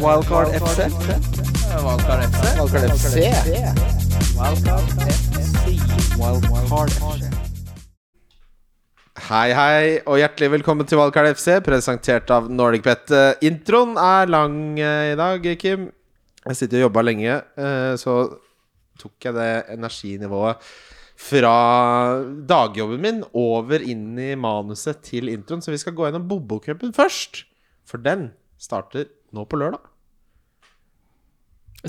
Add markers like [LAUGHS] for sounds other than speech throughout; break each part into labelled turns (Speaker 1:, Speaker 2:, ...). Speaker 1: Wildcard FC.
Speaker 2: Valgkar FC.
Speaker 1: Wildcard FC. Wildcard FC.
Speaker 3: Hei, hei, og hjertelig velkommen til Valgkart FC, presentert av NordicBet. Eh, Introen er lang eh, i dag, Kim. Jeg sitter og jobba lenge, eh, så tok jeg det energinivået fra dagjobben min over inn i manuset til introen. Så vi skal gå gjennom Bobokupen først, for den starter nå på lørdag.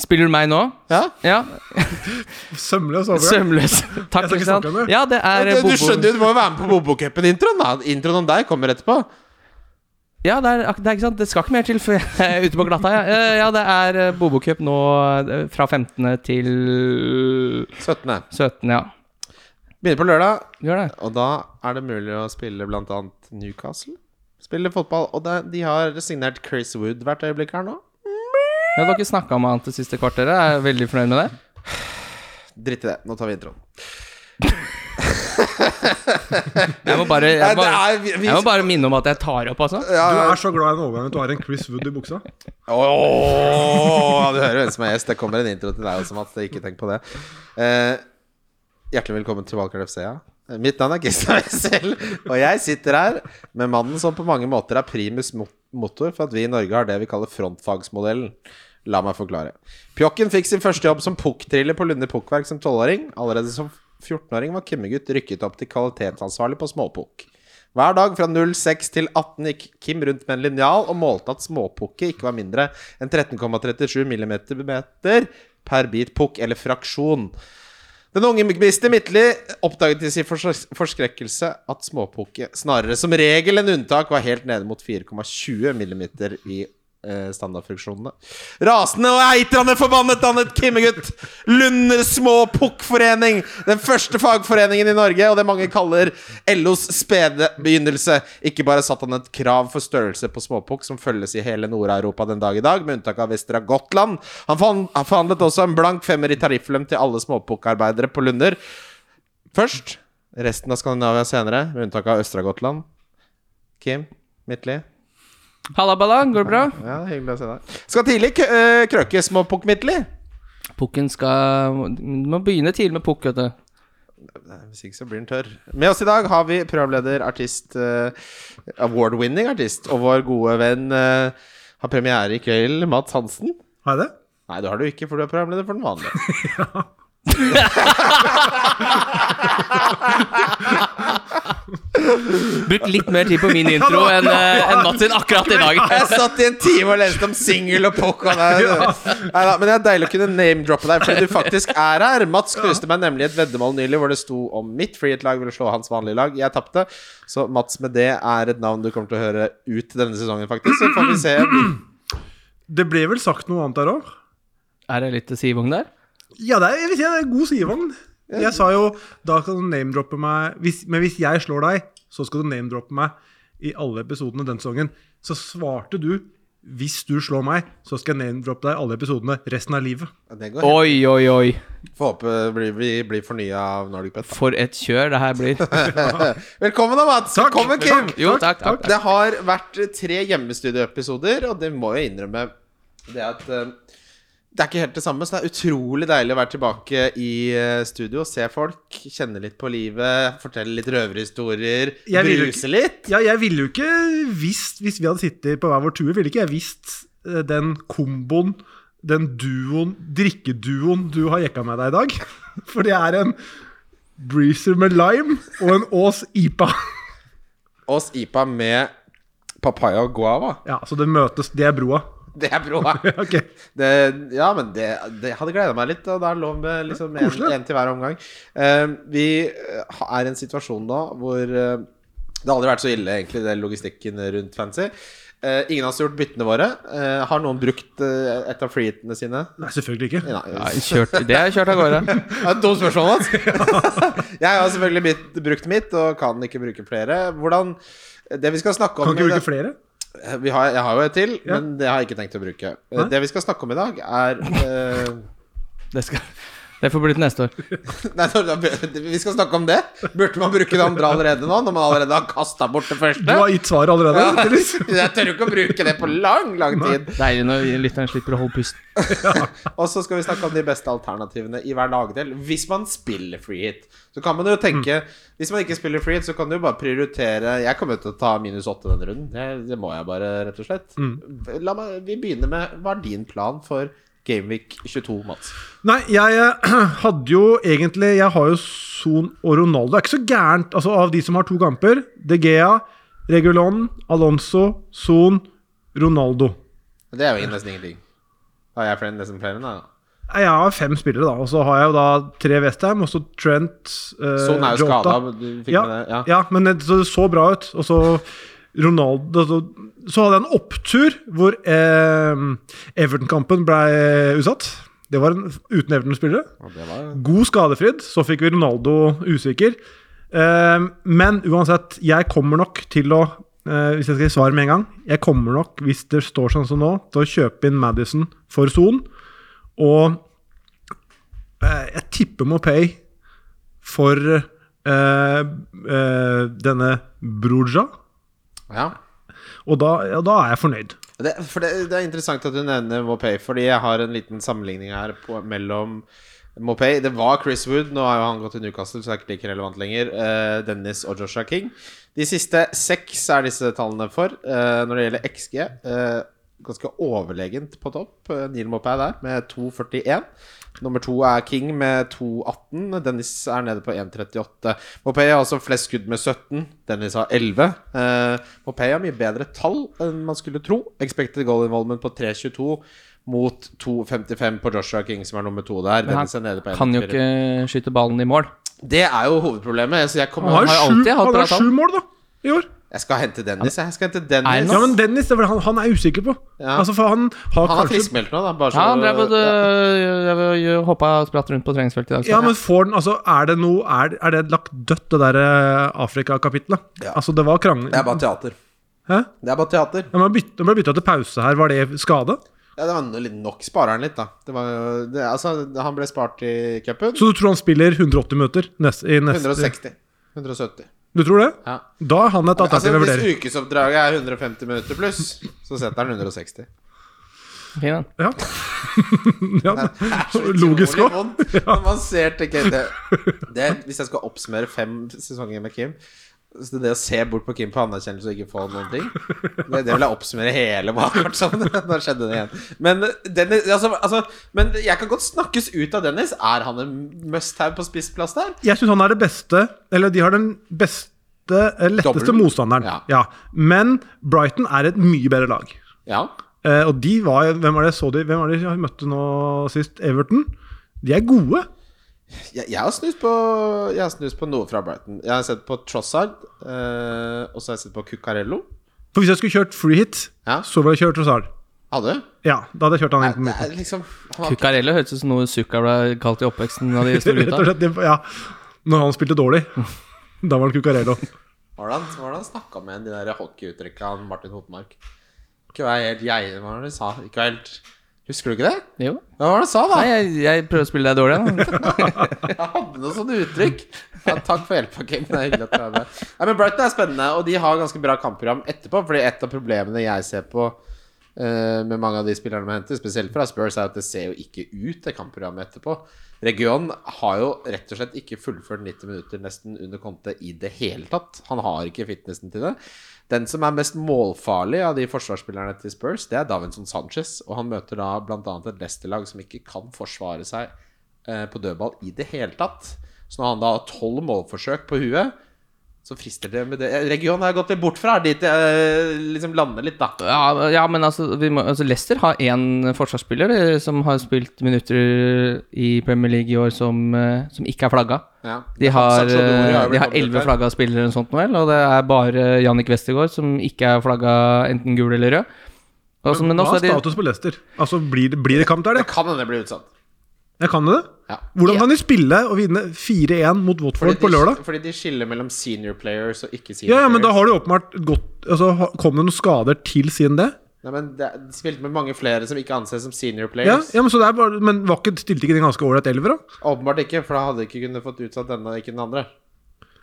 Speaker 2: Spiller du meg nå?
Speaker 3: Ja?
Speaker 2: Ja.
Speaker 4: Sømløs overgang. [LAUGHS]
Speaker 2: Sømløs. Takk.
Speaker 4: skal ikke
Speaker 2: Kristian.
Speaker 4: snakke om det.
Speaker 2: Ja, det er eh,
Speaker 3: Du, du
Speaker 2: Bobo.
Speaker 3: skjønner jo, du må jo være med på Bobokupen-introen, da. Introen om deg kommer etterpå.
Speaker 2: Ja, det er, ak- det er ikke sant. Det skal ikke mer til før jeg er ute på glatta. Ja, Eh, ja det er eh, Bobocup nå eh, fra 15. til
Speaker 3: 17.
Speaker 2: 17., ja.
Speaker 3: Begynner på lørdag.
Speaker 2: Gjør det.
Speaker 3: Og da er det mulig å spille blant annet Newcastle. Spille fotball. Og det, de har signert Chris Wood hvert øyeblikk her nå.
Speaker 2: Jeg har ikke snakka med han til siste kvarteret. Jeg er veldig fornøyd med det.
Speaker 3: Dritt i det. Nå tar vi introen.
Speaker 2: Jeg må bare, jeg må,
Speaker 3: Nei, det er- vi- vi-
Speaker 2: jeg må bare minne om at jeg tar opp, altså.
Speaker 4: Du
Speaker 3: Eh,
Speaker 4: er så glad i den overgangen at du har en Chris Wood i buksa.
Speaker 3: Ååå, du hører hvem som er gjest. Det kommer en intro til deg også, Mats. Ikke tenk på det. Eh, hjertelig velkommen til Valkar FC. Ja. Eh, Mitt navn er Kristian Wessel, og jeg sitter her med mannen som på mange måter er primus mo- motor for at vi i Norge har det vi kaller frontfagsmodellen. La meg forklare. Pjokken fikk sin første jobb som pukkthriller på Lunde Pukkverk som tolvåring. Allerede som 14-åring var Kimmegutt rykket opp til kvalitetsansvarlig på småpukk. Hver dag fra 06 til 18 gikk Kim rundt med en linjal og målte at småpukket ikke var mindre enn 13,37 millimeter per bit pukk, eller fraksjon. Den unge Mr. Midtly oppdaget til sin fors forskrekkelse at småpukket snarere som regel enn unntak var helt nede mot 4,20 millimeter i eh, standardfunksjonene. Rasende og eitrende forbannet dannet Kimmegutt Lunder Småpukkforening, den første fagforeningen i Norge, og det mange kaller LOs spede begynnelse. Ikke bare satt han et krav for størrelse på småpukk, som følges i hele Nord-Europa den dag i dag, med unntak av Vestra Gotland. Han fan- han forhandlet også en blank femmer i tarifflønn til alle småpukkarbeidere på Lunder. Først, resten av Skandinavia senere, med unntak av Østra Gotland. Kim Midtly.
Speaker 2: Halla, Balla. Går det bra?
Speaker 3: Ja, hyggelig å se deg. Skal tidlig kø øh, krøke småpukk Midtly.
Speaker 2: Pukken skal Må begynne tidlig med pukk, vet du.
Speaker 3: Hvis ikke så blir den tørr. Med oss i dag har vi programleder, artist, eh, award-winning artist, og vår gode venn eh, har premiere i kveld, Mats Hansen.
Speaker 4: Har jeg det?
Speaker 3: Nei, det har du ikke, for du er programleder for den vanlige.
Speaker 2: Brukt litt mer tid på
Speaker 4: [LAUGHS]
Speaker 2: min intro enn eh, enn Mats sin akkurat i dag.
Speaker 3: [LAUGHS] Jeg satt i en time og leste om singel og pokk og det- Neida, Men det er deilig å kunne name-droppe deg, fordi du faktisk er her. Mats knuste meg nemlig i et veddemål nylig hvor det sto om mitt frihet-lag ville slå hans vanlige lag. Jeg tapte, så Mats med det er et navn du kommer til å høre ut denne sesongen, faktisk. Så får vi se.
Speaker 4: Det ble vel sagt noe annet der òg?
Speaker 2: Er det litt sivung der?
Speaker 4: Ja, det er, jeg vil si det er god sidevogn. Jeg sa jo da kan du name-droppe meg hvis, Men hvis jeg slår deg, så skal du name-droppe meg i alle episodene den sesongen. Så svarte du hvis du slår meg, så skal jeg name-droppe deg i alle episodene resten av livet.
Speaker 3: Det går
Speaker 2: Oi, oi, oi.
Speaker 3: Får håpe blir- vi blir fornya av Nordic Bet. da.
Speaker 2: For et kjør det her blir.
Speaker 3: [LAUGHS] Velkommen da, Mats!
Speaker 4: Takk.
Speaker 3: Velkommen, Kim!
Speaker 4: Takk.
Speaker 2: Jo, takk, takk.
Speaker 3: Det har vært tre hjemmestudioepisoder, og det må jeg innrømme Det er at eh, det er ikke helt det samme, så det er utrolig deilig å være tilbake i eh, studio. Se folk, kjenne litt på livet, fortelle litt røverhistorier,
Speaker 4: Jeg vil jo
Speaker 3: bruse litt.
Speaker 4: Ja, jeg ville jo ikke visst, hvis vi hadde sittet på hver vår tue, ville ikke jeg visst eh, den komboen, den duoen, drikkeduoen du har jekka med deg i dag. [LAUGHS] For det er en breezer med lime og en Ås IPA. [LAUGHS]
Speaker 3: Oss IPA med papaya og guava.
Speaker 4: Ja, så det møtes, det er broa. [LAUGHS]
Speaker 3: Det er bra.
Speaker 4: Ok.
Speaker 3: Det, ja, men det, det hadde gleda meg litt, og det er lov med liksom en,
Speaker 4: Koselig.
Speaker 3: en til hver omgang. Eh, vi eh, er i en situasjon nå hvor eh, det har aldri vært så ille, egentlig, den logistikken rundt Fancy. Eh, ingen av oss har gjort byttene våre. Eh, har noen brukt eh, et av freeheatene sine?
Speaker 4: Nei, selvfølgelig ikke.
Speaker 3: Nei.
Speaker 2: Ja, kjørt, det er kjørt av gårde.
Speaker 3: Det er et dumt spørsmål, Mats. [LAUGHS] Jeg har selvfølgelig mitt, brukt mitt, og kan ikke bruke flere. Hvordan Det vi skal snakke om
Speaker 4: Kan ikke
Speaker 3: i dag-
Speaker 4: bruke flere.
Speaker 3: vi har, jeg har jo et til,
Speaker 4: Ja.
Speaker 3: men det har jeg ikke tenkt å bruke. Eh,
Speaker 4: Nei.
Speaker 3: Det vi skal snakke om i dag, er eh,
Speaker 2: Det skal, Det får bli til neste år.
Speaker 3: Nei, da- da- vi skal snakke om det. Burde man bruke det andre allerede nå, når man allerede har kasta bort det første?
Speaker 4: Du har liksom. gitt svaret allerede.
Speaker 3: Ja.
Speaker 4: Dennis.
Speaker 3: Jeg tør jo ikke å bruke det på lang, lang tid.
Speaker 2: Deilig når lytteren slipper å holde pusten.
Speaker 3: Og så skal vi snakke om de beste alternativene i hver lagdel. Hvis man spiller free hit, så kan man jo tenke
Speaker 4: Mm.
Speaker 3: Hvis man ikke spiller free hit, så kan du jo bare prioritere Jeg kommer jo til å ta minus åtte denne runden. Det, det må jeg bare, rett og slett.
Speaker 4: Mm.
Speaker 3: La meg, vi begynner med Hva er din plan for Gameweek 22, Mats?
Speaker 4: Nei, jeg eh, [CLEARS THROAT] hadde jo egentlig Jeg har jo Son og Ronaldo. Det er ikke så gærent altså av de som har to kamper. De Gea, Regulon, Alonso, Son, Ronaldo.
Speaker 3: Det er jo nesten ingenting. Har jeg flere, nesten flere enn deg, da?
Speaker 4: Nei, Jeg har fem spillere, da. Og så har jeg jo da tre Westham, og så Trent eh,
Speaker 3: Son er jo
Speaker 4: Jota.
Speaker 3: skada. Du fikk
Speaker 4: ja,
Speaker 3: med det?
Speaker 4: ja.
Speaker 3: Ja.
Speaker 4: men det så, det så bra ut. Og så Ronaldo Så, så hadde jeg en opptur hvor eh, Everton-kampen ble utsatt. Det var en, uten Everton-spillere.
Speaker 3: Og Det var
Speaker 4: God skadefryd. Så fikk vi Ronaldo usikker. Eh, men uansett, jeg kommer nok til å eh, Hvis jeg skal gi svar med en gang Jeg kommer nok, hvis det står sånn som nå, til å kjøpe inn Madison for Son. Og eh, jeg tipper Mopay for eh, eh, denne Bruja.
Speaker 3: ja.
Speaker 4: Og da, ja, da er jeg fornøyd.
Speaker 3: Det, for det, det er interessant at du nevner Mopay, fordi jeg har en liten sammenligning her på, mellom Mopay Det var Chris Wood, nå har jo han gått til Newcastle, så det er ikke like relevant lenger. eh, Dennis og Joshua King. De siste seks er disse tallene for eh, når det gjelder XG. eh, ganske overlegent på topp. eh, Neil Mopay der med 2,41. Nummer to er King med 2,18. Dennis er nede på 1,38. Mopay har også flest skudd med 17. Dennis har 11. Eh, Mopay har mye bedre tall enn man skulle tro. Expected goal involvement på 3,22 mot 2,55 på Joshua King, som er nummer to der.
Speaker 2: Men
Speaker 3: Dennis er nede
Speaker 2: han
Speaker 3: på
Speaker 2: kan jo
Speaker 3: 1,4.
Speaker 2: ikke skyte ballen i mål.
Speaker 3: Det er jo hovedproblemet. Så jeg, kommer,
Speaker 4: Han har
Speaker 2: jo
Speaker 4: jo
Speaker 2: alltid
Speaker 4: sju,
Speaker 2: hatt
Speaker 4: han
Speaker 2: bra
Speaker 4: har
Speaker 2: tall.
Speaker 4: sju mål, da, i år.
Speaker 3: jeg skal hente Dennis. Jeg skal hente
Speaker 2: Er
Speaker 3: Dennis.
Speaker 2: det
Speaker 4: Ja,
Speaker 2: noe?
Speaker 4: men Dennis, det er vel han, han er jeg usikker på.
Speaker 3: Ja.
Speaker 4: Altså, for han har
Speaker 3: Han er
Speaker 4: kanskje
Speaker 3: friskmeldt nå, da. Bare så,
Speaker 2: Ja, han drev og
Speaker 3: Ja.
Speaker 2: øh, hoppa og spratt rundt på treningsfeltet i dag. så.
Speaker 4: Ja, men får den, altså, er det noe Er, er det lagt dødt, det der eh, Afrika-kapitlet?
Speaker 3: Ja.
Speaker 4: Altså, det var krangling
Speaker 3: Det er bare teater.
Speaker 4: Hæ?
Speaker 3: Det er bare teater.
Speaker 4: Ja, men bytte- Den ble bytta til pause her, var det skade?
Speaker 3: Ja, det var no- litt nok sparer han litt, da. Det var, jo- det, altså, han ble spart i cupen.
Speaker 4: Så du tror han spiller 180 minutter neste, i neste
Speaker 3: 160. 170.
Speaker 4: Du tror det?
Speaker 3: Ja.
Speaker 4: Da er han et
Speaker 3: Altså,
Speaker 4: alternativ å vurdere.
Speaker 3: hvis ukesoppdraget er 150 minutter pluss, så setter han 160.
Speaker 2: Fin, den.
Speaker 4: Ja. ja. [LAUGHS] Logisk
Speaker 3: utrolig
Speaker 4: òg.
Speaker 3: vondt Når man ser til Kim det, det, Hvis jeg skal oppsummere fem sesonger med Kim så det å se bort på Kim på anerkjennelse og ikke få noen ting Det, det vil jeg oppsummere hele Wildcard som. [LAUGHS] Da skjedde det igjen. Men, Dennis, altså, altså, men jeg kan godt snakkes ut av Dennis. Er han en must-have på spissplass der?
Speaker 4: Jeg syns han er det beste Eller de har den beste, eh, letteste
Speaker 3: Dobbel.
Speaker 4: motstanderen.
Speaker 3: Ja.
Speaker 4: ja. Men Brighton er et mye bedre lag.
Speaker 3: Ja.
Speaker 4: Eh, og de var Hvem var det jeg så de, hvem var det jeg møtte nå sist? Everton? De er gode.
Speaker 3: Jeg, jeg har snust på Jeg har snust på noe fra Brighton. Jeg har sett på Trossard, eh, og så har jeg sett på Cuccarello.
Speaker 4: For hvis jeg skulle kjørt free hit,
Speaker 3: Ja.
Speaker 4: så ville jeg kjørt Trossard.
Speaker 3: Hadde du?
Speaker 4: Ja, da hadde jeg kjørt han inn på
Speaker 3: Det
Speaker 4: midten.
Speaker 3: er liksom han har,
Speaker 2: Cuccarello høres ut som noe Zucca ble kalt i oppveksten av de
Speaker 4: [LAUGHS]
Speaker 2: store
Speaker 4: Rett og
Speaker 2: gutta.
Speaker 4: slett, det- ja. Når han spilte dårlig, da var han Cuccarello.
Speaker 3: Hvordan, hvordan snakka med de der hockeyuttrekka han Martin Hotmark? Ikke vær helt jeg, hva var det du sa? Ikke vær helt Husker du ikke det?
Speaker 2: Jo.
Speaker 3: Hva var det du sa, da?
Speaker 2: Nei, jeg, jeg prøver å spille deg dårlig. Da.
Speaker 3: Jeg hadde noe sånne uttrykk. Ja, takk for hjelpa, Kim. Det er hyggelig at du er med. Nei, men Brighton er spennende, og de har ganske bra kampprogram etterpå. Fordi et av problemene jeg ser på eh, med mange av de spillerne vi henter, spesielt fra Spurs, er at det ser jo ikke ut, det kampprogrammet etterpå. Region har jo rett og slett ikke fullført 90 minutter nesten under Conte i det hele tatt. Han har ikke fitnessen til det. Den som er mest målfarlig av de forsvarsspillerne til Spurs, det er Davinson Sanchez. Og han møter da bl.a. et Leicester-lag som ikke kan forsvare seg eh, på dødball i det hele tatt. Så når han da har tolv målforsøk på huet, så frister det med det. Eh, Regionen har jeg gått litt bort fra, dit jeg eh, liksom lander litt, da.
Speaker 2: Ja, ja, men altså, vi må, altså Leicester har én forsvarsspiller eh, som har spilt minutter i Premier League i år som, eh, som ikke er flagga.
Speaker 3: Ja.
Speaker 2: De har,
Speaker 3: Sancho Dori
Speaker 2: eh, de
Speaker 3: jo blitt
Speaker 2: har
Speaker 3: omtalt
Speaker 2: elleve
Speaker 3: her.
Speaker 2: flagga spillere eller noe sånt nå vel, og det er bare Jannik Westergaard som ikke er flagga enten gul eller rød. Og så- men
Speaker 4: Hva
Speaker 2: også
Speaker 4: er
Speaker 2: er de,
Speaker 4: status på Leicester? Altså, blir det, blir det kamp der,
Speaker 3: Det
Speaker 4: det?
Speaker 3: kan hende det blir utsatt.
Speaker 4: Jeg kan det.
Speaker 3: Ja.
Speaker 4: Hvordan kan de spille og vinne 4-1 mot Watford på
Speaker 3: de,
Speaker 4: lørdag?
Speaker 3: fordi de skiller mellom senior players og ikke senior
Speaker 4: Ja, ja, men da
Speaker 3: players.
Speaker 4: har du åpenbart gått altså, ha- Kom det noen skader til siden det?
Speaker 3: Nei, men det er- de spilte med mange flere som ikke anses som senior
Speaker 4: Ja,
Speaker 3: players.
Speaker 4: ja Men så det er bare Men var ikke, stilte ikke den ganske ålreit elver, da? [LAUGHS]
Speaker 3: Åpenbart ikke, for da hadde de ikke kunnet fått utsatt denne og ikke den andre.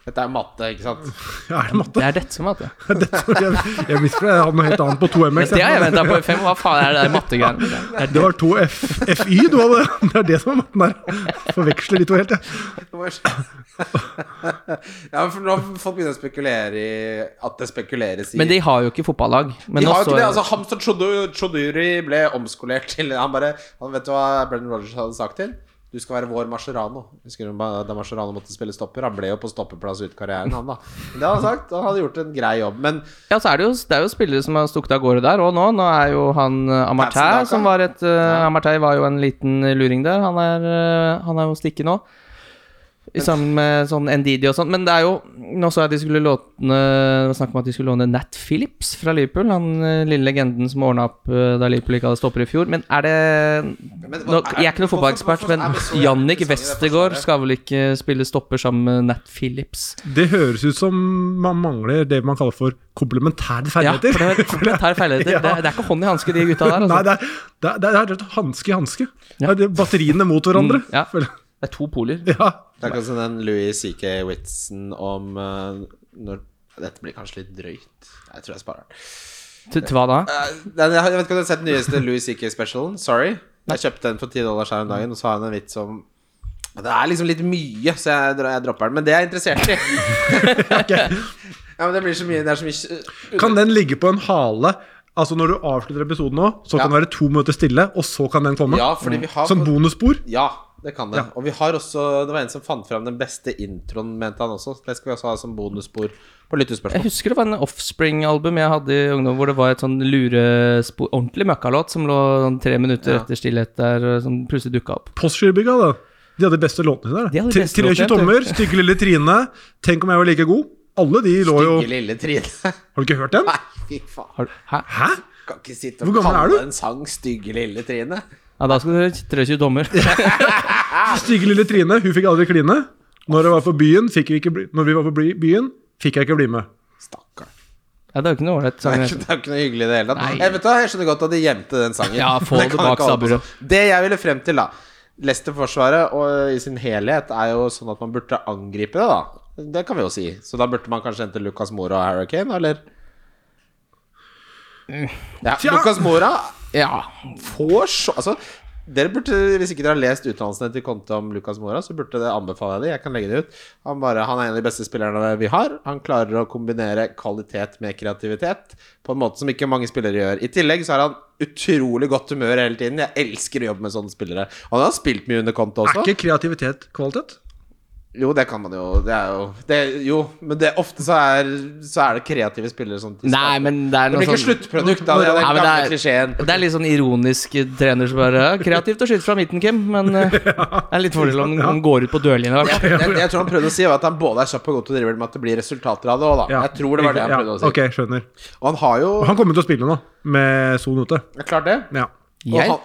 Speaker 3: Dette er matte, ikke sant?
Speaker 4: Ja, er det matte?
Speaker 2: Det er dette som er matte.
Speaker 4: [LAUGHS] Det tror jeg jeg visste det. Jeg hadde noe helt annet på 2MX.
Speaker 2: Det har jeg venta på i fem år. Hva faen er det der mattegreiene?
Speaker 3: [LAUGHS]
Speaker 4: Det var to F FY du hadde. Det er det som er matten der. Forveksler de to helt, jeg.
Speaker 3: Det var- [LAUGHS] ja, for nå har folk begynner å spekulere i at det spekuleres i
Speaker 2: Men de har jo ikke fotballag. Men
Speaker 3: De
Speaker 2: nå
Speaker 3: har jo
Speaker 2: så-
Speaker 3: ikke det. altså Hamza Chodu- Choduri ble omskolert til Han bare han Vet du hva Brendan Rogers hadde sagt til? Du skal være vår Mascherano. Husker du ba- da Mascherano måtte spille stopper? Han ble jo på stoppeplass ut karrieren, han da. Men Det hadde han sagt. Han hadde gjort en grei jobb. Men
Speaker 2: Ja, så er det, jo, det er jo spillere som har stukket av gårde der òg nå. Nå er jo han eh, Amartey
Speaker 3: Patsen Daka.
Speaker 2: som var et eh, Amartey var jo en liten luring der. Han er, eh, han er jo stikke nå. I Sammen med sånn Ndidi og sånn. Men det er jo Nå så jeg de skulle låne det var Snakk om at de skulle låne Nat Phillips fra Liverpool. Han eh, lille legenden som ordna opp eh, da Liverpool ikke hadde stopper i fjor. Men er det
Speaker 3: Men
Speaker 2: nå,
Speaker 3: hva er-
Speaker 2: Jeg er ikke noen
Speaker 3: hvorfor-
Speaker 2: fotballekspert,
Speaker 3: hvorfor
Speaker 2: men
Speaker 3: er vi så jævlig
Speaker 2: Jannik
Speaker 3: interessante i det
Speaker 2: Westergaard
Speaker 3: forsvaret?
Speaker 2: skal vel ikke eh, spille stopper sammen med Nat Phillips?
Speaker 4: Det høres ut som man mangler det man kaller for komplementære ferdigheter.
Speaker 2: Ja, for det er komplementære ferdigheter.
Speaker 4: [LAUGHS] Ja.
Speaker 2: Det, er- det er ikke hånd i hanske, de gutta der. Altså.
Speaker 4: Nei, det er, det er, det er rett og slett hanske i hanske.
Speaker 2: Ja.
Speaker 4: Det er Batteriene mot hverandre.
Speaker 2: Mm, ja.
Speaker 4: føler jeg. [LAUGHS]
Speaker 2: Det er to poler.
Speaker 4: ja.
Speaker 3: Det er akkurat som den Louis C.K. Whitson om eh, når Dette blir kanskje litt drøyt. Jeg tror jeg sparer den.
Speaker 2: Til, til hva da?
Speaker 3: Eh, den- jeg vet ikke om du har sett den nyeste Louis C.K.-specialen? Sorry. Jeg kjøpte den for 10 dollar her om dagen, og så har han en vits om Det er liksom litt mye, så jeg, dro- jeg dropper den. Men det er jeg interessert i. [LAUGHS] Ja, men det blir så mye. Det er så mye
Speaker 4: Kan den ligge på en hale? Altså Når du avslutter episoden nå, så kan
Speaker 3: Ja.
Speaker 4: det være to minutter stille, og så kan den komme?
Speaker 3: Ja, fordi vi har
Speaker 4: Mm. Som bonusspor?
Speaker 3: Ja, det kan det. Og vi har også Det var en som fant fram den beste introen, mente han også. Det skal vi også ha som bonusspor på
Speaker 2: Jeg
Speaker 3: lyttespørsmål.
Speaker 2: husker det var en Offspring-album jeg hadde i ungdom, hvor det var et sånn lurespor Ordentlig møkkalåt som lå sånn tre minutter
Speaker 3: Ja.
Speaker 2: etter stillhet der, og som plutselig dukka opp.
Speaker 4: Postgirobygga, da. De hadde de beste låtene sine der.
Speaker 2: De
Speaker 4: da.
Speaker 2: hadde de
Speaker 4: Tre-
Speaker 2: beste låtene,
Speaker 4: 23
Speaker 2: jeg tror.
Speaker 4: tommer, Stygge lille Trine, Tenk om jeg var like god. Alle de lå [LAUGHS] jo
Speaker 3: Stygge lille Trine. [LAUGHS]
Speaker 4: Har du ikke hørt den?
Speaker 3: Nei, fy faen.
Speaker 2: Har du Hæ?
Speaker 4: Hæ?
Speaker 3: Kan ikke sitte og
Speaker 4: Hvor gammel er
Speaker 3: kalle
Speaker 4: du?
Speaker 3: en sang 'Stygge lille Trine'.
Speaker 2: Ja, da skal du høre 23 dommer.
Speaker 4: Stygge lille Trine, hun fikk aldri kline. Når, jeg var på byen, fikk vi ikke bli, når vi var på bly- byen, fikk jeg ikke bli med.
Speaker 3: Stakkar.
Speaker 2: [LAUGHS] Ja, det er jo ikke noe ålreit
Speaker 3: Det
Speaker 2: sang.
Speaker 3: er
Speaker 2: det
Speaker 3: ikke
Speaker 2: heter.
Speaker 3: det er ikke noe hyggelig i det hele tatt.
Speaker 2: Nei.
Speaker 3: Jeg, vet du, hva, jeg skjønner godt at de gjemte den sangen.
Speaker 2: Ja, få det
Speaker 3: kan jeg
Speaker 2: bak
Speaker 3: ikke holde på
Speaker 2: stabburet.
Speaker 3: sånn. Det jeg ville frem til, da. Leicester-forsvaret og i sin helhet er jo sånn at man burde angripe det, da. Det kan vi jo si. Så da burde man kanskje hente Lucas Mora og Harry Kane, eller? Ja,
Speaker 4: Tja.
Speaker 3: Lucas Mora
Speaker 2: Ja.
Speaker 3: får så Altså, dere burde, hvis ikke dere har lest utdannelsene til Conte om Lucas Mora, så burde det anbefale jeg det. Jeg kan legge det ut. Han, bare, han er en av de beste spillerne vi har. Han klarer å kombinere kvalitet med kreativitet på en måte som ikke mange spillere gjør. I tillegg så har han utrolig godt humør hele tiden. Jeg elsker å jobbe med sånne spillere. Og han har spilt mye under Conte
Speaker 4: Er
Speaker 3: også.
Speaker 4: ikke kreativitet kvalitet?
Speaker 3: Jo, det kan man jo. Det er jo det, Jo, men det, ofte så er, så er det kreative spillere som
Speaker 2: Nei, men det er
Speaker 3: Det
Speaker 2: noe
Speaker 3: blir ikke
Speaker 2: sånn
Speaker 3: sluttprodukt, da. Det er den
Speaker 2: Nei, men
Speaker 3: gamle
Speaker 2: det
Speaker 3: klisjeen.
Speaker 2: Det er litt sånn ironisk eh, trener som bare «Ja, Kreativt å skyte fra midten, Kim, men eh, det er litt fordel om den går ut på dørlinja. i hvert fall.
Speaker 3: det, det jeg tror han prøvde å si, var at han både er kjapp og god til å drive, men at det blir resultater av det òg, da.
Speaker 4: Ja,
Speaker 3: Jeg tror det var det han
Speaker 4: riktig.
Speaker 3: prøvde å si.
Speaker 4: Ja, Ok, skjønner.
Speaker 3: Og han har jo
Speaker 4: Han kommer til å spille nå, med Son ute.
Speaker 3: ja, Klart det.
Speaker 4: Ja.
Speaker 3: Og,
Speaker 2: Jeg-
Speaker 3: han,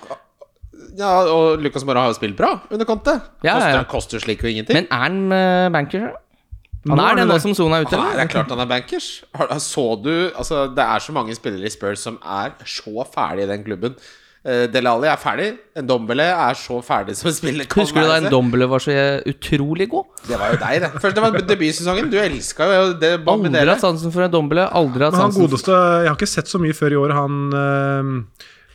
Speaker 3: ja, og Lucas Mora har jo spilt bra under Conte.
Speaker 2: Ja, ja,
Speaker 3: koster,
Speaker 2: ja.
Speaker 3: han koster slik jo ingenting.
Speaker 2: Men er han eh, banker? Han
Speaker 4: Nå er
Speaker 2: er det
Speaker 4: han
Speaker 2: nå
Speaker 4: det.
Speaker 2: som Son er ute?
Speaker 3: Nei,
Speaker 2: eller?
Speaker 3: det er klart han er bankers. Har- Så du Altså, det er så mange spillere i Spurs som er så ferdig i den klubben. Uh, Delali er ferdig. En Dombele er så ferdig som en spiller kan
Speaker 2: Husker du da
Speaker 3: være.
Speaker 2: en Dombele var så eh, utrolig god?
Speaker 3: Det var jo deg, det. Først det var debutsesongen. Du elska jo det.
Speaker 2: Aldri hatt sansen for en Dombele. Aldri hatt
Speaker 4: Men han
Speaker 2: sansen
Speaker 4: godeste Jeg har ikke sett så mye før i år, han øh,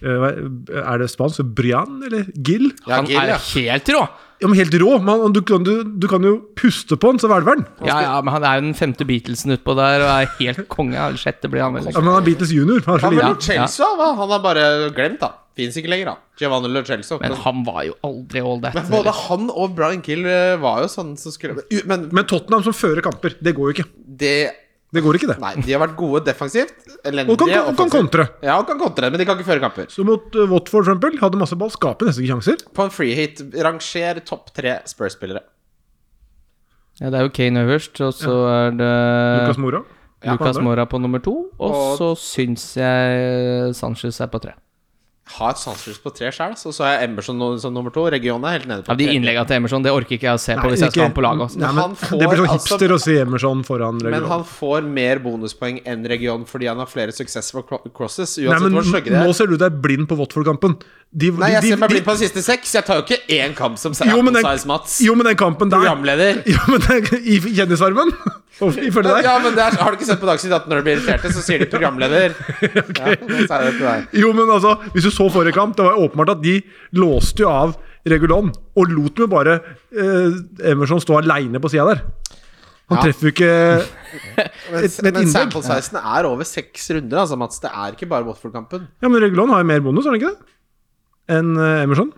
Speaker 4: øh, Er det spansk? Brian, eller Gil?
Speaker 3: Ja,
Speaker 2: Han
Speaker 3: Gil,
Speaker 2: er
Speaker 3: ja.
Speaker 2: helt rå!
Speaker 4: Ja, men helt rå! Man, du, kan, du, du kan jo puste på han, så hvelver han.
Speaker 2: Ja, ja, men han er jo den femte Beatlesen utpå der og er helt konge. Eller sjette blir han vel.
Speaker 4: Ja, men han er Beatles junior. Han er så
Speaker 3: Han
Speaker 4: liten.
Speaker 3: ble
Speaker 2: Ja,
Speaker 3: gjort Chelsea av, hva? han har bare glemt, da. Fins ikke lenger, da. Giovanni Lo Celso.
Speaker 2: Men
Speaker 3: Men,
Speaker 2: han var jo aldri all that.
Speaker 3: både han og Brian Kill eh, var jo sånn som skulle U- Men
Speaker 4: Men Tottenham som fører kamper, det går jo ikke.
Speaker 3: det
Speaker 4: Det går ikke, det.
Speaker 3: Nei, de har vært gode defensivt. Elendige
Speaker 4: Og kan, kan, kan
Speaker 3: offensivt.
Speaker 4: kontre.
Speaker 3: Ja, og kan kontre, men de kan ikke føre kamper.
Speaker 4: Så mot øh, Watford, for eksempel, hadde masse ball, skaper nesten ikke sjanser.
Speaker 2: Eh,
Speaker 3: På en free hit, ranger topp tre Spurs-spillere.
Speaker 2: Ja, det er jo Kane øverst, og så er det
Speaker 4: Lucas Mora.
Speaker 2: Lucas
Speaker 4: han er.
Speaker 2: Mora på nummer to. Og
Speaker 3: Og-
Speaker 2: så syns jeg Sanchez er på tre.
Speaker 3: har sanseløst på tre sjøl, så så jeg Emerson no- som nummer to. Regionen er helt nede på
Speaker 2: Av de
Speaker 3: tre.
Speaker 2: innleggene til Emerson, det orker ikke jeg å se på hvis jeg skal ha han på laget. Altså.
Speaker 4: Nei, men,
Speaker 3: Han får
Speaker 4: det blir sånn
Speaker 3: altså-
Speaker 4: hipster å si Emerson foran
Speaker 3: Men
Speaker 4: Regulon.
Speaker 3: han får mer bonuspoeng enn region fordi han har flere successful cro- crosses.
Speaker 4: Nei,
Speaker 3: Uansett
Speaker 4: men
Speaker 3: hvor stygge de
Speaker 4: Nå
Speaker 3: er.
Speaker 4: ser du deg blind på Watford-kampen. De-
Speaker 3: altså, Nei,
Speaker 4: de-
Speaker 3: jeg ser meg
Speaker 4: de-
Speaker 3: blind på de siste seks. Jeg tar jo ikke én kamp som
Speaker 4: jo, men den,
Speaker 3: Size Mats.
Speaker 4: jo, men den kampen der
Speaker 3: [LAUGHS] Programleder.
Speaker 4: [LAUGHS] Jo, men den, I kjendisarmen? [LAUGHS] Ifølge deg?
Speaker 3: Ja, men det er, Har du ikke sett på Dagsnytt at når de blir irriterte, så sier de [LAUGHS] programleder? Ja, det sa jeg til deg.
Speaker 4: Jo, men altså, hvis du så forrige kamp, det var jo åpenbart at de låste jo av Regulon og lot med bare eh, Emerson stå aleine på sida der. Han
Speaker 3: Ja.
Speaker 4: treffer jo ikke
Speaker 3: Men,
Speaker 4: Et- et
Speaker 3: men
Speaker 4: innlegg.
Speaker 3: sample sizen er over seks runder, altså, Mats. Det er ikke bare Watford-kampen.
Speaker 4: Ja, men Regulon har jo mer bonus, har han ikke det? Enn eh, Emerson.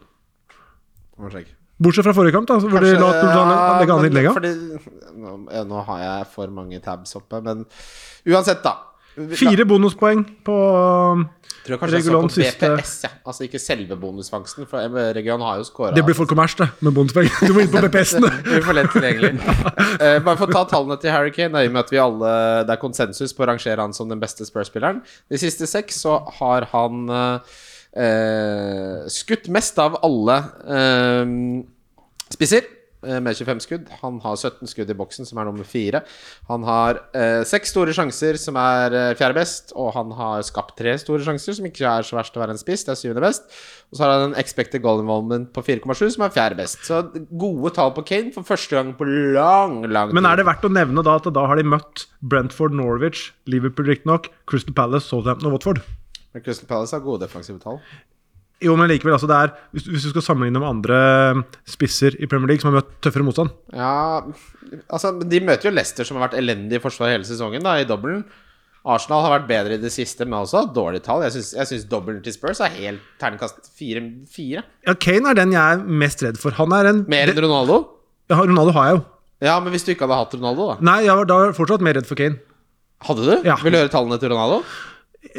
Speaker 3: Må sjekke.
Speaker 4: Bortsett fra forrige kamp, da, hvor de
Speaker 3: Kanskje-
Speaker 4: la han legge an
Speaker 3: men
Speaker 4: innlegga.
Speaker 3: fordi- nå, ja, nå har jeg for mange tabs oppe, men uansett, da. Da-
Speaker 4: Fire bonuspoeng på um,
Speaker 3: Tror jeg kanskje jeg så
Speaker 4: Regulon
Speaker 3: på
Speaker 4: siste-
Speaker 3: BPS, ja. altså ikke selve bonusfangsten. For Region har jo scora
Speaker 4: Det blir for kommers, det, med bonuspoeng. [LAUGHS] Du må inn på BPS-ene.
Speaker 3: [LAUGHS] for lett tilgjengelig. Eh, bare for å ta tallene til Harry Kane, da, i og med at vi alle, det er konsensus på å rangere han som den beste Spurs-spilleren. De siste seks så har han eh, eh, skutt mest av alle eh, spisser. eh, Med 25 skudd. Han har 17 skudd i boksen, som er nummer fire. Han har eh, seks store sjanser, som er eh, fjerde best, og han har skapt tre store sjanser, som ikke er så verst å være en spiss. Det er syvende best. Og så har han en expected goal involvement på 4,7, som er fjerde best. Så gode tall på Kane for første gang på lang, lang tid.
Speaker 4: Men er det verdt å nevne da at da har de møtt Brentford, Norwich, Liverpool riktignok, Crystal Palace, Southampton og Watford.
Speaker 3: Men Crystal Palace har gode defensive tall.
Speaker 4: Jo, men likevel, altså det er, hvis, hvis du skal sammenligne med andre um, spisser i Premier League som har møtt tøffere motstand
Speaker 3: Ja, altså men De møter jo Leicester, som har vært elendig i forsvar hele sesongen, da, i dobbelen. Arsenal har vært bedre i det siste, men også hatt dårlige tall. Jeg syns- Jeg syns dobbelen til Spurs er helt terningkast fire. fire.
Speaker 4: Ja, Kane er den jeg er mest redd for. Han er en
Speaker 3: Mer enn
Speaker 4: det,
Speaker 3: Ronaldo?
Speaker 4: ja, Ronaldo har jeg jo.
Speaker 3: Ja, men hvis du ikke hadde hatt Ronaldo, da?
Speaker 4: Nei, jeg var da var jeg fortsatt mer redd for Kane.
Speaker 3: Hadde du?
Speaker 4: Ja.
Speaker 3: Vil du høre tallene til Ronaldo?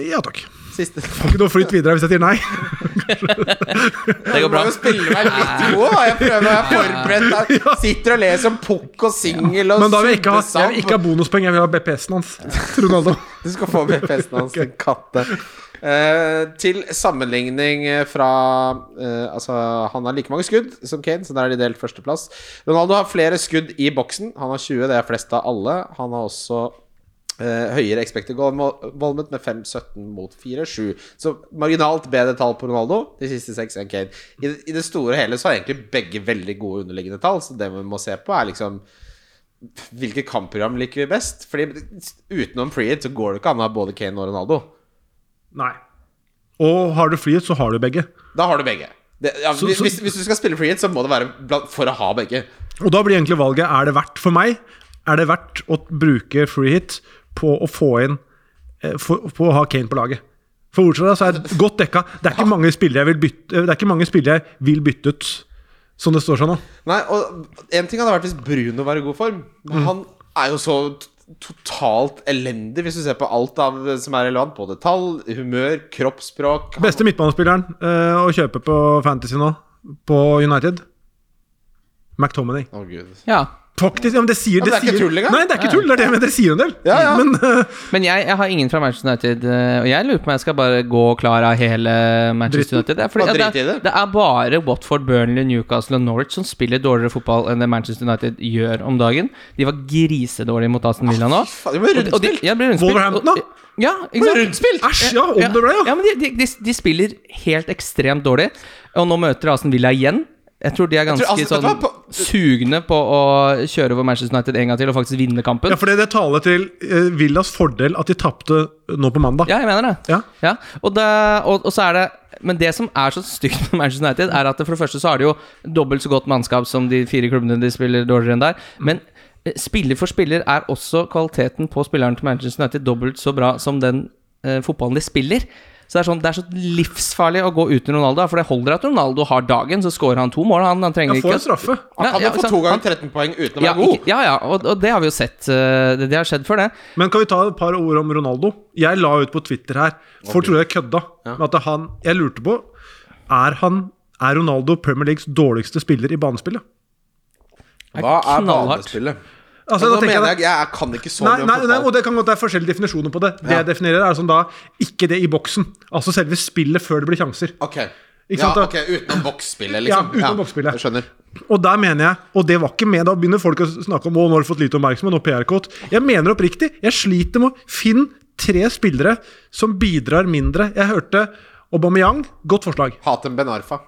Speaker 4: Ja takk.
Speaker 3: Siste
Speaker 4: Får ikke noe flyt videre hvis jeg sier nei.
Speaker 2: Det går bra.
Speaker 3: Du må jo spille meg litt i hodet, da. Jeg prøver å
Speaker 4: [LAUGHS]
Speaker 3: være forberedt. Jeg sitter og leser om pukk og singel og
Speaker 4: Men da vil jeg ikke ha, jeg vil
Speaker 3: suddesam.
Speaker 4: ikke ha bonuspoeng, jeg vil ha BPS-en hans. til Ronaldo.
Speaker 3: Du skal få BPS-en hans, din katte. Eh, til sammenligning fra eh, Altså, han har like mange skudd som Kane, så der er de delt førsteplass. Ronaldo har flere skudd i boksen. Han har 20, det er flest av alle. Han har også eh, høyere expected goal involvement med 5-17 mot 4-7. Så marginalt bedre tall på Ronaldo de siste seks enn Kane. I, det- I det store og hele så har egentlig begge veldig gode underliggende tall, så det vi må se på, er liksom hvilket kampprogram liker vi best? Fordi utenom Freehead så går det ikke an å ha både Kane og Ronaldo.
Speaker 4: Nei. Og har du flyet, så har du begge.
Speaker 3: Da har du begge. Det, ja,
Speaker 4: Så-
Speaker 3: hvis-
Speaker 4: så-
Speaker 3: hvis, hvis du skal spille Freehead, så må det være blant, for å ha begge.
Speaker 4: Og da blir egentlig valget Er det verdt for meg Er det verdt å bruke free hit På å få inn eh, for, På å ha Kane på laget For bortsett fra det så er det godt dekka Det er ikke mange spillere jeg vil bytte eh, Det er ikke mange spillere jeg vil bytte ut Som det står sånn nå
Speaker 3: Nei, og En ting hadde vært hvis Bruno var i god form. Men han er jo så t- totalt elendig, hvis du ser på alt av, som er relevant. Både tall, humør, kroppsspråk
Speaker 4: Beste midtbanespilleren eh, å kjøpe på Fantasy nå På United McTominay
Speaker 3: Å, Gud.
Speaker 2: Ja.
Speaker 4: Faktisk, ja, men det sier
Speaker 3: Ja, men det er ikke
Speaker 4: sier,
Speaker 3: tull engang.
Speaker 4: Nei, det er ikke tull, det er det men det sier jo en del
Speaker 3: Ja, ja.
Speaker 4: Men eh,
Speaker 2: Men jeg, jeg har ingen fra Manchester United, eh, og jeg lurer på om jeg skal bare gå klar av hele Manchester United.
Speaker 4: Dritten.
Speaker 2: Det er, fordi,
Speaker 3: Bare
Speaker 2: ja,
Speaker 3: drit i
Speaker 2: det,
Speaker 3: det.
Speaker 2: det er bare Watford, Burnley, Newcastle og Norwich som spiller dårligere fotball enn det Manchester United gjør om dagen. De var grisedårlige mot Aston Villa nå.
Speaker 3: Ah, Faen, det blir
Speaker 2: Og de- og de-
Speaker 3: rundspilt!
Speaker 2: ja, det blir rundspilt.
Speaker 4: Wolverhampton,
Speaker 2: Og-
Speaker 4: da?
Speaker 2: Ja, ikke
Speaker 3: Det blir
Speaker 2: sant?
Speaker 3: rundspilt!
Speaker 4: Æsj, ja, om det ble ja,
Speaker 2: Ja, men de, de, de, de spiller helt ekstremt dårlig. Og nå møter Aston Villa igjen. Jeg tror de er
Speaker 3: tror
Speaker 2: ganske
Speaker 3: Aston-
Speaker 2: sånn
Speaker 3: vet du hva, på-
Speaker 2: sugne på å kjøre over Manchester United en gang til og faktisk vinne kampen.
Speaker 4: ja, for det, det taler til eh, Villas fordel at de tappte nå på mandag
Speaker 2: Ja, jeg mener det.
Speaker 4: Ja.
Speaker 2: og, det og, og så er det Men det som er så stygt med Manchester United, er at det, for det første så har de jo dobbelt så godt mannskap som de fire klubbene de spiller dårligere enn der. Men eh, spiller for spiller er også kvaliteten på spilleren til Manchester United dobbelt så bra som den eh, fotballen de spiller. Så det er, sånn, det er så livsfarlig å gå uten Ronaldo. For det holder at Ronaldo har dagen, så scorer han to mål. Han, han trenger
Speaker 4: Jeg får
Speaker 2: ikke
Speaker 4: en straffe
Speaker 3: Han kan jo
Speaker 2: Ja,
Speaker 3: få
Speaker 2: så-
Speaker 3: to ganger 13 poeng uten å
Speaker 2: ja,
Speaker 3: være god.
Speaker 2: ikke- ja, ja, og, og det har vi jo sett. eh, Det, det har skjedd før, det.
Speaker 4: Men kan vi ta et par ord om Ronaldo? Jeg la ut på Twitter her. Folk tror jeg kødda. Men at han, jeg lurte på Er, han, er Ronaldo Premier Leagues dårligste spiller i banespillet?
Speaker 2: Det er
Speaker 3: Hva er
Speaker 2: knallhardt.
Speaker 3: banespillet? Men
Speaker 4: Altså, da
Speaker 3: nå
Speaker 4: tenker
Speaker 3: mener
Speaker 4: jeg
Speaker 3: jeg, jeg kan ikke så
Speaker 4: Nei,
Speaker 3: mye om
Speaker 4: nei, nei,
Speaker 3: fotball.
Speaker 4: og det kan godt være forskjellige definisjoner på det. Det
Speaker 3: Ja.
Speaker 4: jeg definerer, er sånn da ikke det i boksen. Altså selve spillet før det blir sjanser.
Speaker 3: Ok.
Speaker 4: Ikke
Speaker 3: ja,
Speaker 4: sant, da?
Speaker 3: ok, Utenom boksspillet,
Speaker 4: Ja,
Speaker 3: liksom.
Speaker 4: utenom boksspillet.
Speaker 3: Jeg skjønner.
Speaker 4: Og der mener jeg, og det var ikke med, da begynner folk å snakke om å, nå har du fått lite oppmerksomhet og PR-kåt. Jeg mener oppriktig, jeg sliter med å finne tre spillere som bidrar mindre. Jeg hørte Aubameyang, godt forslag.
Speaker 3: Hatem Ben Arfa.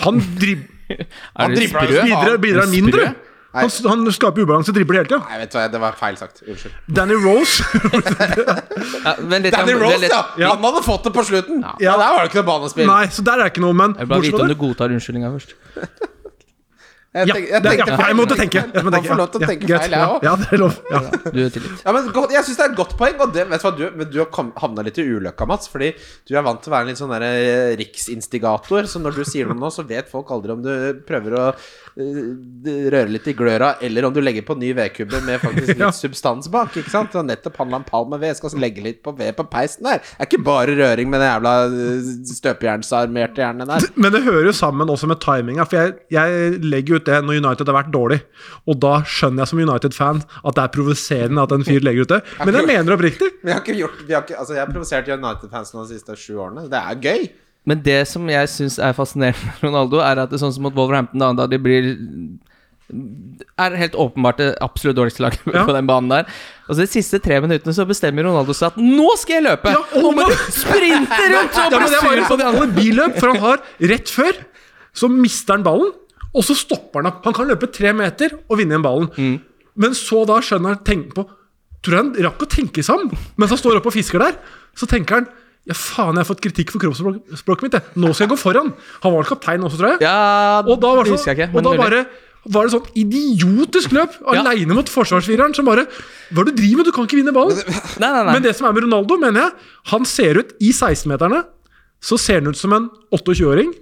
Speaker 4: Han
Speaker 3: [LAUGHS]
Speaker 4: drib
Speaker 2: Er du
Speaker 3: dribler jo
Speaker 2: sprø?
Speaker 3: spill.
Speaker 4: bidrar, bidrar
Speaker 2: Sprø?
Speaker 4: mindre.
Speaker 3: Nei.
Speaker 4: Han, han skaper ubalanse, dribler hele tida.
Speaker 3: Nei, vet du hva, det var feil sagt. Unnskyld.
Speaker 4: Danny Rose [LAUGHS]
Speaker 2: Ja, vent litt,
Speaker 3: Danny
Speaker 2: jeg-
Speaker 3: Rose,
Speaker 2: litt-
Speaker 3: ja! Han hadde fått det på slutten! Ja, Der var det ikke noe banespill.
Speaker 4: Nei, så der er det ikke noe, men
Speaker 2: Jeg vil bare
Speaker 4: bortsett
Speaker 2: vite
Speaker 4: fra
Speaker 2: om
Speaker 4: det-
Speaker 2: du godtar unnskyldninga først.
Speaker 3: Jeg,
Speaker 4: ja,
Speaker 3: tenk,
Speaker 4: det-
Speaker 3: jeg tenkte
Speaker 4: ja,
Speaker 3: feil.
Speaker 4: jeg måtte tenke. Jeg måtte
Speaker 3: Man
Speaker 4: tenke.
Speaker 3: får lov til å
Speaker 4: Ja,
Speaker 3: tenke
Speaker 4: greit.
Speaker 3: feil, jeg
Speaker 4: Ja,
Speaker 3: også.
Speaker 4: Ja, det er lov.
Speaker 3: [LAUGHS]
Speaker 4: Ja.
Speaker 2: Du er tilgitt.
Speaker 3: Ja, men godt, jeg syns det er et godt poeng. Og det, vet du hva, du, men du har kom- havna litt i uløkka, Mats. Fordi du er vant til å være en litt sånn der, eh, riksinstigator. Så når du sier noe nå, så vet folk aldri om du prøver å eh, røre litt i gløra, eller om du legger på ny vedkubbe med faktisk litt
Speaker 4: Ja.
Speaker 3: substans bak. Ikke sant? Og nettopp handla en pall med ved. Skal legge litt på ved på peisen der. Det er ikke bare røring med den jævla eh, støpejernsarmerte hjernen
Speaker 4: [LAUGHS]
Speaker 3: der.
Speaker 4: Men det hører jo sammen også med timinga. For jeg, jeg legger ut det når United har vært dårlig. Og da skjønner jeg som United-fan at det er provoserende at en fyr legger ut det. Men jeg mener oppriktig.
Speaker 3: Men jeg har ikke gjort vi har ikke, Altså, jeg har provosert United-fansen de siste sju årene. Det er gøy.
Speaker 2: Men det som jeg syns er fascinerende med Ronaldo, er at det er sånn som mot Wolverhampton, da, da de blir er helt åpenbart det absolutt dårligste laget
Speaker 4: Ja.
Speaker 2: på den banen der. Og så De siste tre minuttene så bestemmer Ronaldo seg at 'nå skal jeg løpe!'
Speaker 4: Ja, og
Speaker 2: og bare
Speaker 4: nå-
Speaker 2: sprinter rundt og blir
Speaker 4: [LAUGHS] Ja, men det var
Speaker 2: sur
Speaker 4: jo
Speaker 2: på de
Speaker 4: sånn
Speaker 2: andre.
Speaker 4: alle billøp, for han har rett før, så mister han ballen, og så stopper han opp. Han kan løpe tre meter og vinne igjen ballen. Men så da skjønner han tenker på Tror jeg han rakk å tenke seg om mens han står oppe og fisker der? Så tenker han ja, faen, jeg har fått kritikk for kroppsspråket mitt. Jeg. Nå skal jeg gå foran. Han var kaptein også, tror jeg.
Speaker 2: Ja,
Speaker 4: Og da, var
Speaker 2: det
Speaker 4: det
Speaker 2: husker
Speaker 4: sånn,
Speaker 2: jeg ikke.
Speaker 4: og
Speaker 2: men
Speaker 4: da
Speaker 2: mulig.
Speaker 4: bare var det sånn idiotisk løp
Speaker 2: Ja.
Speaker 4: aleine mot forsvarsfireren som bare Hva er det du driver med? Du kan ikke vinne ballen!
Speaker 2: Nei, nei, nei.
Speaker 4: Men det [LAUGHS] som er med Ronaldo, mener jeg, han ser ut i 16-meterne Så ser han ut som en 28-åring.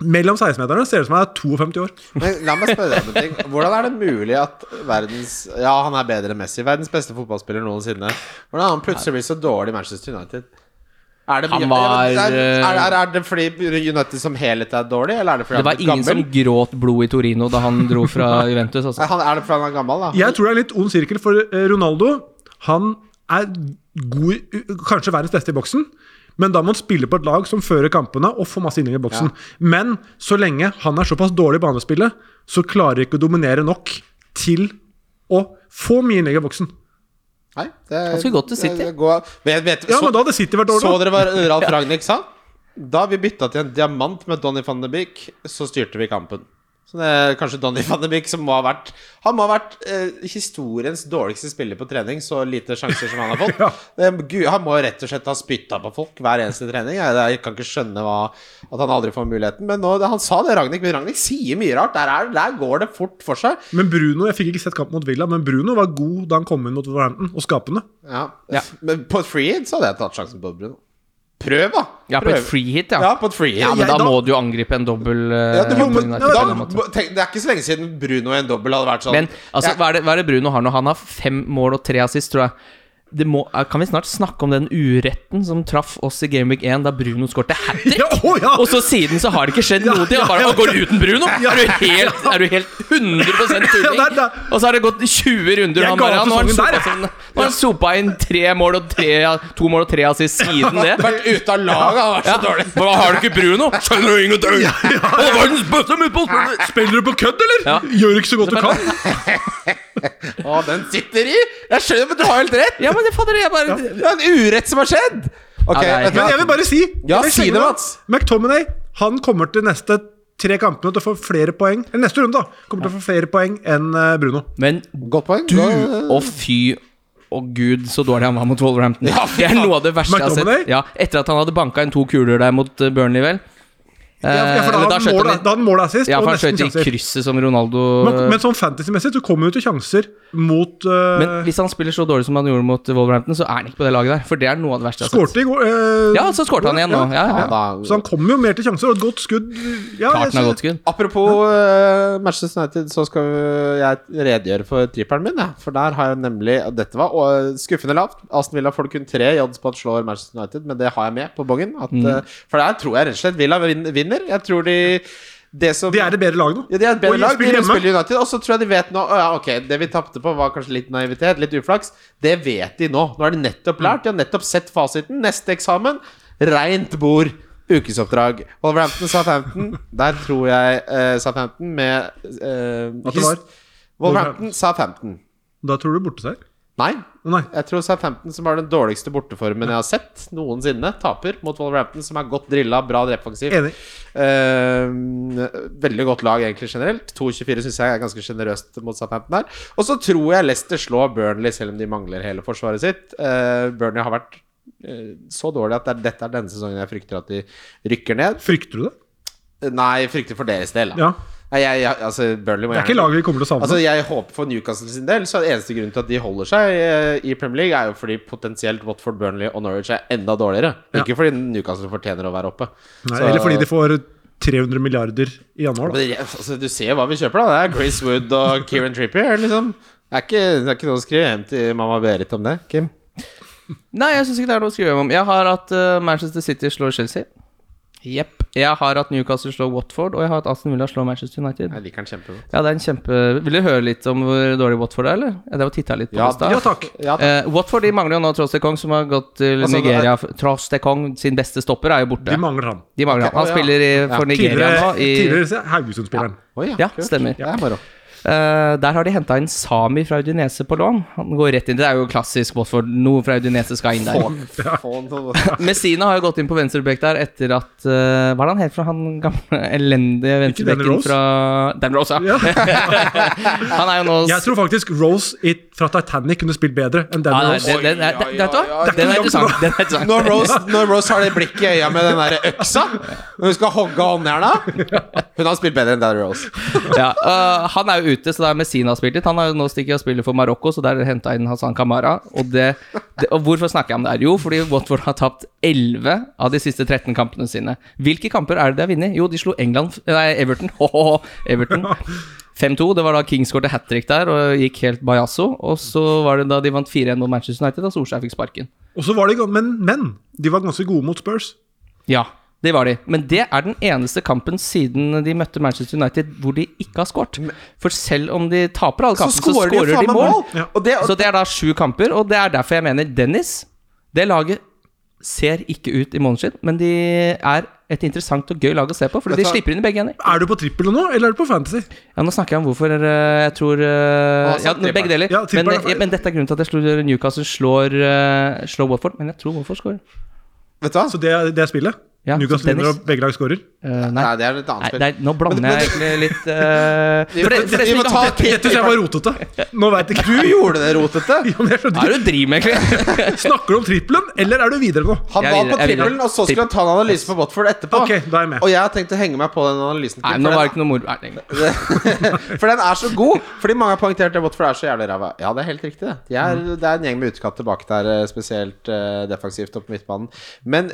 Speaker 4: Mellom 16-meterne ser det ut som han er 52 år.
Speaker 3: Men la meg spørre deg om en ting. Hvordan er det mulig at verdens Ja, han er bedre enn Messi. Verdens beste fotballspiller noensinne. Hvordan er han plutselig blitt så dårlig i Manchester United? Er det,
Speaker 2: Han
Speaker 3: mye-
Speaker 2: var,
Speaker 3: er, er, er, er det fordi United som helhet er dårlig, eller er det fordi
Speaker 2: det
Speaker 3: han
Speaker 2: var
Speaker 3: er
Speaker 2: ingen som
Speaker 3: gammel?
Speaker 2: gråt blod i Torino da han dro fra Juventus. Altså.
Speaker 3: Er, han, er det fordi han er gammel, da?
Speaker 4: Jeg tror det er en litt ond sirkel, for eh, Ronaldo Han er god, i- kanskje verdens beste i boksen, men da må han spille på et lag som fører kampene og får masse innlegg i boksen. Men så lenge han er såpass dårlig i banespillet, så klarer han ikke å dominere nok til å få mye innlegg i boksen.
Speaker 3: Nei, det,
Speaker 2: Han skulle gått til City.
Speaker 3: det går- vet, vet,
Speaker 4: Ja,
Speaker 3: så,
Speaker 4: men da hadde City vært
Speaker 3: så dere
Speaker 4: dårlig. da.
Speaker 3: hva Ralf Ragnhild sa? Da vi bytta til en diamant med Donny van de Beek, så styrte vi kampen. Så det er kanskje Donny van de Beek som må ha vært Han må ha vært eh, historiens dårligste spiller på trening, så lite sjanser som han har fått. Eh, Gud, han må rett og slett ha spytta på folk hver eneste trening. Jeg, jeg kan ikke skjønne hva, at han aldri får muligheten. Men nå, han sa det, Ragnhild. Men Ragnhild sier mye rart. Der, er, der går det fort for seg.
Speaker 4: Men Bruno jeg fikk ikke sett kamp mot Villa, men Bruno var god da han kom inn mot Wolverhampton, og skapende.
Speaker 3: Ja.
Speaker 2: Ja.
Speaker 3: Men på et free hit så hadde jeg tatt sjansen på Bruno. Prøv, da.
Speaker 2: Ja, på et
Speaker 3: Prøv.
Speaker 2: free hit,
Speaker 3: Ja,
Speaker 2: ja.
Speaker 3: på et free hit.
Speaker 2: Ja, men
Speaker 4: Jeg-
Speaker 2: da
Speaker 4: da-
Speaker 2: må du jo angripe en dobbel eh,
Speaker 3: Ja, det, må-
Speaker 2: på
Speaker 3: men,
Speaker 2: United på
Speaker 3: da,
Speaker 2: en eller annen måte.
Speaker 3: tenk, det er ikke så lenge siden Bruno i en dobbel hadde vært sånn.
Speaker 2: Men altså,
Speaker 3: Ja.
Speaker 2: hva, er det, hva er det Bruno har nå? Han har fem mål og tre assist, tror jeg. Det må, eh, kan vi snart snakke om den uretten som traff oss i Gameweek 1, da Bruno skårte hat trick?
Speaker 4: Ja, å, ja.
Speaker 2: Og så siden så har det ikke skjedd noe til. Han bare «Å, går du uten Bruno? Er du helt, er du helt 100 tulling?
Speaker 4: Ja, det er det.
Speaker 2: Og så har det gått 20 runder, og
Speaker 4: Jeg
Speaker 2: han
Speaker 4: ga
Speaker 2: bare
Speaker 4: opp
Speaker 2: «Ja, Nå har han
Speaker 4: sesongen
Speaker 2: sopa
Speaker 4: der, jeg».
Speaker 2: seg- nå har han sopa inn tre mål og tre, to mål og tre assist siden det.
Speaker 3: Vært ute av laget hadde vært sånn.
Speaker 2: Ja.
Speaker 3: så dårlig.
Speaker 2: Hva har du ikke Bruno? Skjønner du ingenting! Han er verdens beste midtbanespiller!
Speaker 4: Spiller du på kødd, eller?
Speaker 2: Ja.
Speaker 4: Gjør ikke så godt du kan.
Speaker 3: Å, den sitter i! Jeg skjønner, men du har helt rett!
Speaker 2: Ja, men det fader, jeg bare
Speaker 3: Det er en urett som har skjedd! Ok,
Speaker 2: Ja, det er-
Speaker 3: vet du
Speaker 4: Men
Speaker 3: hva?
Speaker 4: jeg vil bare si
Speaker 3: Ja,
Speaker 4: jeg vil
Speaker 3: si
Speaker 4: slenge
Speaker 3: det,
Speaker 4: meg.
Speaker 3: Mats.
Speaker 4: McTominay han kommer til neste tre kampene til å få flere poeng Eller neste runde, da. Kommer til å få flere poeng enn eh, Bruno.
Speaker 2: Men
Speaker 3: Godt poeng.
Speaker 2: Du,
Speaker 3: Da-
Speaker 2: å fy og gud, så dårlig han var mot Wolverhampton. det er noe av det verste jeg har
Speaker 4: McTominay?
Speaker 2: sett. Ja, etter at han hadde banka inn to kuler der mot eh, Burnley, vel. Eh,
Speaker 4: Ja, for da
Speaker 2: men
Speaker 4: hadde han mål, da.
Speaker 2: han
Speaker 4: Da hadde han mål assist,
Speaker 2: Ja,
Speaker 4: og
Speaker 2: for han
Speaker 4: nesten
Speaker 2: skjøt i
Speaker 4: sjanser.
Speaker 2: krysset som Ronaldo
Speaker 4: Men, men sånn fantasy-messig så kommer jo til sjanser mot eh,
Speaker 2: Men hvis han spiller så dårlig som han gjorde mot Wolverhampton, så er han ikke på det laget der. For det er noe av det verste jeg har sett.
Speaker 4: Skårte i går. eh,
Speaker 2: Ja, så skårte han igjen nå. Ja, ja.
Speaker 3: Ja, da.
Speaker 4: Så han kommer jo mer til sjanser, og et godt skudd ja, jeg
Speaker 2: Klart han
Speaker 4: synes-
Speaker 2: har godt skudd.
Speaker 3: Apropos eh, Manchester United, så skal jeg redegjøre for trippelen min. jeg. For der har jeg nemlig og Dette var og, eh, skuffende lavt. Aston Villa får du kun tre i odds på at slår
Speaker 2: Mm.
Speaker 3: Manchester United, men det har jeg med på bongen. At, eh, for der tror jeg rett og slett Villa vin- vinner. Jeg tror de det som
Speaker 4: De er det bedre laget nå.
Speaker 3: ja, de er et bedre
Speaker 4: Og
Speaker 3: lag. De
Speaker 4: spiller hjemme.
Speaker 3: spiller United, og så tror jeg de vet nå «Å ja, Ok, det vi tapte på, var kanskje litt naivitet, litt uflaks. Det vet de nå. Nå har de
Speaker 4: Mm.
Speaker 3: nettopp lært. De har nettopp sett fasiten. Neste eksamen reint bord. Ukesoppdrag. Wolverhampton, Southampton. Der tror jeg eh, Southampton med eh,
Speaker 4: At det var?
Speaker 3: Wolverhampton, Southampton.
Speaker 4: Da tror du borteseier?
Speaker 3: Nei.
Speaker 4: Å, Nei.
Speaker 3: Jeg tror Southampton, som har den dårligste borteformen jeg har sett noensinne, taper mot Wolverhampton, som er godt drilla, bra defensivt.
Speaker 4: Enig.
Speaker 3: Eh, veldig godt lag egentlig generelt. 2-24 syns jeg er ganske sjenerøst mot Southampton her. Og så tror jeg Leicester slår Burnley, selv om de mangler hele forsvaret sitt. Eh, Burnley har vært eh, så dårlig at det er, dette er denne sesongen jeg frykter at de rykker ned.
Speaker 4: Frykter du det?
Speaker 3: Nei, jeg frykter for deres del, da.
Speaker 4: Ja.
Speaker 3: Nei, jeg, jeg, altså, Burnley må
Speaker 4: Det er ikke
Speaker 3: gjerne-
Speaker 4: laget vi kommer til å savne.
Speaker 3: Altså, jeg håper for Newcastle sin del Så er det eneste grunnen til at de holder seg eh, i Premier League, er jo fordi potensielt Watford, Burnley og Norwich er enda dårligere.
Speaker 4: Ja.
Speaker 3: Ikke fordi Newcastle fortjener å være oppe.
Speaker 4: Nei,
Speaker 3: Så-
Speaker 4: eller fordi de får 300 milliarder i januar, da.
Speaker 3: men, jeg- altså, du ser jo hva vi kjøper, da. Det er Grace Wood og Kieran Trippier, liksom. Det er ikke, det er ikke noe å skrive hjem til mamma Berit om det, Kim.
Speaker 2: Nei, jeg syns ikke det er noe å skrive hjem om. Jeg har at eh, Manchester City slår Chelsea. Jepp. Jeg har at Newcastle slår Watford, og jeg har at Aston Villa slår Manchester United.
Speaker 3: Jeg liker den kjempegodt.
Speaker 2: Ja, det er en kjempe... Vil du høre lilitt om hvor dårlig Watford er, eller? Jeg drev og titta litt på
Speaker 3: Ja,
Speaker 2: det i stad.
Speaker 4: Ja takk.
Speaker 3: Ja, da.
Speaker 2: Eh, Watford de mangler jo nå Tross de Kong, som har gått til
Speaker 3: Altså, det er-
Speaker 2: Nigeria. Tross de Kong, sin beste stopper, er jo borte.
Speaker 4: De mangler han.
Speaker 2: De mangler Han
Speaker 3: Å, ja.
Speaker 2: spiller i, for Nigeria
Speaker 4: Tidligere,
Speaker 2: nå. I,
Speaker 4: tidligere se, Haugesund-spilleren.
Speaker 3: Oi,
Speaker 2: Ja,
Speaker 3: kult.
Speaker 2: stemmer.
Speaker 3: Ja, det er moro.
Speaker 2: Eh, der har de henta inn Sami fra Udinese på lån. Han går rett inn. Det er jo klassisk Watford. Noe fra Udinese skal inn der.
Speaker 3: Få, få noe.
Speaker 2: Messina har jo gått inn på venstreback der etter at eh, Hva er det han het for han gamle elendige
Speaker 4: Danny
Speaker 2: venstrebacken
Speaker 4: Rose?
Speaker 2: fra Dan Rose, ja.
Speaker 4: Ja.
Speaker 2: [LAUGHS] Han er jo nå
Speaker 4: Jeg tror faktisk Rose i, fra Titanic kunne spilt bedre enn
Speaker 2: ja,
Speaker 4: Danny
Speaker 2: nei,
Speaker 4: Rose.
Speaker 2: den, den, er- den, vet du hva?
Speaker 4: Det er
Speaker 2: Den er
Speaker 4: ikke langt
Speaker 2: interessant.
Speaker 4: unna.
Speaker 2: Den er interessant.
Speaker 3: [LAUGHS] Når Rose, når Rose har det blikket i øya med den der øksa når hun skal hogge håndjerna Hun har spilt bedre enn Daddy Rose.
Speaker 2: ja, øh, han er jo ute, så da er Messina spilt litt. Han har jo nå stikket og spiller for Marokko, så der henta inn Hassan Kamara. Og, det, det, og hvorfor snakker jeg om det her? Jo, fordi Watford har tapt 11 av de siste 13 kampene sine. Hvilke kamper er det de har vunnet? Jo, de slo England Nei, Everton. [LAUGHS] Hohoho, Everton. 5-2. Det var da King skårte hat trick der og gikk helt bajasso. Og så var det da de vant 4-1 mot Manchester United, da Solskjær fikk sparken.
Speaker 4: Og så var de, ga- men, men de var ganske gode mot Spurs.
Speaker 2: Ja, det var de. Men det er den eneste kampen siden de møtte Manchester United hvor de ikke har skåret. For selv om de taper alle
Speaker 3: Så
Speaker 2: kampene, så
Speaker 3: scorer de jo
Speaker 2: skårer
Speaker 3: faen
Speaker 2: de
Speaker 3: meg
Speaker 2: mål.
Speaker 3: mål!
Speaker 4: Ja.
Speaker 3: Og det,
Speaker 2: Så det er da sju kamper, og det er derfor jeg mener Dennis Det laget ser ikke ut i måneden sin, men de er et interessant og gøy lag å se på, fordi
Speaker 3: Vet du
Speaker 2: de
Speaker 3: hva?
Speaker 2: slipper inn i begge ender.
Speaker 4: Er du på trippel nå, eller er du på Fantasy?
Speaker 2: Ja, Nå snakker jeg om hvorfor eh, jeg tror eh,
Speaker 3: Han
Speaker 2: Ja,
Speaker 3: har sagt
Speaker 2: begge deler.
Speaker 4: Ja,
Speaker 2: men,
Speaker 4: tripperen er feil.
Speaker 2: ja, men dette er grunnen til at jeg slår Newcastle slår, eh, slår Watford, men jeg tror Watford scorer.
Speaker 3: vet du hva?
Speaker 4: Så det, er- det er spillet?
Speaker 2: Ja,
Speaker 4: Newcastle
Speaker 2: Dennis.
Speaker 4: vinner, og begge lag skårer?
Speaker 2: Eh, nei.
Speaker 3: Nei, det er et annet
Speaker 2: Nei,
Speaker 3: spill.
Speaker 2: det er, nå blander jeg egentlig litt eh,
Speaker 3: Vi-
Speaker 2: for det- for det
Speaker 3: vi
Speaker 2: som
Speaker 3: må
Speaker 2: ikke
Speaker 3: ta-
Speaker 2: har-
Speaker 4: Dette synes jeg var rotete. Nå veit ikke
Speaker 2: [LAUGHS]
Speaker 3: Du
Speaker 4: du.
Speaker 3: gjorde det rotete!
Speaker 4: Ja, men
Speaker 2: Hva
Speaker 4: jeg
Speaker 2: er
Speaker 4: skjønner
Speaker 2: det du driver med, egentlig?
Speaker 4: ikke. Snakker du om trippelen, eller er du videre nå?
Speaker 3: Han
Speaker 2: Jeg
Speaker 3: var
Speaker 2: vil-
Speaker 3: på
Speaker 2: jeg vil-
Speaker 3: trippelen, og så skulle han ta en analyse på Watford etterpå.
Speaker 4: Ok, da er jeg med.
Speaker 3: Og jeg har tenkt å henge meg på den analysen.
Speaker 2: Nei,
Speaker 3: Kim,
Speaker 2: nå
Speaker 3: for
Speaker 2: var det
Speaker 3: den-
Speaker 2: ikke noe moro. Nei, egentlig.
Speaker 3: [LAUGHS] For den er så god! Fordi mange har poengtert at Watford er så jævlig ræva. Ja, det er helt riktig, det. De er,
Speaker 2: Mm.
Speaker 3: Det er en gjeng med utekatt tilbake der, eh, spesielt eh, defensivt opp på midtbanen. Men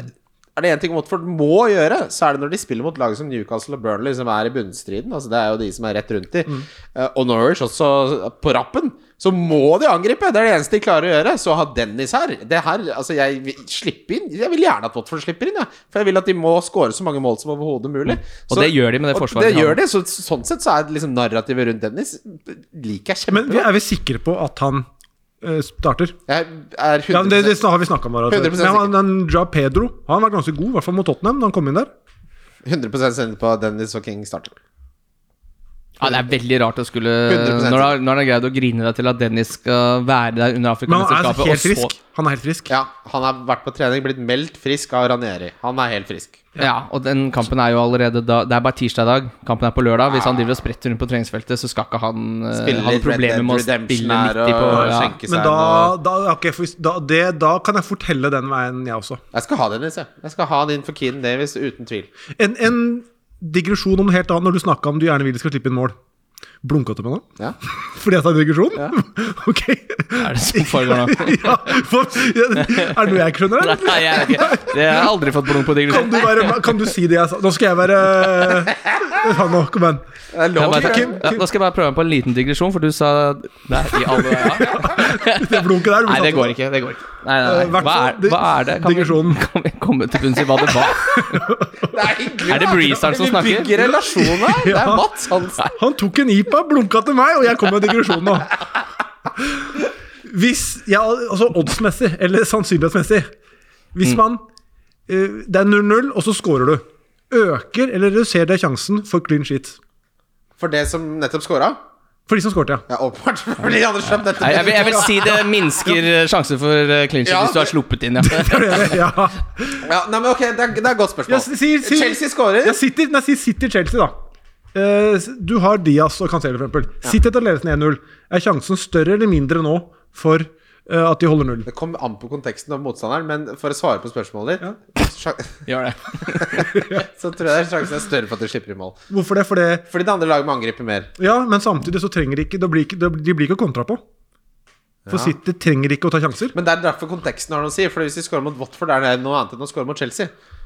Speaker 3: er det én ting Watford må gjøre, så er det når de spiller mot lag som Newcastle og Burnley, som er i bunnstriden. Altså, det er jo de som er rett rundt de.
Speaker 2: Mm.
Speaker 3: Eh, Og Norwich også på rappen. Så må de angripe! Det er det eneste de klarer å gjøre. Så ha Dennis her. Det her altså, jeg vil slippe inn. Jeg vil gjerne at Watford slipper inn, jeg. For jeg vil at de må skåre så mange mål som overhodet mulig.
Speaker 2: Mm. Og
Speaker 3: Så-
Speaker 2: det gjør de med det
Speaker 3: og
Speaker 2: forsvaret de
Speaker 3: Det
Speaker 2: har.
Speaker 3: gjør det, så, sånn sett så er det liksom narrativet rundt Dennis liker jeg
Speaker 4: Men vi-
Speaker 3: kjempegodt.
Speaker 4: er vi sikre på at han eh, starter?
Speaker 3: Jeg er
Speaker 4: Ja, men
Speaker 3: 100
Speaker 4: det, det har vi snakka om. Her,
Speaker 3: 100%
Speaker 4: men han, den Ja Pedro han var ganske god, i hvert fall mot Tottenham. da han kom inn der.
Speaker 3: 100 sikker på at Dennis og King starter.
Speaker 2: Ja, det er veldig rart å skulle
Speaker 3: 100%
Speaker 2: Når han har greid å grine deg til at Dennis skal være der under
Speaker 4: Men han er altså
Speaker 2: Afrikamesterskapet, og
Speaker 4: helt
Speaker 2: så
Speaker 4: frisk. Han er helt frisk.
Speaker 3: Ja, han har vært på trening, blitt meldt frisk av Ranieri. Han er helt frisk.
Speaker 2: Ja, og den kampen er jo allerede da Det er bare tirsdag i dag. Kampen er på lørdag. Hvis han driver og spretter rundt på treningsfeltet, så skal ikke han eh,
Speaker 3: Spiller
Speaker 2: ha noen
Speaker 3: litt Red
Speaker 2: problemer
Speaker 3: Dead
Speaker 2: med å
Speaker 3: Redemption
Speaker 2: spille
Speaker 3: her
Speaker 2: 90 på
Speaker 3: og
Speaker 2: ja.
Speaker 3: skjenke seg
Speaker 4: Men da, da, ja, ok, for hvis- da, det, da kan jeg fortelle den veien, jeg også.
Speaker 3: Jeg skal ha Dennis, jeg. Jeg skal ha han inn for Keane Davis, uten tvil.
Speaker 4: En, en digresjon om noe helt annet, når du snakka om du gjerne vil de skal slippe inn mål. Blunka du med nå?
Speaker 3: Ja.
Speaker 4: Fordi jeg sa digresjon? [LAUGHS] ok. [LAUGHS]
Speaker 2: Er det [LAUGHS] som foregår nå?
Speaker 4: ja, for, ja, er det noe jeg ikke skjønner, eller?
Speaker 2: Nei, jeg er ikke Det har jeg aldri fått blunk på digresjon. [LAUGHS]
Speaker 4: Kan du, være, kan du si det jeg sa? Nå skal jeg være Faen, nå, kom igjen.
Speaker 3: Det er
Speaker 2: Kan
Speaker 3: lov,
Speaker 2: jeg bare ta-
Speaker 3: Kim.
Speaker 2: ja, nå skal jeg bare prøve meg på en liten digresjon, for du sa Nei, i alle ja.
Speaker 4: Det blunket der.
Speaker 2: Nei, det går ikke. Det går ikke. Nei, nei,
Speaker 4: Eh,
Speaker 2: nei.
Speaker 4: hvert
Speaker 2: Hva,
Speaker 4: fall,
Speaker 2: er, hva er det? Kan vi,
Speaker 4: digresjonen.
Speaker 2: [LAUGHS] kan vi komme til bunns i hva det var?
Speaker 3: Det er hyggelig.
Speaker 2: Er det Breezeren som
Speaker 3: Vi
Speaker 2: snakker?
Speaker 3: bygger relasjoner
Speaker 2: [LAUGHS]
Speaker 3: her. Det er
Speaker 4: Ja.
Speaker 3: Mats Hansen.
Speaker 4: Han tok en IPA, blunka til meg, og jeg kom med digresjonen nå. Hvis ja, Altså oddsmessig, eller sannsynlighetsmessig Hvis man eh, Det er 0-0, og så scorer du. Øker eller reduserer det sjansen for clean sheet?
Speaker 3: For det som nettopp scora?
Speaker 4: For de som scoret, ja.
Speaker 3: Ja, åpenbart. [LAUGHS] Fordi de andre slapp dette.
Speaker 2: Nei, jeg, vil, jeg vil si det minsker eh, sjansen for eh, clinch
Speaker 3: Ja,
Speaker 2: hvis du har sluppet
Speaker 4: [LAUGHS]
Speaker 2: inn. Ja. [LAUGHS]
Speaker 4: ja.
Speaker 3: Ja, nei, men ok, det er, det er et godt spørsmål.
Speaker 4: Ja, si- si- si-
Speaker 3: Chelsea skårer.
Speaker 4: ja City, nei, si City Chelsea, da. Eh, du har Diaz og Cancelo, for eksempel. City etter ledelsen 1-0. Er sjansen større eller mindre nå for eh, at de holder null?
Speaker 3: Det kom an på konteksten av motstanderen, men for å svare på spørsmålet ditt, sjan-
Speaker 2: Gjør det.
Speaker 3: [LAUGHS] så tror jeg sjansen er større for at de slipper i mål.
Speaker 4: Hvorfor det? For det
Speaker 3: Fordi det andre laget må angripe mer.
Speaker 4: Ja, men samtidig så trenger de ikke det blir ikke- det- De blir ikke kontra på. For City trenger ikke å ta sjanser.
Speaker 3: Men det er derfor konteksten har noe å si. For hvis de scorer mot Watford, er det noe annet enn å score mot Chelsea. Altså,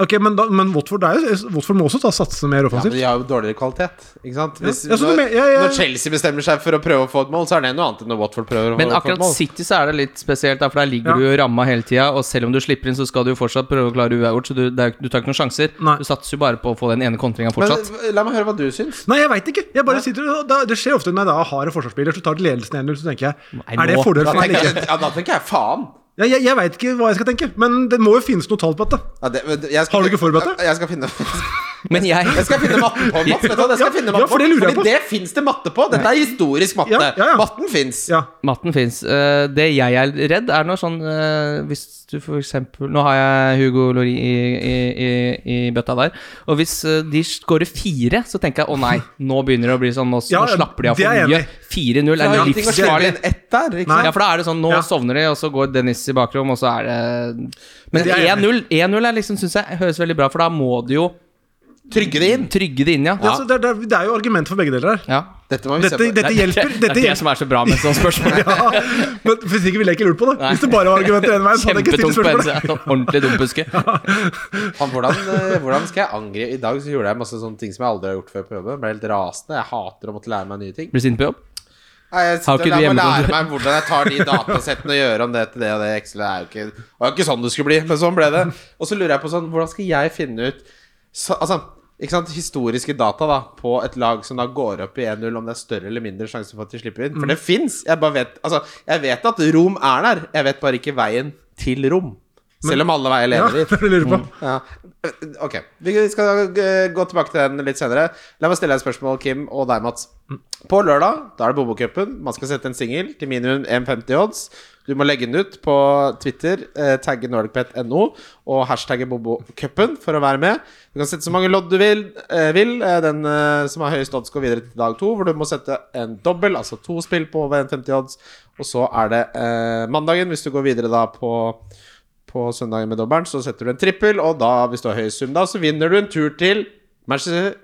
Speaker 4: Ok, Men, da, men Watford, er jo, Watford må også ta satse mer
Speaker 3: Ja, men
Speaker 4: offensivt.
Speaker 3: de har jo dårligere kvalitet. Ikke sant? Hvis,
Speaker 4: Ja, så du
Speaker 3: når,
Speaker 4: men- ja, ja.
Speaker 3: når Chelsea bestemmer seg for å prøve å få et mål, så er det noe annet enn når Watford prøver å
Speaker 2: Men
Speaker 3: få et
Speaker 2: akkurat
Speaker 3: mål.
Speaker 2: City så er det litt spesielt, da, for der ligger
Speaker 4: Ja.
Speaker 2: du jo i ramma hele tida. Og selv om du slipper inn, så skal du jo fortsatt prøve å klare uavgjort. Så du, det er, jo ikke- du tar ikke noen sjanser.
Speaker 4: Nei.
Speaker 2: Du satser jo bare på å få den ene kontringa
Speaker 3: Men
Speaker 2: fortsatt.
Speaker 3: eh, la meg høre hva du syns.
Speaker 4: Nei, jeg veit ikke! Jeg bare sitter, og da, det skjer ofte når jeg da har en forsvarsspiller, så tar de ledelsen 1-0, så tenker jeg
Speaker 2: Nei,
Speaker 4: Er det
Speaker 2: nå-
Speaker 4: fordel
Speaker 3: Da
Speaker 4: for meg eller
Speaker 3: tenker
Speaker 4: ikke?
Speaker 3: jeg, ja, da tenker jeg faen.
Speaker 4: Ja, jeg jeg veit ikke hva jeg skal tenke, men det må jo finnes noe tall på dette.
Speaker 3: Ja, det, men jeg skal,
Speaker 4: Har du ikke forberedt deg?
Speaker 3: Jeg skal finne
Speaker 2: Men jeg
Speaker 3: Jeg skal finne matten på, Mats. Vet du, hva? jeg skal
Speaker 4: Ja,
Speaker 3: finne
Speaker 4: ja,
Speaker 3: matten
Speaker 4: for det lurer jeg
Speaker 3: Fordi
Speaker 4: på.
Speaker 3: det fins det matte på. Dette er historisk matte.
Speaker 4: Ja, ja, ja.
Speaker 3: Matten fins.
Speaker 4: Ja,
Speaker 2: Matten fins. Eh, det jeg er redd, er noe sånn eh, Hvis du for eksempel Nå har jeg Hugo Lori i, i, i, i bøtta der. Og hvis eh, de skårer fire, så tenker jeg å nei, nå begynner det å bli sånn, nå,
Speaker 4: Ja,
Speaker 2: nå slapper de av
Speaker 4: det er
Speaker 2: for
Speaker 4: jeg
Speaker 2: mye.
Speaker 4: enig i.
Speaker 2: 4-0 er
Speaker 3: Det er ingenting å slenge
Speaker 2: livsfarlig.
Speaker 3: inn ett der. Ikke
Speaker 4: Nei.
Speaker 2: Ja,
Speaker 3: sant?
Speaker 2: for da er det sånn, nå
Speaker 4: Ja.
Speaker 2: sovner de, og så går Dennis i bakrom, og så er det Men
Speaker 4: Det er jeg
Speaker 2: 1-0 1-0 er liksom, syns jeg høres veldig bra, for da må du jo
Speaker 3: Trygge det inn.
Speaker 2: trygge det inn, ja.
Speaker 4: ja. så det, er- det, er- det er jo argument for begge deler her.
Speaker 2: ja.
Speaker 3: Dette må vi
Speaker 4: Dette,
Speaker 3: se på.
Speaker 4: dette hjelper.
Speaker 2: det
Speaker 4: Dette
Speaker 2: er det
Speaker 4: hjelper.
Speaker 2: som er så bra med sånne spørsmål.
Speaker 4: Ja, men Hvis ikke ville jeg ikke lurt på det. Hvis det bare var argumenter én vei, så hadde jeg ikke
Speaker 2: Kjempetungt
Speaker 4: stilt
Speaker 2: på en
Speaker 4: spørsmål.
Speaker 2: side. Ordentlig dumpuske.
Speaker 3: Han, hvordan, eh, hvordan skal jeg angripe I dag så gjorde jeg masse sånne ting som jeg aldri har gjort før på jobben. Jeg Ble helt rasende. Jeg hater å måtte lære meg nye ting.
Speaker 2: Blir sint på jobb?
Speaker 3: Nei, jeg
Speaker 2: Har
Speaker 3: sitter
Speaker 2: ikke du
Speaker 3: der og
Speaker 2: hjemmekontor?
Speaker 3: lærer meg hvordan jeg tar de datasettene og gjør om det til det og det i Excel. Det er jo ikke, det var jo ikke sånn det skulle bli, men sånn ble det. Og så lurer jeg på sånn, hvordan skal jeg finne ut så, altså, ikke sant, historiske data da, på et lag som da går opp i 1-0, om det er større eller mindre sjanse for at de slipper inn?
Speaker 2: Mm.
Speaker 3: For det fins. Jeg bare vet altså, jeg vet at Rom er der, jeg vet bare ikke veien til Rom. Selv om alle veier
Speaker 4: Ja,
Speaker 3: leder
Speaker 4: det
Speaker 3: dit.
Speaker 4: er det jeg lurer på.
Speaker 3: Ja. Eh, Ok, vi skal eh, gå tilbake til den litt senere. La meg stille deg et spørsmål, Kim og deg, Mats. På lørdag da er det Bobokupen. Man skal sette en singel til minimum 1,50 odds. Du må legge den ut på Twitter, eh, tagge nordicbet.no og hashtagge Bobokupen for å være med. Du kan sette så mange lodd du vil. eh, vil. Eh, Den eh, som har høyest odds, går videre til dag to, hvor du må sette en dobbel, altså to spill på over 1,50 odds. Og så er det eh, mandagen, hvis du går videre da på på søndagen med dobbelen, så setter du en trippel, og da, hvis du har høyest sum da, så vinner du en tur til Manchester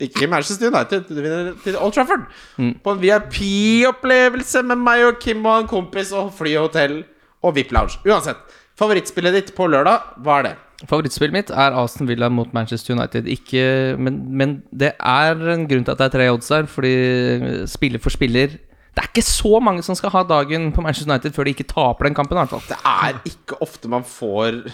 Speaker 3: Ikke Manchester United, du vinner til Old Trafford.
Speaker 2: Mm.
Speaker 3: På en VIP-opplevelse med meg og Kim og en kompis, og fly og hotell og VIP-lounge. Uansett. Favorittspillet ditt på lørdag, hva er det?
Speaker 2: Favorittspillet mitt er Aston Villa mot Manchester United. Ikke, men, men det er en grunn til at det er tre odds der, fordi eh, spiller for spiller Det er ikke så mange som skal ha dagen på Manchester United før de ikke taper den kampen, i hvert fall.
Speaker 3: Det er ikke ofte man får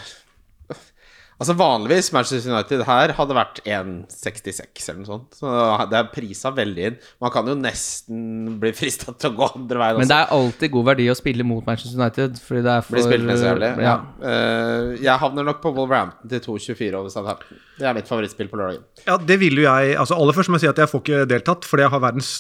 Speaker 3: Altså Vanligvis Manchester United her hadde vært 1,66 eller noe sånt. Så det er prisa veldig inn. Man kan jo nesten bli frista til å gå andre veien.
Speaker 2: Men
Speaker 3: også.
Speaker 2: det er alltid god verdi å spille mot Manchester United, fordi det er for
Speaker 3: Blir spilt ned så jævlig. Ja.
Speaker 2: Ja.
Speaker 3: Eh, jeg havner nok på Wolverhampton til 2,24 over Southampton. Det er mitt favorittspill på lørdagen.
Speaker 4: Ja, det vil jo jeg altså Aller først må jeg si at jeg får ikke deltatt, fordi jeg har verdens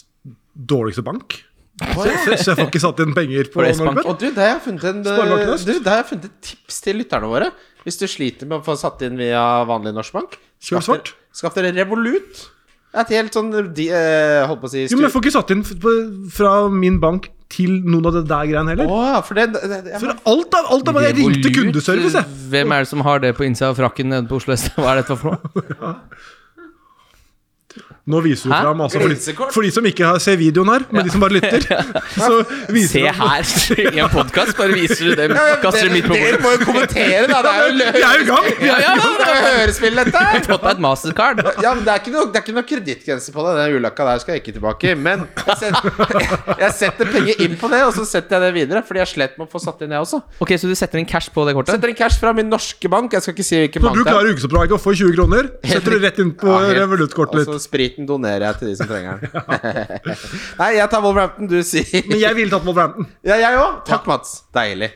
Speaker 4: dårligste bank. Så, så, så jeg får ikke satt inn penger på
Speaker 2: For S-bank.
Speaker 4: Norgebet.
Speaker 3: Og du, der har jeg funnet en eh,
Speaker 4: Sparebanken Øst.
Speaker 3: du, der har jeg funnet et tips til lytterne våre. Hvis du sliter med å få satt inn via vanlig norsk bank,
Speaker 4: Kjør
Speaker 3: skaff dere-
Speaker 4: svart.
Speaker 3: skaff dere Revolut. Det er et helt sånn de, eh, Holdt på å si
Speaker 4: Jo, men jeg får ikke satt inn f- på- fra min bank til noen av det der greiene heller.
Speaker 3: Å ja, for det, det, det jeg,
Speaker 4: For alt av, alt av Jeg ringte
Speaker 2: Revolut,
Speaker 4: kundeservice, jeg.
Speaker 2: Hvem er det [LAUGHS]
Speaker 4: [LAUGHS]
Speaker 2: som har det på innsida av frakken nede på Oslo S? Hva er dette for noe?
Speaker 4: Nå viser du
Speaker 2: Hæ?
Speaker 4: fram altså, for, de,
Speaker 3: Grensekort?
Speaker 4: for de som ikke har, ser videoen her, men de som bare lytter. [LAUGHS] Så viser
Speaker 2: Se
Speaker 4: du fram-
Speaker 2: her, i en podkast bare viser du dem. Kaster dem midt på bordet.
Speaker 3: Dere må jo kommentere, da! Det er jo løgn!
Speaker 4: Vi er jo i gang!
Speaker 2: [LAUGHS] Ja, ja,
Speaker 3: Det er jo hørespill, dette! her.
Speaker 2: Fått deg et mastercard.
Speaker 3: Ja, men Det er ikke noe, det er ikke noe kredittgrense på det. Den ulykka der skal jeg ikke tilbake i. Men jeg setter, jeg setter penger inn på det, og så setter jeg det videre. Fordi jeg slett må få satt inn, jeg også.
Speaker 2: Ok, Så du setter inn cash på det kortet?
Speaker 3: Setter inn cash fra min norske bank. Jeg skal ikke si hvilken
Speaker 4: Så
Speaker 3: bank
Speaker 4: du
Speaker 3: det er.
Speaker 4: klarer ukesoppdraget og får 20 kroner, setter du rett inn på
Speaker 3: Ja, helt.
Speaker 4: revoluttkortet
Speaker 3: Og
Speaker 2: Altså-
Speaker 4: ditt.
Speaker 3: så spriten donerer jeg til de som trenger den.
Speaker 4: [LAUGHS]
Speaker 3: Nei, jeg tar Wolverhampton, du sier
Speaker 4: Men jeg ville tatt Wolverhampton.
Speaker 3: Ja, jeg òg. Takk, Mats. Deilig.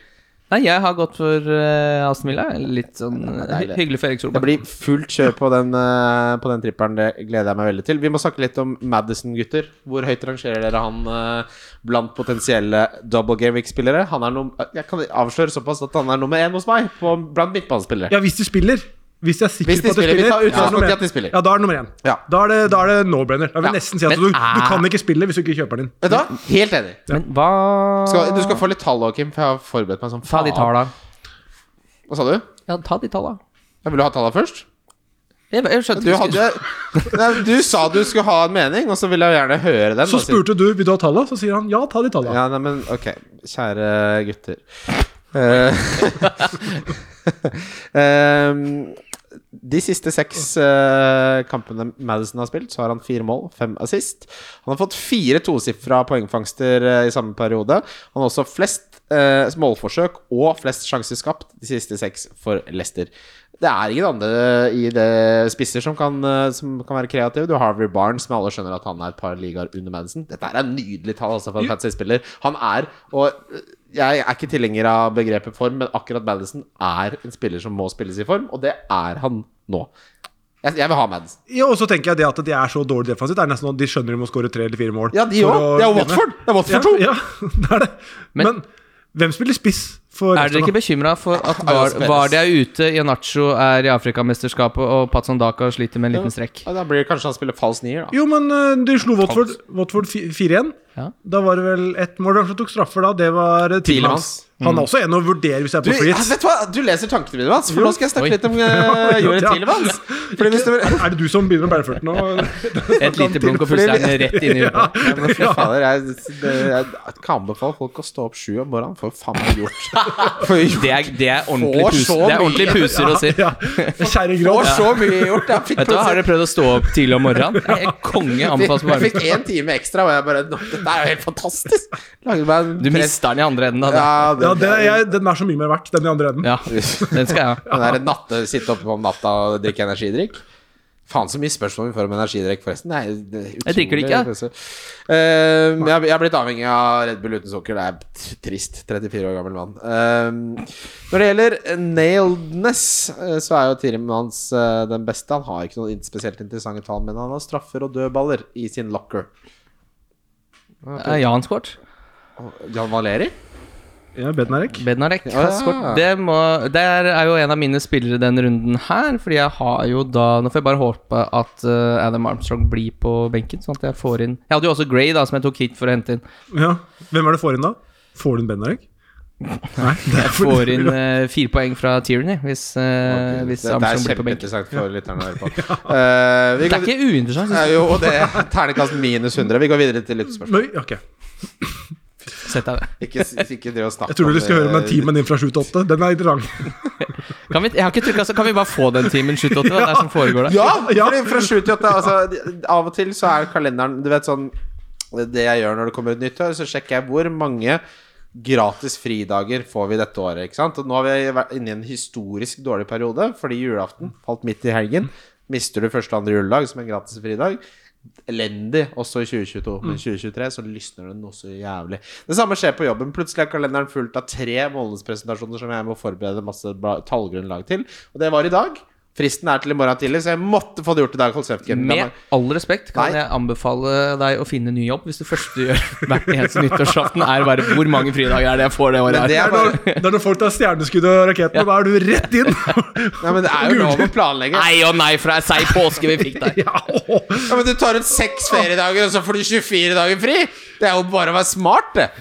Speaker 2: Nei, jeg har gått for eh, Aston Villa. Litt sånn
Speaker 3: det er
Speaker 2: eh,
Speaker 3: deilig.
Speaker 2: hyggelig for Erik
Speaker 3: Det
Speaker 2: Solberg.
Speaker 3: blir fullt kjør på den, eh, på den tripperen. Det gleder jeg meg veldig til. Vi må snakke litt om Madison, gutter. Hvor høyt rangerer dere han eh, blant potensielle double game week-spillere? Han er num Jeg kan avsløre såpass at han er nummer én hos meg på, blant midtbanespillere.
Speaker 4: Ja, hvis de spiller. Hvis jeg er sikker
Speaker 3: Hvis de
Speaker 4: på at de
Speaker 3: spiller, vi
Speaker 4: spiller.
Speaker 3: tar
Speaker 4: da er det
Speaker 3: utgangspunkt i
Speaker 4: nummer
Speaker 3: at de
Speaker 4: én.
Speaker 3: spiller.
Speaker 4: Ja, da er det nummer én.
Speaker 3: Ja.
Speaker 4: Da er det, da er det no-brainer. Jeg vil
Speaker 2: Ja,
Speaker 4: nesten si at
Speaker 2: men
Speaker 4: du, du
Speaker 2: er-
Speaker 4: kan ikke spille hvis du ikke kjøper den.
Speaker 3: Vet du hva? Helt enig.
Speaker 2: Men hva
Speaker 3: Skal, du skal få litt tall, Kim, for jeg har forberedt meg som
Speaker 2: Ta de talla.
Speaker 3: Hva sa du?
Speaker 2: Ja, ta de talla.
Speaker 3: Jeg vil du ha tallene først?
Speaker 2: Jeg, jeg skjønte
Speaker 3: Du,
Speaker 2: ikke-
Speaker 3: hadde, nei, du sa du skulle ha en mening, og så vil jeg gjerne høre den. da,
Speaker 4: Så
Speaker 3: siden-
Speaker 4: spurte du vil du ha tallene, så sier han ja, ta de tallene.
Speaker 3: Ja, nei, men ok, kjære gutter. Eh, [LAUGHS] ehm, de siste seks eh, kampene Madison har spilt, så har han fire mål, fem assist. Han har fått fire tosifra poengfangster eh, i samme periode. Han har også flest eh, målforsøk og flest sjanser skapt de siste seks for Leicester. Det er ingen andre eh, i det spisser som kan, eh, som kan være kreative. Du har Harvey Barnes, men alle skjønner at han er et par ligaer under Madison. Dette er en nydelig tall altså, for en fantasy-spiller. Han er, og eh, jeg er ikke tilhenger av begrepet form, men akkurat Madison er en spiller som må spilles i form, og det er han nå. Jeg, jeg vil ha Madison.
Speaker 4: Ja, og så tenker jeg det at de er så dårlig defensivt. Det er nesten sånn at De skjønner de må skåre tre eller fire mål.
Speaker 3: Ja, de
Speaker 4: for
Speaker 3: òg.
Speaker 4: å
Speaker 3: Det er jo
Speaker 4: vinne.
Speaker 3: Watford. Det er Watford 2.
Speaker 4: Ja, [LAUGHS] ja, det er det. Men, hvem spiller spiss for
Speaker 2: Er dere
Speaker 4: Leicester
Speaker 2: ikke
Speaker 4: nå?
Speaker 2: bekymra for at
Speaker 3: jo
Speaker 2: var,
Speaker 3: spennende.
Speaker 2: var de er ute, Ianacho er i Afrikamesterskapet, og Patson Daka sliter med en liten strekk?
Speaker 3: Ja, da blir det kanskje han spiller falsk nier, da.
Speaker 4: Jo, men eh, de slo Watford, Watford fi- 4-1.
Speaker 2: Ja.
Speaker 4: Da var det vel ett mål. Hvem som tok straffer da? Det var eh, Tielemans. Han er også en å vurdere hvis jeg er
Speaker 3: Du,
Speaker 4: på
Speaker 3: ja,
Speaker 4: flits.
Speaker 3: altså, vet du hva? Du leser tankene mine, Mats. For
Speaker 4: Jo.
Speaker 3: nå skal jeg snakke
Speaker 2: Oi.
Speaker 3: [LAUGHS] litt om uh, Jorid
Speaker 4: Ja.
Speaker 3: Tillemans. Fordi hvis du
Speaker 4: Er er det du som begynner med Berfurt nå?
Speaker 2: [LAUGHS]
Speaker 4: [LAUGHS]
Speaker 2: Et lite blunk og
Speaker 3: tilfelle-
Speaker 2: plutselig er den rett inn i hodet.
Speaker 3: [LAUGHS] Ja, men fy fader, jeg, det, jeg kan anbefale folk å stå opp sju om morgenen. Får faen meg [LAUGHS] gjort. Får gjort.
Speaker 2: Det er, det er ordentlig
Speaker 3: Får
Speaker 2: pus-
Speaker 3: så
Speaker 2: det er
Speaker 3: mye.
Speaker 2: ordentlig puser å si.
Speaker 4: Ja, Kjære
Speaker 3: Får
Speaker 4: Grov.
Speaker 3: så mye gjort. Jeg fikk
Speaker 2: Vet du hva, Har dere prøvd å stå opp tidlig om morgenen? Jeg er konge anbefales på
Speaker 3: jeg fikk
Speaker 2: varmen.
Speaker 3: én time ekstra, og jeg bare "Nå, Dette er jo helt fantastisk! Lagde meg en
Speaker 2: Du
Speaker 3: press-
Speaker 2: mister den i andre enden av det.
Speaker 3: Ja, det,
Speaker 4: Ja, det, er- jeg, den er så mye mer verdt, den i andre enden.
Speaker 2: Ja, den skal jeg ha.
Speaker 3: Den der natte, sitte oppe om natta og drikke energidrikk. Faen så mye spørsmål vi får om energidrikk, forresten. Nei, det er
Speaker 2: Jeg drikker det ikke, jeg.
Speaker 3: utrolig impressive. Eh, jeg, jeg er blitt avhengig av Red Bull uten sukker. Det er t- trist. 34 år gammel mann. Eh, når det gjelder nailedness, eh, så er jo Tirim hans eh, den beste. Han har ikke noen in- spesielt interessante tall, men han har straffer og dødballer i sin locker.
Speaker 2: Eh, Jans kort.
Speaker 3: Jan Valeri?
Speaker 4: Ja, Bednarek.
Speaker 2: Bednarek.
Speaker 3: Ja.
Speaker 2: Hans kort. Det, må, det er er jo en av mine spillere den runden her, fordi jeg har jo da Nå får jeg bare håpe at eh, Adam Armstrong blir på benken, sånn at jeg får inn Jeg hadde jo også Gray, da, som jeg tok hit for å hente
Speaker 3: [LAUGHS]
Speaker 2: inn.
Speaker 4: Ja. Hvem er det får inn da? Får du inn Bednarek?
Speaker 2: [LAUGHS]
Speaker 4: Nei, det er for-
Speaker 2: Får inn eh, fire poeng fra Tierney hvis, eh, hvis
Speaker 3: det, det er
Speaker 2: Armstrong blir på benken.
Speaker 3: kjempeinteressant for
Speaker 2: [LAUGHS]
Speaker 3: lytterne å høre på. Eh, vi
Speaker 2: Det
Speaker 3: kan,
Speaker 2: er ikke uinteressant. synes
Speaker 3: Nei,
Speaker 2: jeg.
Speaker 3: Eh, jo, det er ternekast minus 100. Vi går videre til lyttespørsmål.
Speaker 2: eh,
Speaker 4: Men, ok.
Speaker 2: Sett deg det.
Speaker 3: Ikke, ikke driv og snakk
Speaker 4: Jeg tror dere skal høre om den
Speaker 3: det.
Speaker 4: timen din fra 7 til 8. Den er interessant.
Speaker 2: Kan vi, jeg har ikke trykket, altså, kan vi bare få den timen 7-8? Hva er det som foregår der?
Speaker 3: Ja! fordi Fra 7 til 8. Altså, av og til så er kalenderen Du vet sånn Det jeg gjør når det kommer et nytt år, så sjekker jeg hvor mange gratis fridager får vi dette året. Ikke sant? Og nå har vi vært inne i en historisk dårlig periode fordi julaften falt midt i helgen. Mister du første og andre juledag som en gratis fridag? Elendig også i 2022, men i 2023 så lysner det noe så jævlig. Det samme skjer på jobben. Plutselig er kalenderen fullt av tre månedspresentasjoner som jeg må forberede masse bra- tallgrunnlag til. Og det var i dag. Fristen er til i morgen tidlig, så jeg måtte få det gjort i dag. konseptgrunnen.
Speaker 2: Med all respekt kan
Speaker 3: Nei.
Speaker 2: jeg anbefale deg å finne ny jobb hvis det første du gjør [LAUGHS] hvert eneste nyttårsaften, er bare hvor mange fridager er det jeg får det året
Speaker 3: Men det
Speaker 2: her.
Speaker 3: er
Speaker 4: Det er når, det er når folk tar stjerneskudd og rakettene, da er du rett inn! [LAUGHS]
Speaker 3: Nei, men det er jo lov å planlegge.
Speaker 2: Nei og nei fra ei seig påske vi fikk [LAUGHS] der.
Speaker 4: ja, åh.
Speaker 3: Ja, men Du tar ut seks feriedager, og så får du 24 dager fri! Det er jo bare å være smart, det.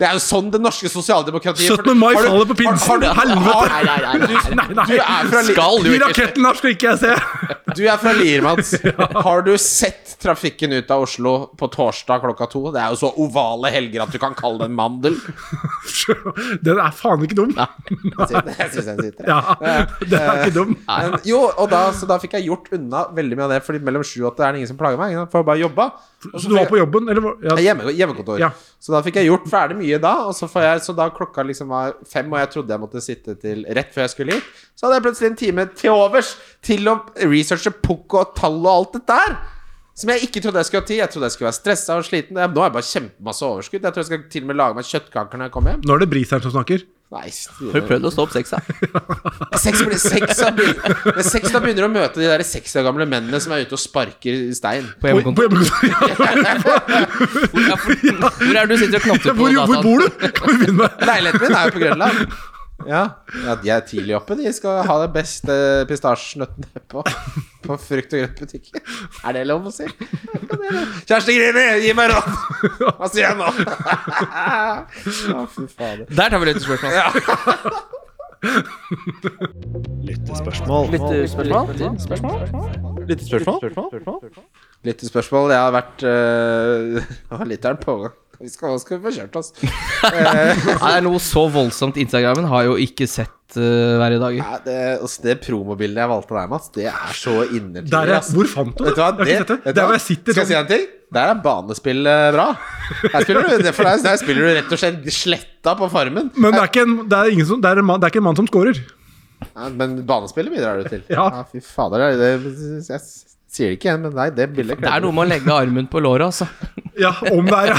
Speaker 3: Det er jo sånn det norske sosialdemokratiet
Speaker 4: 17. mai
Speaker 3: Har du-
Speaker 4: faller på pinsen!
Speaker 3: har du-
Speaker 4: Helvete!
Speaker 2: Nei, nei, nei, nei.
Speaker 4: Nei, nei.
Speaker 3: Du er fra
Speaker 2: Skal du
Speaker 4: De
Speaker 2: ikke
Speaker 3: [LAUGHS]
Speaker 4: rakettene her skal ikke jeg se! [LAUGHS]
Speaker 3: Du er fra Lier,
Speaker 2: [LAUGHS]
Speaker 3: Mats. Har du sett trafikken ut av Oslo på torsdag klokka to? Det er jo så ovale helger at du kan kalle det en
Speaker 2: [LAUGHS]
Speaker 3: mandel.
Speaker 4: Den er faen ikke dum.
Speaker 3: Jeg synes den sitter.
Speaker 4: [LAUGHS] Ja, den er ikke
Speaker 2: [LAUGHS]
Speaker 4: dum.
Speaker 3: Men, jo, og da, så da fikk jeg gjort unna veldig mye av det, Fordi mellom sju og åtte er det ingen som plager meg. For jeg bare jobba. Og
Speaker 4: Så du
Speaker 3: fikk
Speaker 4: var
Speaker 3: jeg-
Speaker 4: på jobben, eller? hvor-
Speaker 3: Ja,
Speaker 4: Ja,
Speaker 3: Hjemme, hjemmekontor.
Speaker 4: Ja.
Speaker 3: Så da fikk jeg gjort ferdig mye da. Og så, får jeg, så da klokka liksom var fem, og jeg trodde jeg måtte sitte til rett før jeg skulle hit, så hadde jeg plutselig en time til overs til å researche pukk og tall og alt det der. Som jeg ikke trodde jeg skulle ha tid. Jeg trodde jeg skulle være stressa og sliten. Jeg- Nå har jeg bare kjempemasse overskudd. Jeg tror jeg skal til og med lage meg kjøttkaker når jeg kommer hjem.
Speaker 4: Nå er det briseren som snakker.
Speaker 3: Nei,
Speaker 2: Har du
Speaker 3: stille.
Speaker 2: prøvd å stå opp seks, da?
Speaker 3: Seks blir- seks da begynner, men seks da begynner å møte de der 60 år gamle mennene som er ute og sparker stein.
Speaker 2: På
Speaker 4: På
Speaker 2: hjemmekontor?
Speaker 4: [LAUGHS] hjemmekontoret.
Speaker 2: [LAUGHS] Ja, for- Hvor er det du sitter og knotter på?
Speaker 4: Hvor, hvor
Speaker 2: dataen?
Speaker 4: bor du? Kan vi begynne med?
Speaker 3: Leiligheten min er jo på Grønland. Ja, ja De er tidlig oppe. De skal ha de beste pistasjenøttene på, på frukt- og grøntbutikken. Er det lov å si? Kjersti Grini, gi meg råd! Hva sier jeg nå? Å, fy fader.
Speaker 2: Der tar vi lyttespørsmål. Lyttespørsmål?
Speaker 3: Lyttespørsmål. Jeg har vært øh, Jeg har lytteren på gang. Vi skal, skal vi få kjørt oss. Eh,
Speaker 2: Nei, det er noe så voldsomt. Instagramen har jo ikke sett eh, hver i dag.
Speaker 3: ja, det, altså, det promobildet jeg valgte der, Mats, det er så innertidig.
Speaker 4: Der er,
Speaker 3: ass.
Speaker 4: hvor fant du det?
Speaker 3: Vet du hva, det, vet du
Speaker 4: Jeg har ikke sett det. Der
Speaker 3: hva?
Speaker 4: hvor jeg sitter
Speaker 3: Skal jeg si
Speaker 4: sånn.
Speaker 3: en ting? Der er banespill eh, bra. Her spiller du, for der, der spiller du rett og slett sletta på farmen.
Speaker 4: Men det er ikke en, det er ingen som, det er en, mann, det er ikke en mann som scorer.
Speaker 3: Ja, men banespillet bidrar du til.
Speaker 4: Ja.
Speaker 3: fy fader. Det, det, jeg sier det ikke igjen, men nei, det bildet
Speaker 2: Det er noe med å legge armen på låret,
Speaker 4: [LAUGHS]
Speaker 2: altså.
Speaker 4: Ja, om det
Speaker 2: [LAUGHS]
Speaker 4: er ja.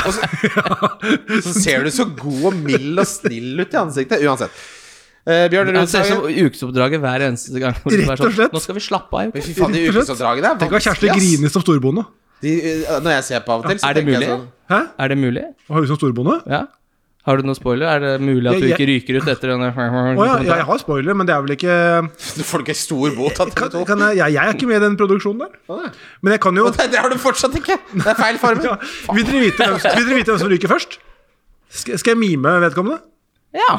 Speaker 3: Så ser du så god og mild og snill ut i ansiktet. Uansett. Eh, Bjørn
Speaker 2: Det ser ut som
Speaker 3: Rudsagen.
Speaker 2: ukesoppdraget hver eneste gang. hvor det
Speaker 4: Rett
Speaker 2: er sånn,
Speaker 4: og slett.
Speaker 2: Nå skal vi slappe av.
Speaker 3: Men Fy faen, de
Speaker 4: Rett og slett.
Speaker 3: ukesoppdragene er
Speaker 4: [LAUGHS] Tenk å ha
Speaker 3: vanskelig,
Speaker 4: kjæreste
Speaker 3: ass.
Speaker 4: grine som storbonde.
Speaker 3: De, eh, når jeg ser på av og til, så
Speaker 2: Er det
Speaker 3: tenker jeg
Speaker 2: mulig?
Speaker 3: sånn
Speaker 4: Hæ?
Speaker 2: Er det mulig?
Speaker 4: Å ha hun som storbonde?
Speaker 2: Ja? Har du noe spoiler? Er det mulig at du
Speaker 4: Jeg-
Speaker 2: ikke ryker ut etter denne
Speaker 4: Å ja, ja, jeg har spoiler, men det er vel ikke
Speaker 3: [LAUGHS] Du får ikke stor bot av
Speaker 4: kan,
Speaker 3: TV 2.
Speaker 4: kan jeg, jeg, jeg er ikke med i den produksjonen der. Men jeg kan jo
Speaker 3: Nei, det har du fortsatt ikke! Det er
Speaker 2: [LAUGHS]
Speaker 3: feil farmen.
Speaker 4: ja, vil, dere vite hvem, vil dere vite hvem som ryker først? Skal, skal jeg mime vedkommende?
Speaker 2: Ja.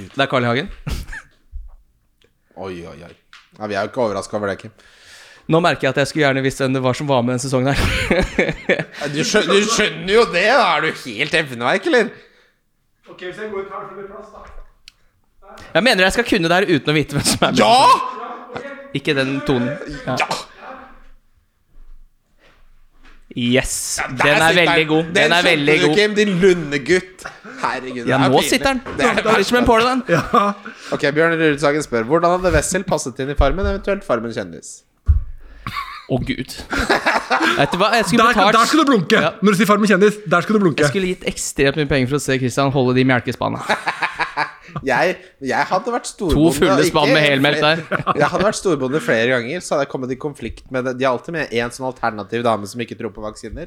Speaker 2: Det er Carl I. Hagen.
Speaker 3: Oi, oi, oi. Ja, vi er jo ikke overraska over det, Kim.
Speaker 2: Nå merker jeg at jeg skulle gjerne visst hvem det var som var med denne sesongen her. [LAUGHS]
Speaker 3: Du skjønner, du skjønner jo det! Da er du helt evneverk, eller?
Speaker 4: Ok, hvis jeg går ut her, så blir det plass, da.
Speaker 2: Jeg mener jeg skal kunne det her uten å vite hvem som er med.
Speaker 3: Ja!
Speaker 2: Ikke den tonen. Ja.
Speaker 3: ja!
Speaker 2: Yes.
Speaker 3: Der
Speaker 2: Den er
Speaker 3: sitter
Speaker 2: veldig god. Den er
Speaker 3: skjønte
Speaker 2: veldig
Speaker 3: du,
Speaker 2: god.
Speaker 3: Kim, din lundegutt. Herregud.
Speaker 2: Ja,
Speaker 3: det er
Speaker 2: nå
Speaker 3: pinlig.
Speaker 2: sitter den.
Speaker 3: Det er
Speaker 2: Det er som en påle, den.
Speaker 3: Ok, Bjørn Rudsagen spør hvordan hadde Wessel passet inn i Farmen, eventuelt Farmen kjendis?
Speaker 2: Å, gud. Vet du hva, jeg skulle
Speaker 4: Der,
Speaker 2: betalt
Speaker 4: der skal du blunke!
Speaker 2: Ja.
Speaker 4: Når du sier Farmen kjendis, der skal du blunke.
Speaker 2: Jeg skulle gitt ekstremt mye penger for å se Christian holde de melkespannene.
Speaker 3: Jeg, jeg hadde vært storbonde
Speaker 2: To fulle
Speaker 3: og ikke-
Speaker 2: spann med helmelk der.
Speaker 3: [LAUGHS] Jeg hadde vært storbonde flere ganger, så hadde jeg kommet i konflikt med det. De har alltid med en sånn alternativ dame som ikke tror på vaksiner.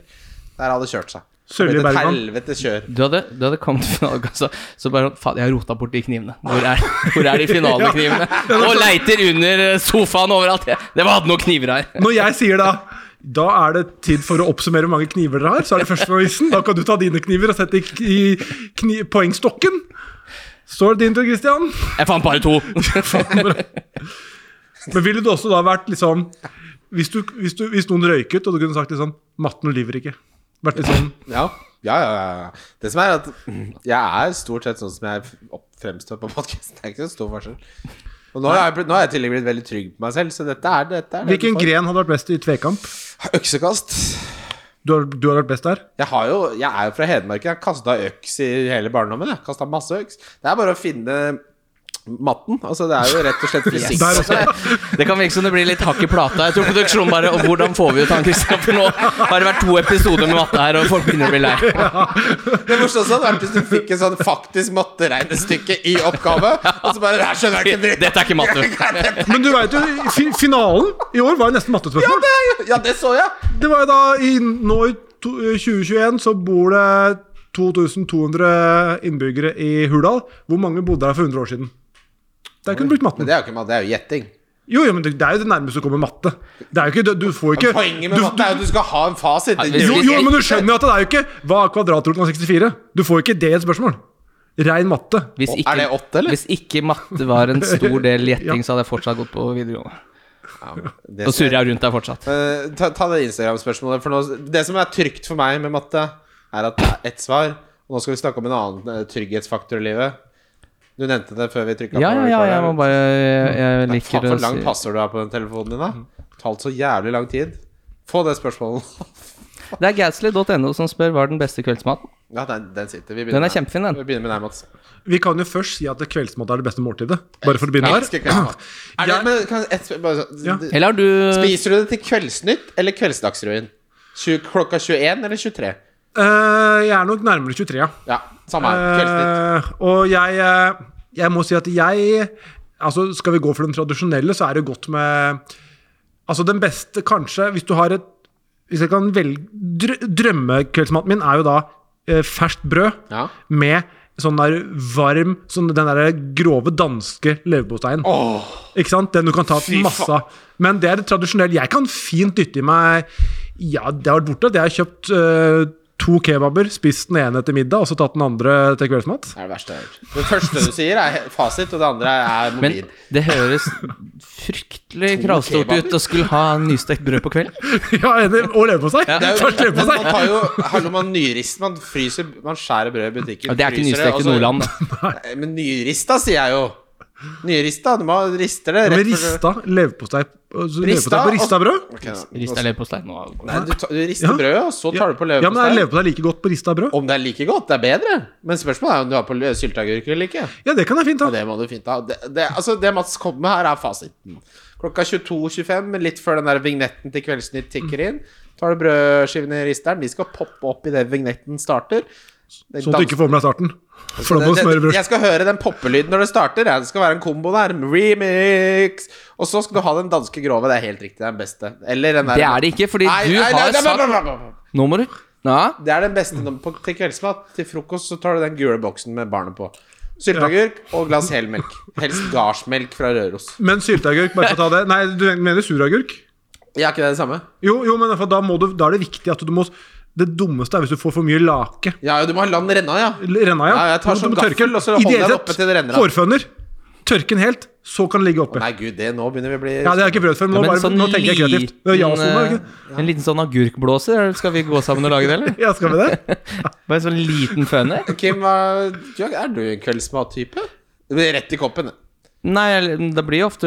Speaker 3: Der hadde det kjørt seg.
Speaker 4: Sølje
Speaker 3: Det ble et
Speaker 4: Bergman.
Speaker 3: Helvete kjør.
Speaker 2: Du hadde, du hadde kommet til finalekassa, så bare sånn, Faen, jeg har rota bort de knivene. Hvor er, hvor
Speaker 3: [LAUGHS]
Speaker 2: er de finaleknivene?
Speaker 3: sånn-
Speaker 2: Og leiter under sofaen overalt. Jeg- Det var hadde noen kniver her.
Speaker 4: Når jeg sier da da er det tid for å oppsummere hvor mange kniver dere har. Så er det førstejournalisten. Da kan du ta dine kniver og sette i k- i kni poengstokken. Så er det din tur, Christian. [LAUGHS]
Speaker 2: Jeg fant bare to.
Speaker 4: Men ville du også da vært liksom Hvis, du, hvis, du, hvis noen røyket, og du kunne sagt liksom Matten lyver ikke. Vært litt
Speaker 2: [LAUGHS]
Speaker 4: sånn
Speaker 3: Ja. Ja, ja, ja, ja. Det som er at jeg er stort sett sånn som jeg opp- fremstår på podkasten. Det er ikke så stor forskjell. Og nå har jeg, blitt- nå har jeg i tillegg blitt veldig trygg på meg selv, så dette er dette er det
Speaker 4: Hvilken
Speaker 3: du får.
Speaker 4: gren hadde vært best i tvekamp?
Speaker 3: Øksekast.
Speaker 4: Du har, du har vært best der?
Speaker 3: Jeg, har jo, jeg er jo fra Hedmark. Jeg har kasta øks i hele barndommen. Jeg kastet masse øks. Det er bare å finne matten. Altså, det er jo rett og slett fysikk. Altså,
Speaker 4: Der også.
Speaker 2: [LAUGHS] Det kan virke som det blir litt hakk i plata. Jeg tror produksjonen bare Og hvordan får vi ut han Christian? For nå har det vært to episoder med matte her, og folk begynner å bli lei.
Speaker 3: Det morsomste hadde vært hvis du fikk et sånn faktisk matteregnestykke i oppgave, og så bare Her skjønner jeg ikke en dritt.
Speaker 2: Dette er ikke matte.
Speaker 4: Men du veit jo, fi, finalen i år var jo nesten
Speaker 3: Ja,
Speaker 4: mattespørsmål.
Speaker 3: det- Ja, det så jeg.
Speaker 4: Det var jo da i, Nå i to- 2021 så bor det 2200 innbyggere i Hurdal. Hvor mange bodde der for 100 år siden? Der kunne du brukt
Speaker 3: Men
Speaker 4: matten.
Speaker 3: det er jo ikke matte, det er jo gjetting.
Speaker 4: Jo, jo, men det det er jo det nærmeste du kommer matte. Det er jo ikke, du, du får jo ikke
Speaker 3: Poenget med
Speaker 4: du,
Speaker 3: matte er jo at du skal ha en fasit.
Speaker 2: Ja,
Speaker 4: du, jo,
Speaker 2: Altså, hvis-
Speaker 4: jo, men du skjønner jo at det er jo ikke Hva er kvadratroten av 64? Du får jo ikke det i et spørsmål. Rein matte.
Speaker 2: Hvis
Speaker 3: Er det
Speaker 2: ikke,
Speaker 3: åtte, eller?
Speaker 2: hvis ikke matte var en stor del gjetting, så hadde jeg fortsatt gått på videregående.
Speaker 3: Ja, men det
Speaker 2: Så
Speaker 3: skal-
Speaker 2: surrer jeg rundt der fortsatt.
Speaker 3: Eh, ta, ta det Instagram-spørsmålet. For nå, det som er trygt for meg med matte, er at det er ett svar. Og nå skal vi snakke om en annen eh, trygghetsfaktor i livet. Du nevnte det før vi trykka
Speaker 2: Ja, ja, ja, jeg må bare Jeg, jeg
Speaker 3: Faen,
Speaker 2: liker
Speaker 3: for
Speaker 2: å
Speaker 3: lang
Speaker 2: si
Speaker 3: passord du har på den telefonen din, da. Talt så jævlig lang tid. Få det spørsmålet.
Speaker 2: Det er gadsly.no som spør hva er den beste kveldsmaten.
Speaker 3: [LAUGHS] Ja, den, den sitter. Vi begynner
Speaker 2: Den er
Speaker 3: med deg.
Speaker 2: kjempefin, den.
Speaker 3: Vi begynner med deg, Mats.
Speaker 4: Vi kan jo først si at kveldsmat er det beste måltidet. Bare for å begynne
Speaker 3: Jeg
Speaker 4: der.
Speaker 3: elsker kveldsmat. Er det,
Speaker 4: Jeg-
Speaker 3: men kan, et, bare, så-
Speaker 4: Ja.
Speaker 2: Eller har du
Speaker 3: Spiser du det til Kveldsnytt eller Kveldsdagsrevyen? Tju- Klokka 21 eller 23?
Speaker 4: [CLEARS THROAT] Eh, jeg er nok nærmere 23, ja.
Speaker 3: Ja, samme her. Kveldsnytt.
Speaker 4: Eh, og jeg, eh, jeg må si at jeg Altså, skal vi gå for den tradisjonelle, så er det godt med Altså, den beste, kanskje, hvis du har et Hvis jeg kan velge drø, Drømmekveldsmaten min er jo da eh, ferskt brød
Speaker 3: Ja.
Speaker 4: med sånn der varm sånn Den der grove danske leverposteien.
Speaker 3: Åh.
Speaker 4: Ikke sant? Den du kan ta
Speaker 3: Fy faen.
Speaker 4: masse av. Men det er det tradisjonelle. Jeg kan fint dytte i meg Ja, det har vært borte. Jeg har kjøpt eh, to kebaber, spist den ene til middag og så tatt den andre til kveldsmat. [LAUGHS]
Speaker 3: Det er det verste jeg har hørt. Det første du sier, er he- fasit, og det andre er
Speaker 2: Men
Speaker 3: mobil.
Speaker 2: det høres fryktelig kravstort
Speaker 3: kebaber.
Speaker 2: ut å skulle ha nystekt brød på kvelden.
Speaker 4: ja, enig. Og leverpostei.
Speaker 2: Ja.
Speaker 4: Ja.
Speaker 3: det er
Speaker 4: Først
Speaker 3: jo, men man
Speaker 4: leverpostei.
Speaker 3: tar jo Hallo, man nyrist Man fryser Man skjærer brød i butikken.
Speaker 2: Ja, Det er ikke
Speaker 3: fryser det,
Speaker 2: nystekt i
Speaker 3: altså. og så-
Speaker 2: Nordland. da.
Speaker 3: Nei, Men nyrista, sier jeg jo. Nyrista. Du må riste det.
Speaker 4: Med
Speaker 3: Rett før du-
Speaker 4: rista leverpostei
Speaker 3: Rista
Speaker 4: altså, leverpostei på rista brød.
Speaker 3: Ok, da.
Speaker 2: Rist eller på stein. Nå-
Speaker 3: Nei, du, ta- du rister
Speaker 4: Ja.
Speaker 3: brødet, og så tar du på
Speaker 4: Ja, men er
Speaker 3: leverpostei.
Speaker 4: leverpostei like godt på rista brød?
Speaker 3: Om det er like godt, det er bedre. Men spørsmålet er om du har på lø- sylteagurk eller ikke.
Speaker 4: Ja, det kan jeg fint
Speaker 3: Ja,
Speaker 4: ta.
Speaker 3: det må du fint ha. Det, det, altså, det Mats kommer med her, er fasiten. Klokka 22.25, men litt før den der vignetten til Kveldsnytt tikker inn, tar du brødskivene i risteren. De skal poppe opp idet vignetten starter.
Speaker 4: Sånn at du ikke får med deg starten. For da må du smøre brød.
Speaker 3: Jeg skal høre den poppelyden når det starter. ja. Det skal være en kombo der. Remix! Og så skal du ha den danske grove. Det er helt riktig. Det er den beste. Eller den der
Speaker 2: Det er det ikke, fordi du har sagt Nå må du Ja,
Speaker 3: Det er den beste nå- på, til kveldsmat. Til frokost så tar du den gule boksen med barnet på. Sylteagurk og glass helmelk. Helst gardsmelk fra Røros.
Speaker 4: Men sylteagurk, bare for å ta det. Nei, du mener suragurk?
Speaker 3: Ja, ikke det det samme?
Speaker 4: Jo, jo men for da, må du, da er det viktig at du må Det dummeste er hvis du får for mye lake.
Speaker 3: Ja, ja, du må ha land renna, ja.
Speaker 4: Renna, ja.
Speaker 3: Ja, jeg tar
Speaker 4: Du må-
Speaker 3: sånn
Speaker 4: du må tørke
Speaker 3: gaffel,
Speaker 4: den.
Speaker 3: og så holder jeg
Speaker 4: Ideelt
Speaker 3: den oppe til det renner av.
Speaker 4: Hårføner. Tørke den helt, så kan den ligge oppe.
Speaker 3: Nei, gud, det nå begynner vi å bli
Speaker 4: ja, det har jeg ikke prøvd før, men,
Speaker 2: Ja,
Speaker 4: nå,
Speaker 2: men
Speaker 4: bare,
Speaker 2: sånn
Speaker 4: nå tenker jeg kreativt. Det er ja-sone, er det
Speaker 2: liten,
Speaker 4: ikke?
Speaker 2: eh, En liten sånn agurkblåser, skal vi gå sammen og lage det, eller?
Speaker 4: Ja, skal vi
Speaker 2: [LAUGHS]
Speaker 4: det?
Speaker 2: Bare en sånn liten føner?
Speaker 3: Kim, hva- du, er du en kveldsmattype? Det blir Rett i koppen.
Speaker 2: Nei, eller, det blir jo ofte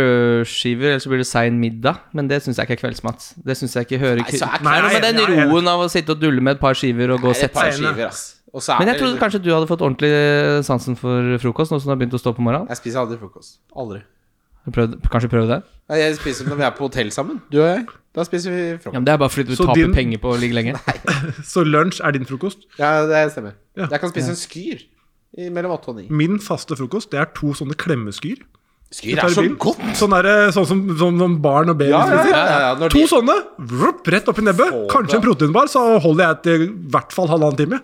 Speaker 2: brødskiver, eller så blir det sein middag. Men det syns jeg ikke er kveldsmat. Det syns jeg ikke hører
Speaker 3: Nei, så er
Speaker 4: Nei,
Speaker 2: Nei,
Speaker 4: nei,
Speaker 2: men den
Speaker 4: jeg er enig.
Speaker 2: roen av å sitte og dulle med et par skiver og gå og
Speaker 3: det et
Speaker 2: sette
Speaker 3: par
Speaker 2: seg
Speaker 4: seg inn,
Speaker 3: skiver, ass. Og så er
Speaker 2: Men jeg
Speaker 3: det-
Speaker 2: trodde kanskje du hadde fått ordentlig eh, sansen for frokost nå som du har begynt å stå på morgenen?
Speaker 3: Jeg spiser aldri frokost. Aldri.
Speaker 2: Har du prøvd- kanskje prøve det?
Speaker 3: Nei, Jeg spiser når vi er på hotell sammen. Du og jeg. Da spiser vi
Speaker 2: Ja,
Speaker 3: frokost.
Speaker 2: men Det er bare fordi du
Speaker 4: Så
Speaker 2: taper
Speaker 4: din-
Speaker 2: penger på å ligge lenge.
Speaker 4: Så lunsj er din frokost.
Speaker 3: Ja, det stemmer.
Speaker 4: Ja.
Speaker 3: Jeg kan spise en skyr i mellom åtte og ni.
Speaker 4: Min faste frokost det er to sånne klemmeskyr.
Speaker 3: Skyr
Speaker 4: Tar
Speaker 3: er
Speaker 4: i
Speaker 3: så
Speaker 4: bilen.
Speaker 3: godt!
Speaker 4: Sånn, der, sånn som sånn, som barn og baby
Speaker 3: Ja, ja,
Speaker 4: spiser.
Speaker 3: ja, ja, ja. Når
Speaker 4: To
Speaker 3: de-
Speaker 4: sånne, vrupp, rett opp i nebbet.
Speaker 3: Få
Speaker 4: Kanskje en
Speaker 3: det.
Speaker 4: proteinbar, så holder jeg til i hvert fall halvannen time.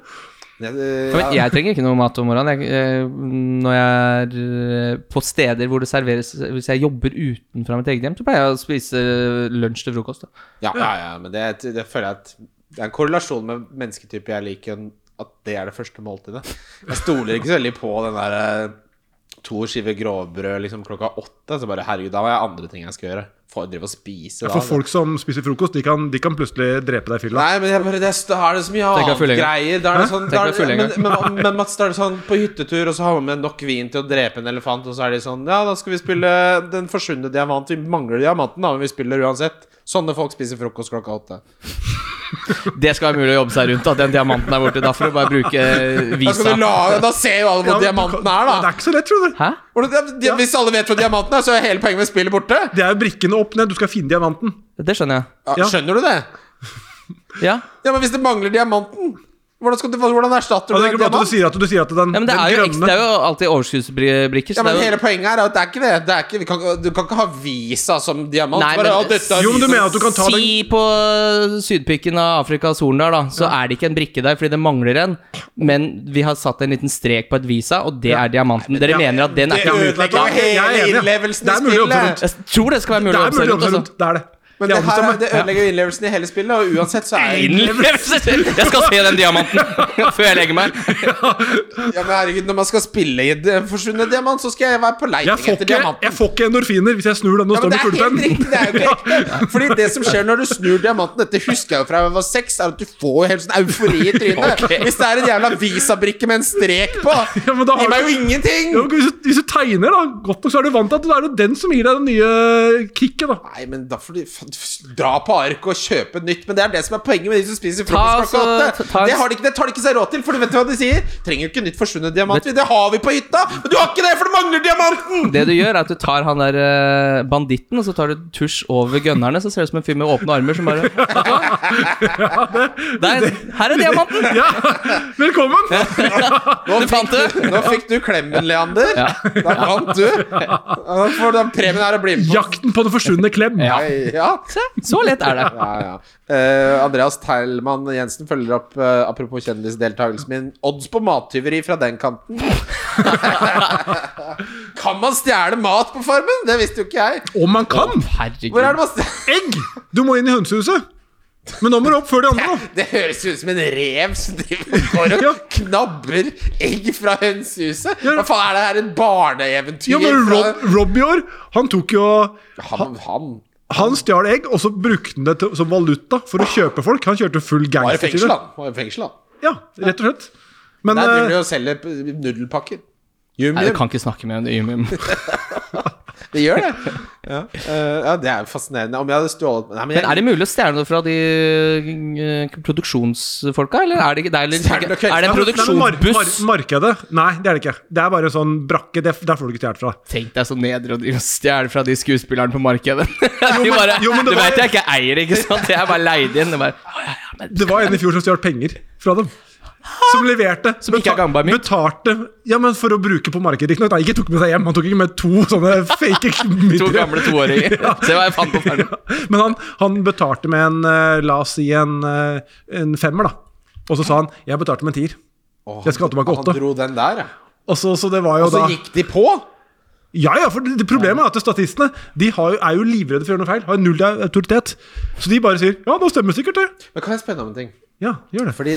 Speaker 3: Ja,
Speaker 2: Ja, Men jeg trenger ikke noe mat om morgenen. Jeg, eh, når jeg er eh, på steder hvor det serveres Hvis jeg jobber utenfra mitt eget hjem, så pleier jeg å spise lunsj til frokost. Da.
Speaker 3: Ja, ja, ja, men det, det føler jeg at Det er en korrelasjon med mennesketype jeg liker, at det er det første måltidet. Jeg stoler ikke så veldig på den der eh, to skiver grovbrød liksom klokka åtte. Så bare herregud, da har jeg andre ting jeg skal gjøre. For å drive og spise da.
Speaker 4: For folk som spiser frokost, de kan, de kan plutselig drepe deg i fylla.
Speaker 3: Nei, men jeg bare, det, da er det så mye
Speaker 2: Tenk deg
Speaker 3: annet
Speaker 2: full en gang.
Speaker 3: greier. Da er det
Speaker 4: Hæ?
Speaker 3: sånn,
Speaker 2: Tenk
Speaker 3: da
Speaker 2: deg full
Speaker 3: er,
Speaker 2: en
Speaker 3: men,
Speaker 2: gang.
Speaker 3: men, men Mats, da er det sånn på hyttetur, og så har man med nok vin til å drepe en elefant, og så er de sånn Ja, da skal vi spille Den forsvunne diamant. Vi mangler diamanten, da, men vi spiller uansett. Sånne folk spiser frokost klokka åtte.
Speaker 2: Det skal være mulig å jobbe seg rundt, at den diamanten er borte. Da får du bare bruke
Speaker 3: Da, skal
Speaker 2: visa.
Speaker 3: du la, da ser jo alle hvor
Speaker 4: Ja, men du
Speaker 3: diamanten
Speaker 4: kan-
Speaker 3: er,
Speaker 4: Det
Speaker 3: da.
Speaker 4: er ikke så lett, tror du.
Speaker 2: Hæ?
Speaker 3: Hvordan- de- Hvis alle vet hvor diamanten er, så er hele poenget med spillet borte.
Speaker 4: Det er jo brikkene opp ned, du skal finne diamanten.
Speaker 2: Det skjønner jeg.
Speaker 3: Ja,
Speaker 4: Ja.
Speaker 3: Skjønner du det?
Speaker 2: Ja,
Speaker 3: Ja, Men hvis det mangler diamanten, hvordan, skal du, hvordan erstatter
Speaker 4: Ja,
Speaker 3: du
Speaker 4: det er
Speaker 3: den
Speaker 4: ikke bare at du
Speaker 3: diamanten?
Speaker 4: sier at du sier at den,
Speaker 2: ja men det
Speaker 4: den
Speaker 2: er, jo
Speaker 4: grønne
Speaker 2: ekstra, det er jo alltid overskuddsbrikker.
Speaker 3: Ja,
Speaker 2: Så
Speaker 3: men
Speaker 2: det er
Speaker 3: Hele
Speaker 2: jo,
Speaker 3: poenget her er at det er ikke det. det er ikke, vi kan, ikke- du kan ikke ha visa som diamant.
Speaker 2: Nei,
Speaker 3: bare,
Speaker 2: men-
Speaker 3: «Å, dette er
Speaker 4: Jo, men du
Speaker 3: visa».
Speaker 4: mener at du kan ta den
Speaker 2: si på sydpikken av Afrikas horn der, da, så er det ikke en brikke der fordi det mangler en. Men vi har satt en liten strek på et visa, og det er diamanten. Dere mener at den er
Speaker 4: Det
Speaker 2: ikke
Speaker 4: ødelegger
Speaker 2: utnytta?
Speaker 3: hele
Speaker 4: Jeg er enig.
Speaker 3: innlevelsen i
Speaker 4: Det er mulig å jobbe
Speaker 3: spillet.
Speaker 4: rundt.
Speaker 2: Jeg tror det skal være
Speaker 4: Det
Speaker 2: mulig å
Speaker 4: er mulig å
Speaker 2: observere.
Speaker 4: jobbe seg
Speaker 2: Altså.
Speaker 4: rundt. Det er det.
Speaker 3: Men
Speaker 4: De
Speaker 3: det,
Speaker 4: andre
Speaker 3: her,
Speaker 4: som er-
Speaker 3: det ødelegger jo innlevelsen i hele spillet, og uansett så er det
Speaker 2: Innlevelse! Jeg skal se den diamanten [LAUGHS] før jeg legger meg.
Speaker 3: Ja, men herregud, når man skal spille i en forsvunnet diamant, så skal jeg være på
Speaker 4: [LAUGHS] Jeg
Speaker 3: leiting
Speaker 4: får,
Speaker 3: etter
Speaker 4: ikke,
Speaker 3: diamanten.
Speaker 4: jeg får ikke endorfiner hvis jeg snur den og
Speaker 3: Ja,
Speaker 4: står
Speaker 3: men det er
Speaker 4: med
Speaker 3: helt
Speaker 4: kulepenn.
Speaker 3: riktig, det
Speaker 4: [LAUGHS]
Speaker 3: er jo ikke ekte. [LAUGHS] Fordi det som skjer når du snur diamanten, dette husker jeg jo fra jeg var seks, er at du får jo helt sånn eufori i trynet.
Speaker 2: Ok.
Speaker 3: Hvis det er en jævla visabrikke med en strek på,
Speaker 4: Ja, men da har
Speaker 3: gir meg
Speaker 4: du-
Speaker 3: jo ingenting!
Speaker 4: Ja, men hvis, du- hvis du tegner da, godt nok, så er du vant til at da er det den som gir deg det nye eh,
Speaker 3: [LAUGHS]
Speaker 4: kicket. da
Speaker 3: Nei, men da får de faen dra på ark og kjøpe nytt. Men det er det som er poenget med de som spiser
Speaker 2: Ta,
Speaker 3: frokost klokka
Speaker 2: altså,
Speaker 3: åtte.
Speaker 2: ta-
Speaker 3: Det, har de ikke- det tar de ikke seg råd til, for du vet hva de sier? Trenger jo ikke nytt forsvunnet diamant, vi. det har vi på hytta! Men du har ikke det, for du mangler diamanten!
Speaker 2: Det du gjør, er at du tar han der eh, banditten, og så tar du tusj over gønnerne, så ser du ut som en fyr med åpne armer som bare Vet du hva? Der, her er diamanten!
Speaker 4: [LAUGHS] Ja, Velkommen!
Speaker 3: Nå
Speaker 2: Du fant det!
Speaker 3: Nå fikk du klemmen, Leander. Da vant du. Da får den premien her å bli med på.
Speaker 4: Jakten på den forsvunne klem.
Speaker 3: Ja. ja.
Speaker 2: Se, så lett er det.
Speaker 3: Ja, ja. Eh, Andreas Teilmann Jensen følger opp, eh, apropos kjendisdeltakelsen min, odds på mattyveri fra den kanten. [LAUGHS] kan man stjele mat på Farmen? Det visste jo ikke jeg.
Speaker 4: Om man kan!
Speaker 2: Herregud.
Speaker 3: Hvor er det man stjeler
Speaker 4: Egg! Du må inn i hønsehuset. Men nå må du opp før de andre. da.
Speaker 3: [LAUGHS] Det høres jo ut som en rev som driver går
Speaker 4: Ja.
Speaker 3: og knabber egg fra hønsehuset.
Speaker 4: Ja.
Speaker 3: Hva faen er det her, en barneeventyr?
Speaker 4: Ja, men
Speaker 3: fra-
Speaker 4: Rob, Rob i år, han tok jo
Speaker 3: han, han
Speaker 4: Han stjal egg, og så brukte han det til, som valuta for å kjøpe folk. Han kjørte full
Speaker 3: var i fengsel,
Speaker 4: gangstertid.
Speaker 3: han. Var i fengsel, han.
Speaker 4: Ja, rett og slett. Men
Speaker 3: Der driver
Speaker 4: eh,
Speaker 3: de og selger p- nudelpakker. Yum,
Speaker 2: Nei, du
Speaker 3: yum.
Speaker 2: kan ikke snakke med en yum-yum.
Speaker 3: Det gjør det. [LAUGHS] ja. Eh, ja, det er jo fascinerende. Om jeg hadde stjålet Nei, men jeg
Speaker 2: Men er det mulig å stjele noe fra de eh, produksjonsfolka, eller er det ikke det er, litt-
Speaker 3: Stjele
Speaker 2: er
Speaker 3: noe,
Speaker 2: det en
Speaker 3: ja.
Speaker 4: nei, men mar-
Speaker 2: produksjonsbuss?
Speaker 4: mar- Markedet? Nei, det er det ikke. Det er bare sånn brakke. Det, der får du ikke stjålet fra.
Speaker 2: Tenk deg så nedre å drive og stjele fra de skuespillerne på markedet. [LAUGHS] de bare,
Speaker 4: jo, men
Speaker 2: du
Speaker 4: det var-
Speaker 2: vet jeg ikke eier, ikke sant? Jeg er bare leid inn. Det bare, «Å, ja, ja, men
Speaker 4: Det var en i fjor som stjal penger fra dem. Som leverte.
Speaker 2: Som ikke er
Speaker 4: beta-
Speaker 2: gangbar mynt.
Speaker 4: Betalte Ja, men for å bruke på markedet. Ikke, nok, da, ikke tok med seg hjem. Han tok ikke med to sånne
Speaker 2: [LAUGHS]
Speaker 4: fake
Speaker 2: to
Speaker 4: mynter.
Speaker 2: gamle
Speaker 4: [LAUGHS]
Speaker 2: toåringer. Se hva jeg fant på farmen.
Speaker 4: Men han, han betalte med en eh, La oss si en, eh, en femmer, da. Og så sa han 'jeg betalte med en tier'.
Speaker 3: Åh,
Speaker 4: Jeg skal tilbake
Speaker 3: han-
Speaker 4: åtte.
Speaker 3: Han dro den der, ja.
Speaker 4: Og Altså, så, så det var jo
Speaker 3: Og så
Speaker 4: da
Speaker 3: gikk de på!
Speaker 4: Ja, ja, for det, det Problemet er at statistene De har jo, er jo livredde for å gjøre noe feil. Har null autoritet. Så de bare sier 'ja, nå stemmer sikkert det'.
Speaker 3: Men kan jeg spørre deg om en ting?
Speaker 4: Ja, gjør det.
Speaker 3: Fordi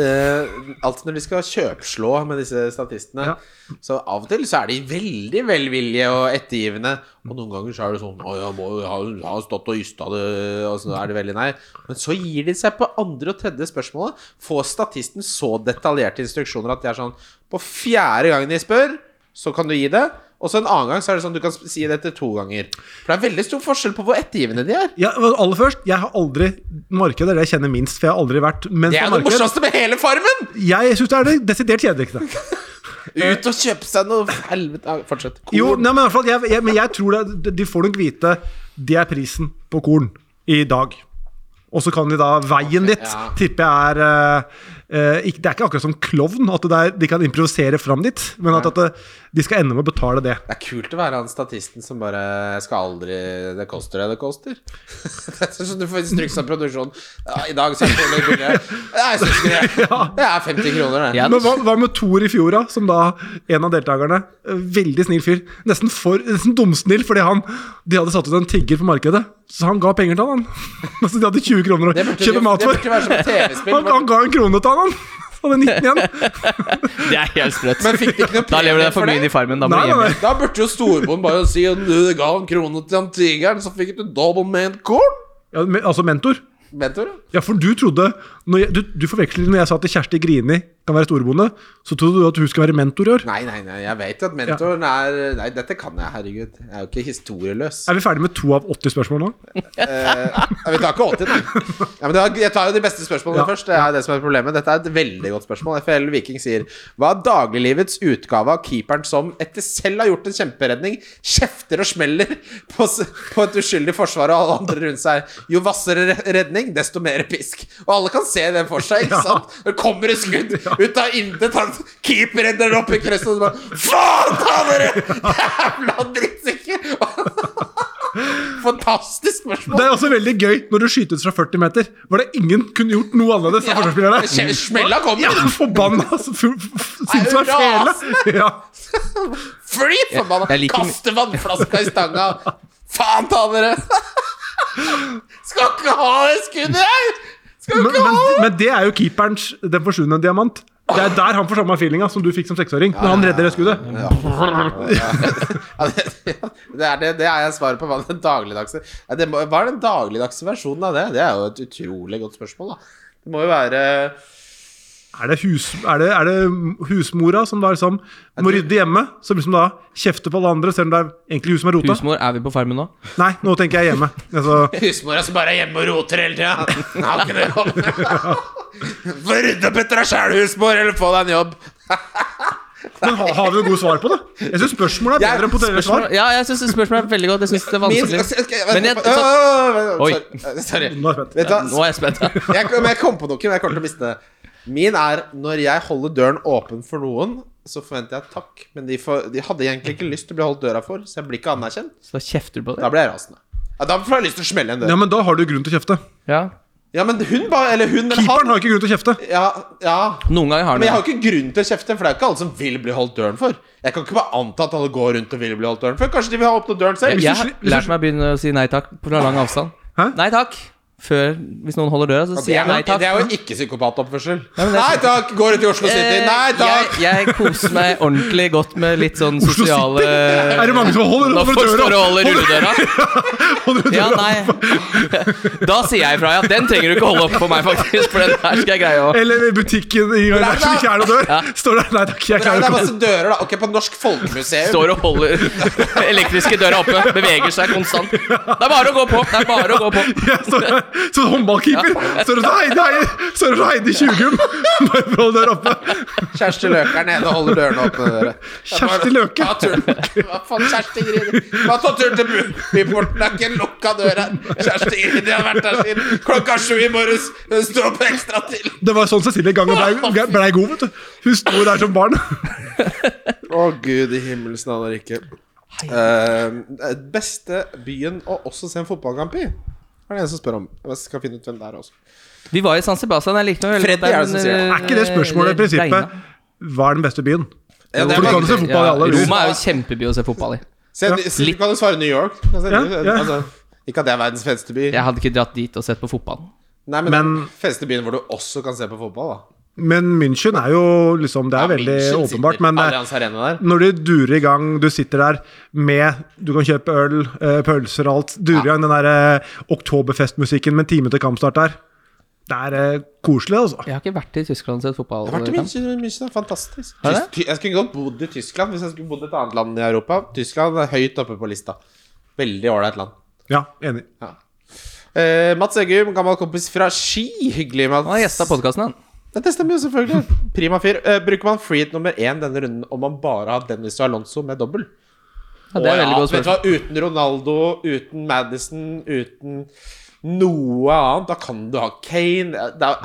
Speaker 3: eh, alltid når de skal kjøpslå med disse statistene,
Speaker 4: Ja.
Speaker 3: så av og til så er de veldig velvillige og ettergivende.
Speaker 4: Mm.
Speaker 3: Og noen ganger så er det sånn Å, jeg må jo ha, ha stått og ysta det Og så er det veldig nei. Men så gir de seg på andre og tredje spørsmålet. Får statisten så detaljerte instruksjoner at de er sånn På fjerde gangen de spør, så kan du gi det. Og så en annen gang så er det sånn du kan si det etter to ganger. For det er veldig stor forskjell på hvor ettergivende de er.
Speaker 4: Ja, men aller først, jeg har aldri Markedet er det jeg kjenner minst, for jeg har aldri vært mens
Speaker 3: Det er jo
Speaker 4: på
Speaker 3: det
Speaker 4: marked.
Speaker 3: morsomste med hele Farmen!
Speaker 4: Jeg syns det er det desidert kjedeligste.
Speaker 3: Ut og kjøpe seg noe helvete Ja, Fortsett. Korn.
Speaker 4: Jo, nei, men, i hvert fall, jeg, jeg, men jeg tror det, de får nok vite det er prisen på korn i dag. Og så kan de da veien dit
Speaker 3: ja.
Speaker 4: tipper jeg er eh, eh, ikke, Det er ikke akkurat som klovn, at det er, de kan improvisere fram dit, men at, at det, de skal ende med å betale det.
Speaker 3: Det er kult å være han statisten som bare "Jeg skal aldri Det koster det det koster. [LAUGHS] det er sånn du får instruks av produksjonen. Ja, I dag så er det sånn det blir det. Nei, jeg synes ikke det. Det er 50 kroner, det.
Speaker 2: Ja,
Speaker 4: Men hva, hva med Thor i fjor, da? Som da en av deltakerne eh, Veldig snill fyr. Nesten, for, nesten dumsnill, fordi han De hadde satt ut en tigger på markedet, så han ga penger til han, [LAUGHS] han. Altså, de hadde 20 kroner å
Speaker 3: Det burde,
Speaker 4: kjøpe mat
Speaker 3: det
Speaker 4: for.
Speaker 3: burde være som et TV-spill.
Speaker 4: Han, han ga en krone til han, [LAUGHS] han. Så hadde 19 igjen.
Speaker 2: Det er helt sprøtt.
Speaker 3: Men fikk de ikke noe
Speaker 2: Da lever du deg
Speaker 3: premie for
Speaker 2: for mye
Speaker 3: det?
Speaker 2: inn i farmen. Da må
Speaker 4: Nei,
Speaker 2: du
Speaker 4: nei,
Speaker 2: hjem
Speaker 4: nei.
Speaker 2: igjen.
Speaker 3: Da burde jo storebånd bare si at du ga en krone til han tigeren, så fikk du double man corn.
Speaker 4: Ja, men, altså mentor.
Speaker 3: Mentor, ja.
Speaker 4: Ja, for du trodde når jeg, du, du forveksler når jeg sa at Kjersti Grini kan være storbonde, så trodde du at hun skal være mentor i år.
Speaker 3: Nei, nei, nei, jeg vet jo at mentoren er Nei, dette kan jeg, herregud. Jeg er jo ikke historieløs.
Speaker 4: Er vi ferdig med to av 80 spørsmål nå?
Speaker 3: Ja, vi tar ikke 80, nei. Ja, men det er, jeg tar jo de beste spørsmålene
Speaker 4: Ja.
Speaker 3: først. Det er det som er problemet. Dette er et veldig godt spørsmål. FL Viking sier Hva er dagliglivets utgave av keeperen som, etter selv å ha gjort en kjemperedning, kjefter og smeller på, s- på et uskyldig forsvar og alle andre rundt seg? Jo hvassere re- redning, desto mer pisk. Og alle kan se den for seg, ikke sant? Det kommer et skudd ut av intet, han keeper redder den opp i krysset, og så bare Faen ta dere! Jævla drittsekker! [LAUGHS] Fantastisk spørsmål.
Speaker 4: Det er også veldig gøy når du skytes fra 40 meter, hvor det ingen kunne gjort noe annerledes. av forsvarsspillerne.
Speaker 3: kje- smella kommer.
Speaker 4: Ja, forbanna altså, fu- fu- sinnsvær fele! Ja.
Speaker 3: Fly forbanna!
Speaker 2: Jeg- jeg liker-
Speaker 3: Kaste vannflaska i stanga! Faen ta dere! [LAUGHS] Skal ikke ha det skuddet her! Skal
Speaker 4: Men,
Speaker 3: ikke
Speaker 4: men,
Speaker 3: ha det!
Speaker 4: men det er jo keeperens Den forsvunne diamant. Det er der han får samme feelinga som du fikk som seksåring. Når han redder det skuddet.
Speaker 3: [LAUGHS] Ja, det, det, er, det, det er jeg svaret på. Hva er den dagligdagse ja, det må, Hva er den dagligdagse versjonen av det? Det er jo et utrolig godt spørsmål, da. Det må jo være
Speaker 4: Er det, hus, er, det, er det husmora som da liksom må rydde hjemme? Som liksom da kjefter på alle andre, selv om det er egentlig hun som er rota?
Speaker 2: Husmor, er vi på farmen
Speaker 3: [LAUGHS]
Speaker 2: nå?
Speaker 4: Nei, nå tenker jeg hjemme. Altså,
Speaker 3: husmora som bare er hjemme og roter hele tida. [LAUGHS] Få rydde opp etter deg sjæl, husmor, eller få deg en jobb.
Speaker 4: men har, har vi noe gode svar på det? Jeg syns spørsmålet er bedre enn potensielle svar.
Speaker 2: Ja, jeg syns spørsmålet er veldig godt. Jeg synes det er
Speaker 3: altså,
Speaker 2: vanskelig. Men jeg- Oi.
Speaker 3: Oi. Sorry.
Speaker 4: Nå er jeg spent.
Speaker 3: Vet du hva?
Speaker 2: Nå er jeg spent.
Speaker 3: [LAUGHS] jeg, kom- men jeg kom på noe, men jeg kommer til å miste det. Min er når jeg holder døren åpen for noen, så forventer jeg takk. Men de, får, de hadde egentlig ikke lyst til å bli holdt døra for, så jeg blir ikke anerkjent.
Speaker 2: Så da kjefter du på det?
Speaker 3: Da blir jeg rasende. Ja, da får jeg lyst til å smelle en
Speaker 4: Ja,
Speaker 3: dør.
Speaker 4: men da har du grunn til å kjefte.
Speaker 2: Ja.
Speaker 3: Ja, men hun ba Eller hun eller han.
Speaker 4: Keeperen har jo ikke grunn til å kjefte.
Speaker 3: Ja, ja.
Speaker 2: Noen ganger har
Speaker 3: Men
Speaker 2: du
Speaker 3: jeg har
Speaker 2: det.
Speaker 3: jo ikke grunn til å kjefte, for det er jo ikke alle som vil bli holdt døren for. Jeg kan ikke bare anta at alle går rundt og vil bli holdt døren for. Kanskje de vil ha åpnet døren selv.
Speaker 2: Jeg jeg har lært meg å begynne å si nei takk fra lang avstand.
Speaker 4: Hæ?
Speaker 2: Nei takk. Før, hvis noen holder døra, så
Speaker 3: Det
Speaker 2: sier
Speaker 3: er,
Speaker 2: jeg nei
Speaker 3: jo-
Speaker 2: takk.
Speaker 3: det er jo ikke psykopatoppførsel.
Speaker 2: men det er
Speaker 3: Nei takk! Går ut i Oslo City.
Speaker 2: Eh,
Speaker 3: Nei takk!
Speaker 2: Jeg, jeg koser meg ordentlig godt med litt sånn
Speaker 4: Oslo
Speaker 2: sosiale
Speaker 4: City? Er det mange som holder
Speaker 2: Nå
Speaker 4: over
Speaker 2: folk står og
Speaker 4: døra?
Speaker 2: holder rulledøra.
Speaker 4: Holder over
Speaker 2: Ja,
Speaker 4: døra?
Speaker 2: nei. [LAUGHS] Da sier jeg ifra, ja. Den trenger du ikke holde opp for meg, faktisk. For den der skal jeg greie å
Speaker 4: Eller i butikken i
Speaker 3: er
Speaker 4: Gardersen,
Speaker 3: det?
Speaker 4: ikke er noe dør. Står der, nei altså- takk, jeg
Speaker 3: Nei,
Speaker 4: klarer
Speaker 3: det er
Speaker 4: ikke
Speaker 3: masse dører, da. Ok, på Norsk Folkemuseum.
Speaker 2: Står og holder [LAUGHS] elektriske døra oppe. Beveger seg konstant. Det er bare å gå på. Det er bare å gå på.
Speaker 4: Jeg står der som en håndballkeeper. Står og så Heidi, Heidi, står og så Heidi Tjugum. Bare for å holde døra oppe.
Speaker 3: Kjersti Løke er nede og holder dørene åpne. Dere.
Speaker 4: [LAUGHS] Kjersti Løke?
Speaker 3: Ta turen. Hva faen, Kjersti Gridi? Hva ta turen til Bu- byporten? Det er ikke en lukka dør her. Kjersti Gridi har vært der siden klokka sju i morges. Hun sto opp ekstra til.
Speaker 4: Det var sånn Cecilie Gange blei ble god, vet du. Hun sto der som barn. [LAUGHS]
Speaker 3: Å, gud i himmelsen aner ikke. Eh, beste byen å også se en fotballkamp i? Er det en som spør om. Jeg skal finne ut hvem det er altså. også.
Speaker 2: Vi var i San Sebastian. Jeg likte noe veldig
Speaker 3: Freddy er det som sier det.
Speaker 2: eh,
Speaker 4: Er ikke det spørsmålet i prinsippet hva er den beste byen?
Speaker 3: Ja, det
Speaker 4: For du kan jo se
Speaker 3: vanskelig.
Speaker 4: fotball i alle byer.
Speaker 2: Roma er jo kjempeby å se fotball i.
Speaker 3: Se, se, du kan jo svare New York. Altså,
Speaker 4: Ja, ja.
Speaker 3: altså, ikke at det er verdens feteste by.
Speaker 2: Jeg hadde ikke dratt dit og sett på fotballen.
Speaker 3: Nei, men,
Speaker 4: Men-
Speaker 3: den feteste byen hvor du også kan se på fotball, da.
Speaker 4: Men München er jo liksom Det er veldig
Speaker 3: München sitter
Speaker 4: åpenbart,
Speaker 2: eh,
Speaker 4: men det er
Speaker 3: Allianz Arena der.
Speaker 4: når du durer i gang, du sitter der med Du kan kjøpe øl, eh, pølser og alt. Durer i gang den der eh, oktoberfestmusikken med en time til kampstart der. Det er eh, koselig, altså.
Speaker 2: Jeg har ikke vært i Tyskland og sett fotball.
Speaker 3: Jeg har vært i München, München er fantastisk.
Speaker 2: Er det?
Speaker 3: Ty- Jeg skulle godt bodd i Tyskland hvis jeg skulle bodd i et annet land i Europa. Tyskland er høyt oppe på lista. Veldig ålreit land.
Speaker 4: Ja, enig.
Speaker 3: Ja. Eh, Mats Eggum, gammel kompis fra Ski. Hyggelig, Mats.
Speaker 2: Han har gjesta podkasten, han.
Speaker 3: Ja, det stemmer jo, selvfølgelig. Prima fyr. Eh, bruker man freehit nummer én denne runden om man bare har Dennis og Alonso med dobbel?
Speaker 2: Ja, det
Speaker 3: Å
Speaker 2: er veldig godt
Speaker 3: vet du
Speaker 2: spørsmål.
Speaker 3: hva, uten Ronaldo, uten Madison, uten noe annet, da kan du ha Kane det er,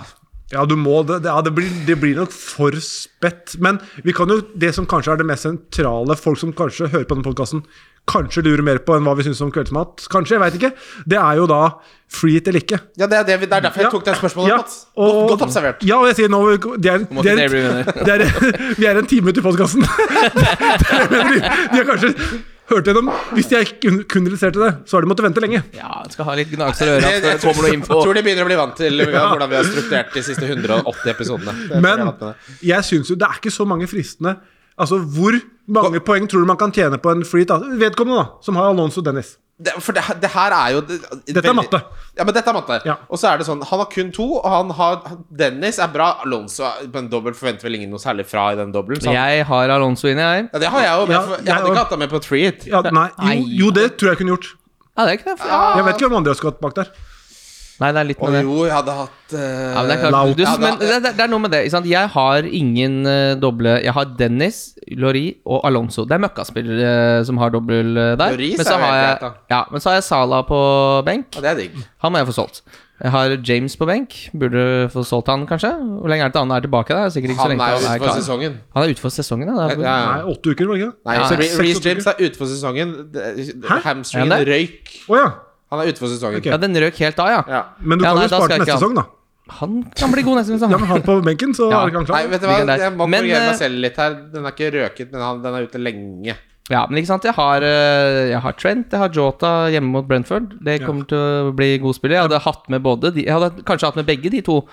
Speaker 4: Ja, du må det. Det, ja, det, blir, det blir nok for spett. Men vi kan jo, det som kanskje er det mest sentrale folk som kanskje hører på denne podkasten, kanskje lurer mer på enn hva vi syns om kveldsmat, kanskje, jeg veit ikke, det er jo da free it eller ikke.
Speaker 3: Ja, det er, det, vi- det er derfor jeg tok det spørsmålet,
Speaker 4: Ja,
Speaker 3: Mats. Godt,
Speaker 4: og-
Speaker 3: godt observert.
Speaker 4: Ja, og jeg sier nå det er, det
Speaker 2: ikke
Speaker 4: er,
Speaker 2: det bli venner.
Speaker 4: [LAUGHS] det er, Vi er en time ut i [LAUGHS] podkasten. de, de har kanskje hørt gjennom Hvis de ikke kun- kun registrerte det, så har de måttet vente lenge.
Speaker 2: Ja, han skal ha litt gnagsår i øra før
Speaker 3: Jeg,
Speaker 2: det
Speaker 3: jeg,
Speaker 2: kommer noe info.
Speaker 3: tror de begynner å bli vant til hvordan vi har strukturert de siste 180 episodene. Det tror jeg
Speaker 4: Men
Speaker 3: har vært med det.
Speaker 4: jeg syns jo det er ikke så mange fristende Altså, hvor mange poeng tror du man kan tjene på en free ta- Vedkommende, da, som har Alonso Dennis.
Speaker 3: det, For det, her- det her er jo det,
Speaker 4: Dette er matte.
Speaker 3: Ja, men dette er matte.
Speaker 4: Ja.
Speaker 3: Og så er det sånn Han har kun to, og han har Dennis er bra. Alonso er- på en dobbel forventer vel ingen noe særlig fra i den dobbelen. så han-
Speaker 2: Jeg har Alonso inni, jeg.
Speaker 3: Ja, det har jeg jo, men jeg,
Speaker 4: Ja,
Speaker 3: for- jeg
Speaker 4: jeg
Speaker 3: hadde
Speaker 4: også.
Speaker 3: ikke hatt ham med på three hit.
Speaker 4: Ja, nei, jo, jo, det tror jeg jeg kunne gjort.
Speaker 2: Ja, det er ikke det. Ja.
Speaker 4: Jeg vet ikke hvem andre jeg skulle hatt bak der.
Speaker 2: Nei, det er litt
Speaker 3: Og
Speaker 2: med det.
Speaker 3: jo, jeg hadde hatt eh,
Speaker 2: Ja, men det, er klart,
Speaker 4: Laut.
Speaker 2: du,
Speaker 3: Ja,
Speaker 2: men
Speaker 3: da-
Speaker 2: det, det- det er noe med det. Ikke sant? Jeg har ingen eh, doble Jeg har Dennis, Lori og Alonso. Det er møkkaspillere eh, som har dobbel eh, der.
Speaker 3: Lloris
Speaker 2: men,
Speaker 3: er
Speaker 2: så
Speaker 3: jo
Speaker 2: har jeg,
Speaker 3: helt greit, da.
Speaker 2: ja, men så har jeg Sala på benk.
Speaker 3: ja, Det er digg.
Speaker 2: Han må jeg få solgt. Jeg har James på benk. Burde få solgt han, kanskje. Hvor lenge er det til han er tilbake? Da? Det er Sikkert ikke så
Speaker 3: Han
Speaker 2: lenge
Speaker 3: er jo
Speaker 2: til
Speaker 3: ute
Speaker 2: han er
Speaker 3: for
Speaker 2: klar.
Speaker 3: sesongen.
Speaker 2: Han er ute for sesongen, ja. Det er-
Speaker 3: Ja, ja.
Speaker 4: Nei, åtte uker, var det ikke det?
Speaker 3: Nei,
Speaker 2: Ja,
Speaker 3: så
Speaker 2: ja.
Speaker 3: Re- Reece James er ute for sesongen. Det-
Speaker 2: Er
Speaker 3: Hamstringen
Speaker 2: han det?
Speaker 3: røyk.
Speaker 4: Å ja.
Speaker 3: Han er ute for sesongen.
Speaker 4: Ok.
Speaker 2: Ja, den røk helt av, ja.
Speaker 3: Ja.
Speaker 4: Men du
Speaker 2: Ja,
Speaker 4: kan
Speaker 2: nei,
Speaker 4: jo
Speaker 2: da
Speaker 4: spare
Speaker 2: skal
Speaker 4: til
Speaker 2: jeg
Speaker 4: neste
Speaker 2: ikke ha-
Speaker 4: sesong, da.
Speaker 2: Han kan bli god neste
Speaker 4: Ja,
Speaker 2: sesong.
Speaker 4: men han på benken,
Speaker 2: [LAUGHS]
Speaker 4: så
Speaker 2: Ja.
Speaker 4: er det ikke
Speaker 3: Nei,
Speaker 4: han klar.
Speaker 3: vet du hva,
Speaker 2: Ligger der.
Speaker 3: jeg må
Speaker 2: Men,
Speaker 3: korrigere meg
Speaker 2: eh,
Speaker 3: selv litt her. Den er ikke røket, men han, den er ute lenge.
Speaker 2: Ja, men ikke sant. Jeg har, eh, jeg har Trent, jeg har Jota hjemme mot Brentford. Det
Speaker 4: Ja.
Speaker 2: kommer til å bli god spiller. Jeg hadde hatt med både de, Jeg hadde kanskje hatt med begge de to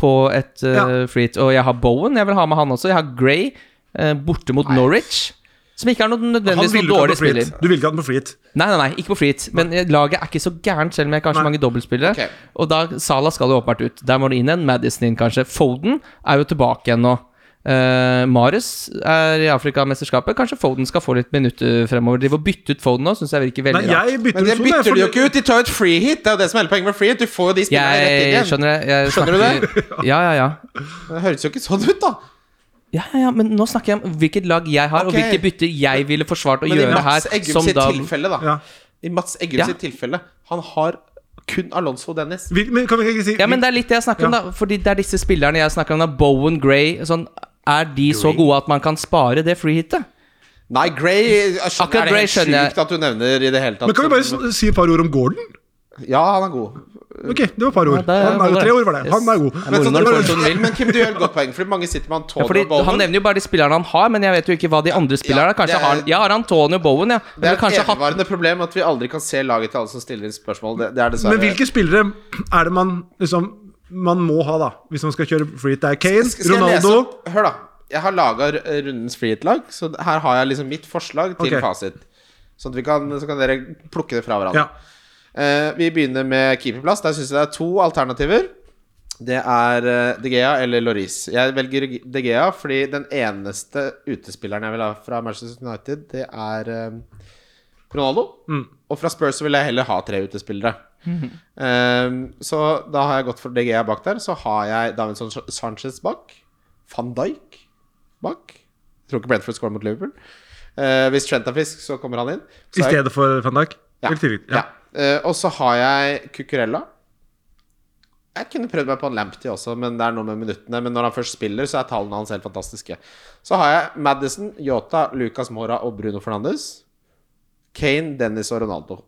Speaker 2: på et eh,
Speaker 4: Ja.
Speaker 2: free hit. Og jeg har Bowen, jeg vil ha med han også. Jeg har Gray eh, borte mot Norwich. Som ikke er noe nødvendigvis noen
Speaker 4: ville ikke ha den
Speaker 2: dårlig
Speaker 4: på free hit.
Speaker 2: spiller.
Speaker 4: Du ville ikke ha den på free hit.
Speaker 2: Nei, nei, nei, ikke på free hit. Men eh, laget er ikke så gærent, selv om jeg kanskje
Speaker 4: Nei.
Speaker 2: mange dobbeltspillere.
Speaker 3: Ok.
Speaker 2: Og da Sala skal jo åpenbart ut. Der må det inn en. Madison inn, kanskje. Foden er jo tilbake igjen nå. Eh, Mares er i Afrikamesterskapet. Kanskje Foden skal få litt minutter fremover. De får bytte ut Foden nå, syns jeg virker
Speaker 4: Nei,
Speaker 2: veldig rart.
Speaker 4: jeg bytter
Speaker 3: Men det
Speaker 4: ut Son, jeg,
Speaker 3: bytter de jo
Speaker 4: for-
Speaker 3: ikke ut! De tar jo et free hit! Det er jo det som er hele poenget med free hit. Du får jo de spillerne rett inn
Speaker 2: Jeg
Speaker 3: igjen.
Speaker 2: skjønner det. Jeg
Speaker 3: Skjønner du [LAUGHS]
Speaker 2: det? Ja, ja, ja.
Speaker 3: Det høres jo ikke sånn ut, da.
Speaker 2: Ja, ja, ja, Men nå snakker jeg om hvilket lag jeg har,
Speaker 3: Ok.
Speaker 2: og hvilke bytter jeg ville forsvart å
Speaker 3: Men i
Speaker 2: gjøre
Speaker 3: Mats
Speaker 2: her.
Speaker 3: Eggum
Speaker 2: Som
Speaker 3: sitt
Speaker 2: da
Speaker 3: tilfelle, da.
Speaker 4: Ja.
Speaker 3: I Mats Eggum
Speaker 2: Ja.
Speaker 3: sitt tilfelle. Han har kun Alonso og Dennis.
Speaker 4: Vil, men kan vi ikke si
Speaker 2: Ja, men det er litt det jeg snakker om,
Speaker 4: Ja.
Speaker 2: da. Fordi det er disse spillerne jeg snakker om. Da. Bowen Gray. Sånn, er de så gode at man kan spare det freehitet?
Speaker 3: Nei, Gray
Speaker 2: Akkurat
Speaker 3: Er det
Speaker 2: Gray
Speaker 3: helt
Speaker 2: skjønner jeg.
Speaker 3: sjukt at du nevner i det hele tatt?
Speaker 4: Men kan vi bare s- si et par ord om Gordon?
Speaker 3: Ja, han er god.
Speaker 4: Ok, det var et par ord.
Speaker 2: det er-
Speaker 4: Han er jo tre ord, var det.
Speaker 2: Yes.
Speaker 4: Han er
Speaker 2: Men
Speaker 3: Men,
Speaker 4: god.
Speaker 2: sånn-
Speaker 3: sånn,
Speaker 2: når
Speaker 3: men,
Speaker 2: du får
Speaker 3: men, Kim, du gjør et godt poeng, fordi mange sitter med Antonio
Speaker 2: Ja, fordi
Speaker 3: Bowen.
Speaker 2: Han nevner jo bare de spillerne han har, men jeg vet jo ikke hva de andre spillerne
Speaker 3: Ja,
Speaker 2: har. Kanskje
Speaker 3: det er-
Speaker 2: har Jeg har Antonio Bowen, ja.
Speaker 3: det
Speaker 2: Eller
Speaker 3: er et
Speaker 2: kanskje hatt
Speaker 3: evigvarende problem at vi aldri kan se laget til alle som stiller inn spørsmål. Det, det er dessverre
Speaker 4: Men hvilke spillere er det man liksom man må ha, da, hvis man skal kjøre free hit? Det er Kane,
Speaker 3: Skal jeg lese
Speaker 4: Ronaldo
Speaker 3: opp? Hør, da. Jeg har laga rundens freehit-lag, så her har jeg liksom mitt forslag til
Speaker 4: Ok.
Speaker 3: fasit. Sånn at vi kan, så kan dere plukke det fra hverandre.
Speaker 4: Ja.
Speaker 3: Eh, vi begynner med keeperplass. Der syns jeg det er to alternativer. Det er eh, De Gea eller Loris. Jeg velger De Gea fordi den eneste utespilleren jeg vil ha fra Manchester United, det er eh, Ronaldo. Og fra Spurs så vil jeg heller ha tre utespillere. Eh, så da har jeg gått for De Gea bak der. Så har jeg Davinson Sanchez bak. Van Dijk bak. Jeg tror ikke Brentford scorer mot Liverpool. Eh, hvis Trent er frisk, så kommer han inn. Så
Speaker 4: i
Speaker 3: har jeg-
Speaker 4: stedet for van Dijk?
Speaker 3: ja.
Speaker 4: Eller tidlig?
Speaker 3: ja. Eh, og så har jeg Cucurella. Jeg kunne prøvd meg på en Lamptey også, men det er noe med minuttene. Men når han først spiller, så er tallene hans helt fantastiske. Så har jeg Madison, Yota, Lucas Mora og Bruno Fernandes. Kane, Dennis og Ronaldo.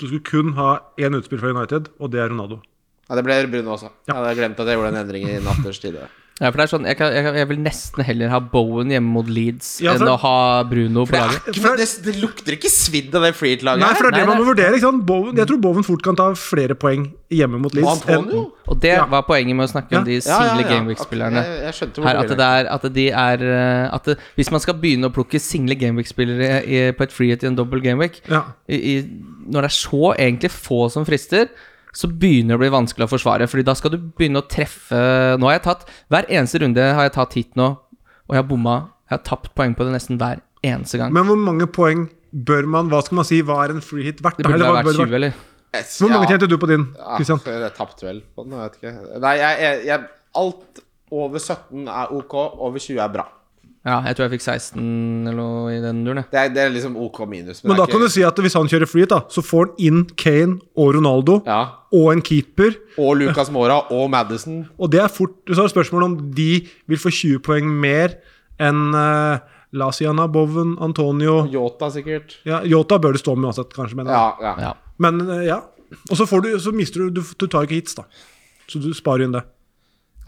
Speaker 4: Du skulle kun ha én utspiller fra United, og det er Ronaldo.
Speaker 3: Ja, det ble Bruno også. Jeg hadde glemt at jeg gjorde en endring i natters tid.
Speaker 2: Ja, for det er sånn jeg, kan, jeg, kan, jeg vil nesten heller ha Bowen hjemme mot Leeds
Speaker 4: Ja, for-
Speaker 2: enn å ha Bruno på laget.
Speaker 4: For-
Speaker 3: Det, det lukter ikke svidd av det
Speaker 4: Nei,
Speaker 3: freehit-laget
Speaker 4: for det er
Speaker 2: Nei,
Speaker 4: det man
Speaker 2: nei.
Speaker 4: må vurdere. ikke sant? Bowen, jeg tror Bowen fort kan ta flere poeng hjemme mot Leeds.
Speaker 3: Og Antonio?
Speaker 4: enn-
Speaker 2: Og det
Speaker 4: Ja.
Speaker 2: var poenget med å snakke om
Speaker 4: Ja.
Speaker 2: de single Gameweek-spillerne.
Speaker 3: Jeg, jeg skjønte hvor
Speaker 2: Her,
Speaker 3: du
Speaker 2: at,
Speaker 3: ville.
Speaker 2: det er, at de er eh, at det, Hvis man skal begynne å plukke single Gameweek-spillere i- på et freehit i en dobbel Gameweek
Speaker 4: Ja.
Speaker 2: i, i, Når det er så egentlig få som frister, så begynner det å bli vanskelig å forsvare. Fordi da skal du begynne å treffe Nå har jeg tatt Hver eneste runde har jeg tatt hit nå, og jeg har bomma. Jeg har tapt poeng på det nesten hver eneste gang.
Speaker 4: Men hvor mange poeng bør man Hva skal man si, hva er en free hit verdt?
Speaker 2: Det burde
Speaker 4: Eller
Speaker 2: ha
Speaker 4: hva
Speaker 2: vært
Speaker 4: bør det
Speaker 2: 20, eller?
Speaker 3: Yes,
Speaker 4: Hvor mange
Speaker 3: ja.
Speaker 4: tjente du på din, Christian?
Speaker 3: Ja, Ah, jeg tapte vel på den, jeg vet ikke. Nei, jeg, jeg, jeg Alt over 17 er ok, over 20 er bra.
Speaker 2: Ja, jeg tror jeg fikk 16 eller noe i den duren. jeg.
Speaker 3: Det er, det er liksom OK minus.
Speaker 4: Men
Speaker 3: det
Speaker 4: da
Speaker 3: er
Speaker 4: kan du si at hvis han kjører free hit, da, så får han inn Kane og Ronaldo
Speaker 3: ja.
Speaker 4: og en keeper.
Speaker 3: Og Lucas Mora og Madison.
Speaker 4: Og det er fort Så er det spørsmålet om de vil få 20 poeng mer enn uh, Lasiana, Boven, Antonio
Speaker 3: Yota, sikkert.
Speaker 4: ja, Yota bør du stå med uansett, kanskje. mener jeg.
Speaker 3: Ja, ja.
Speaker 2: Ja.
Speaker 4: Men eh, ja. Og så, får du, så mister du, du Du tar ikke hits, da. Så du sparer inn det.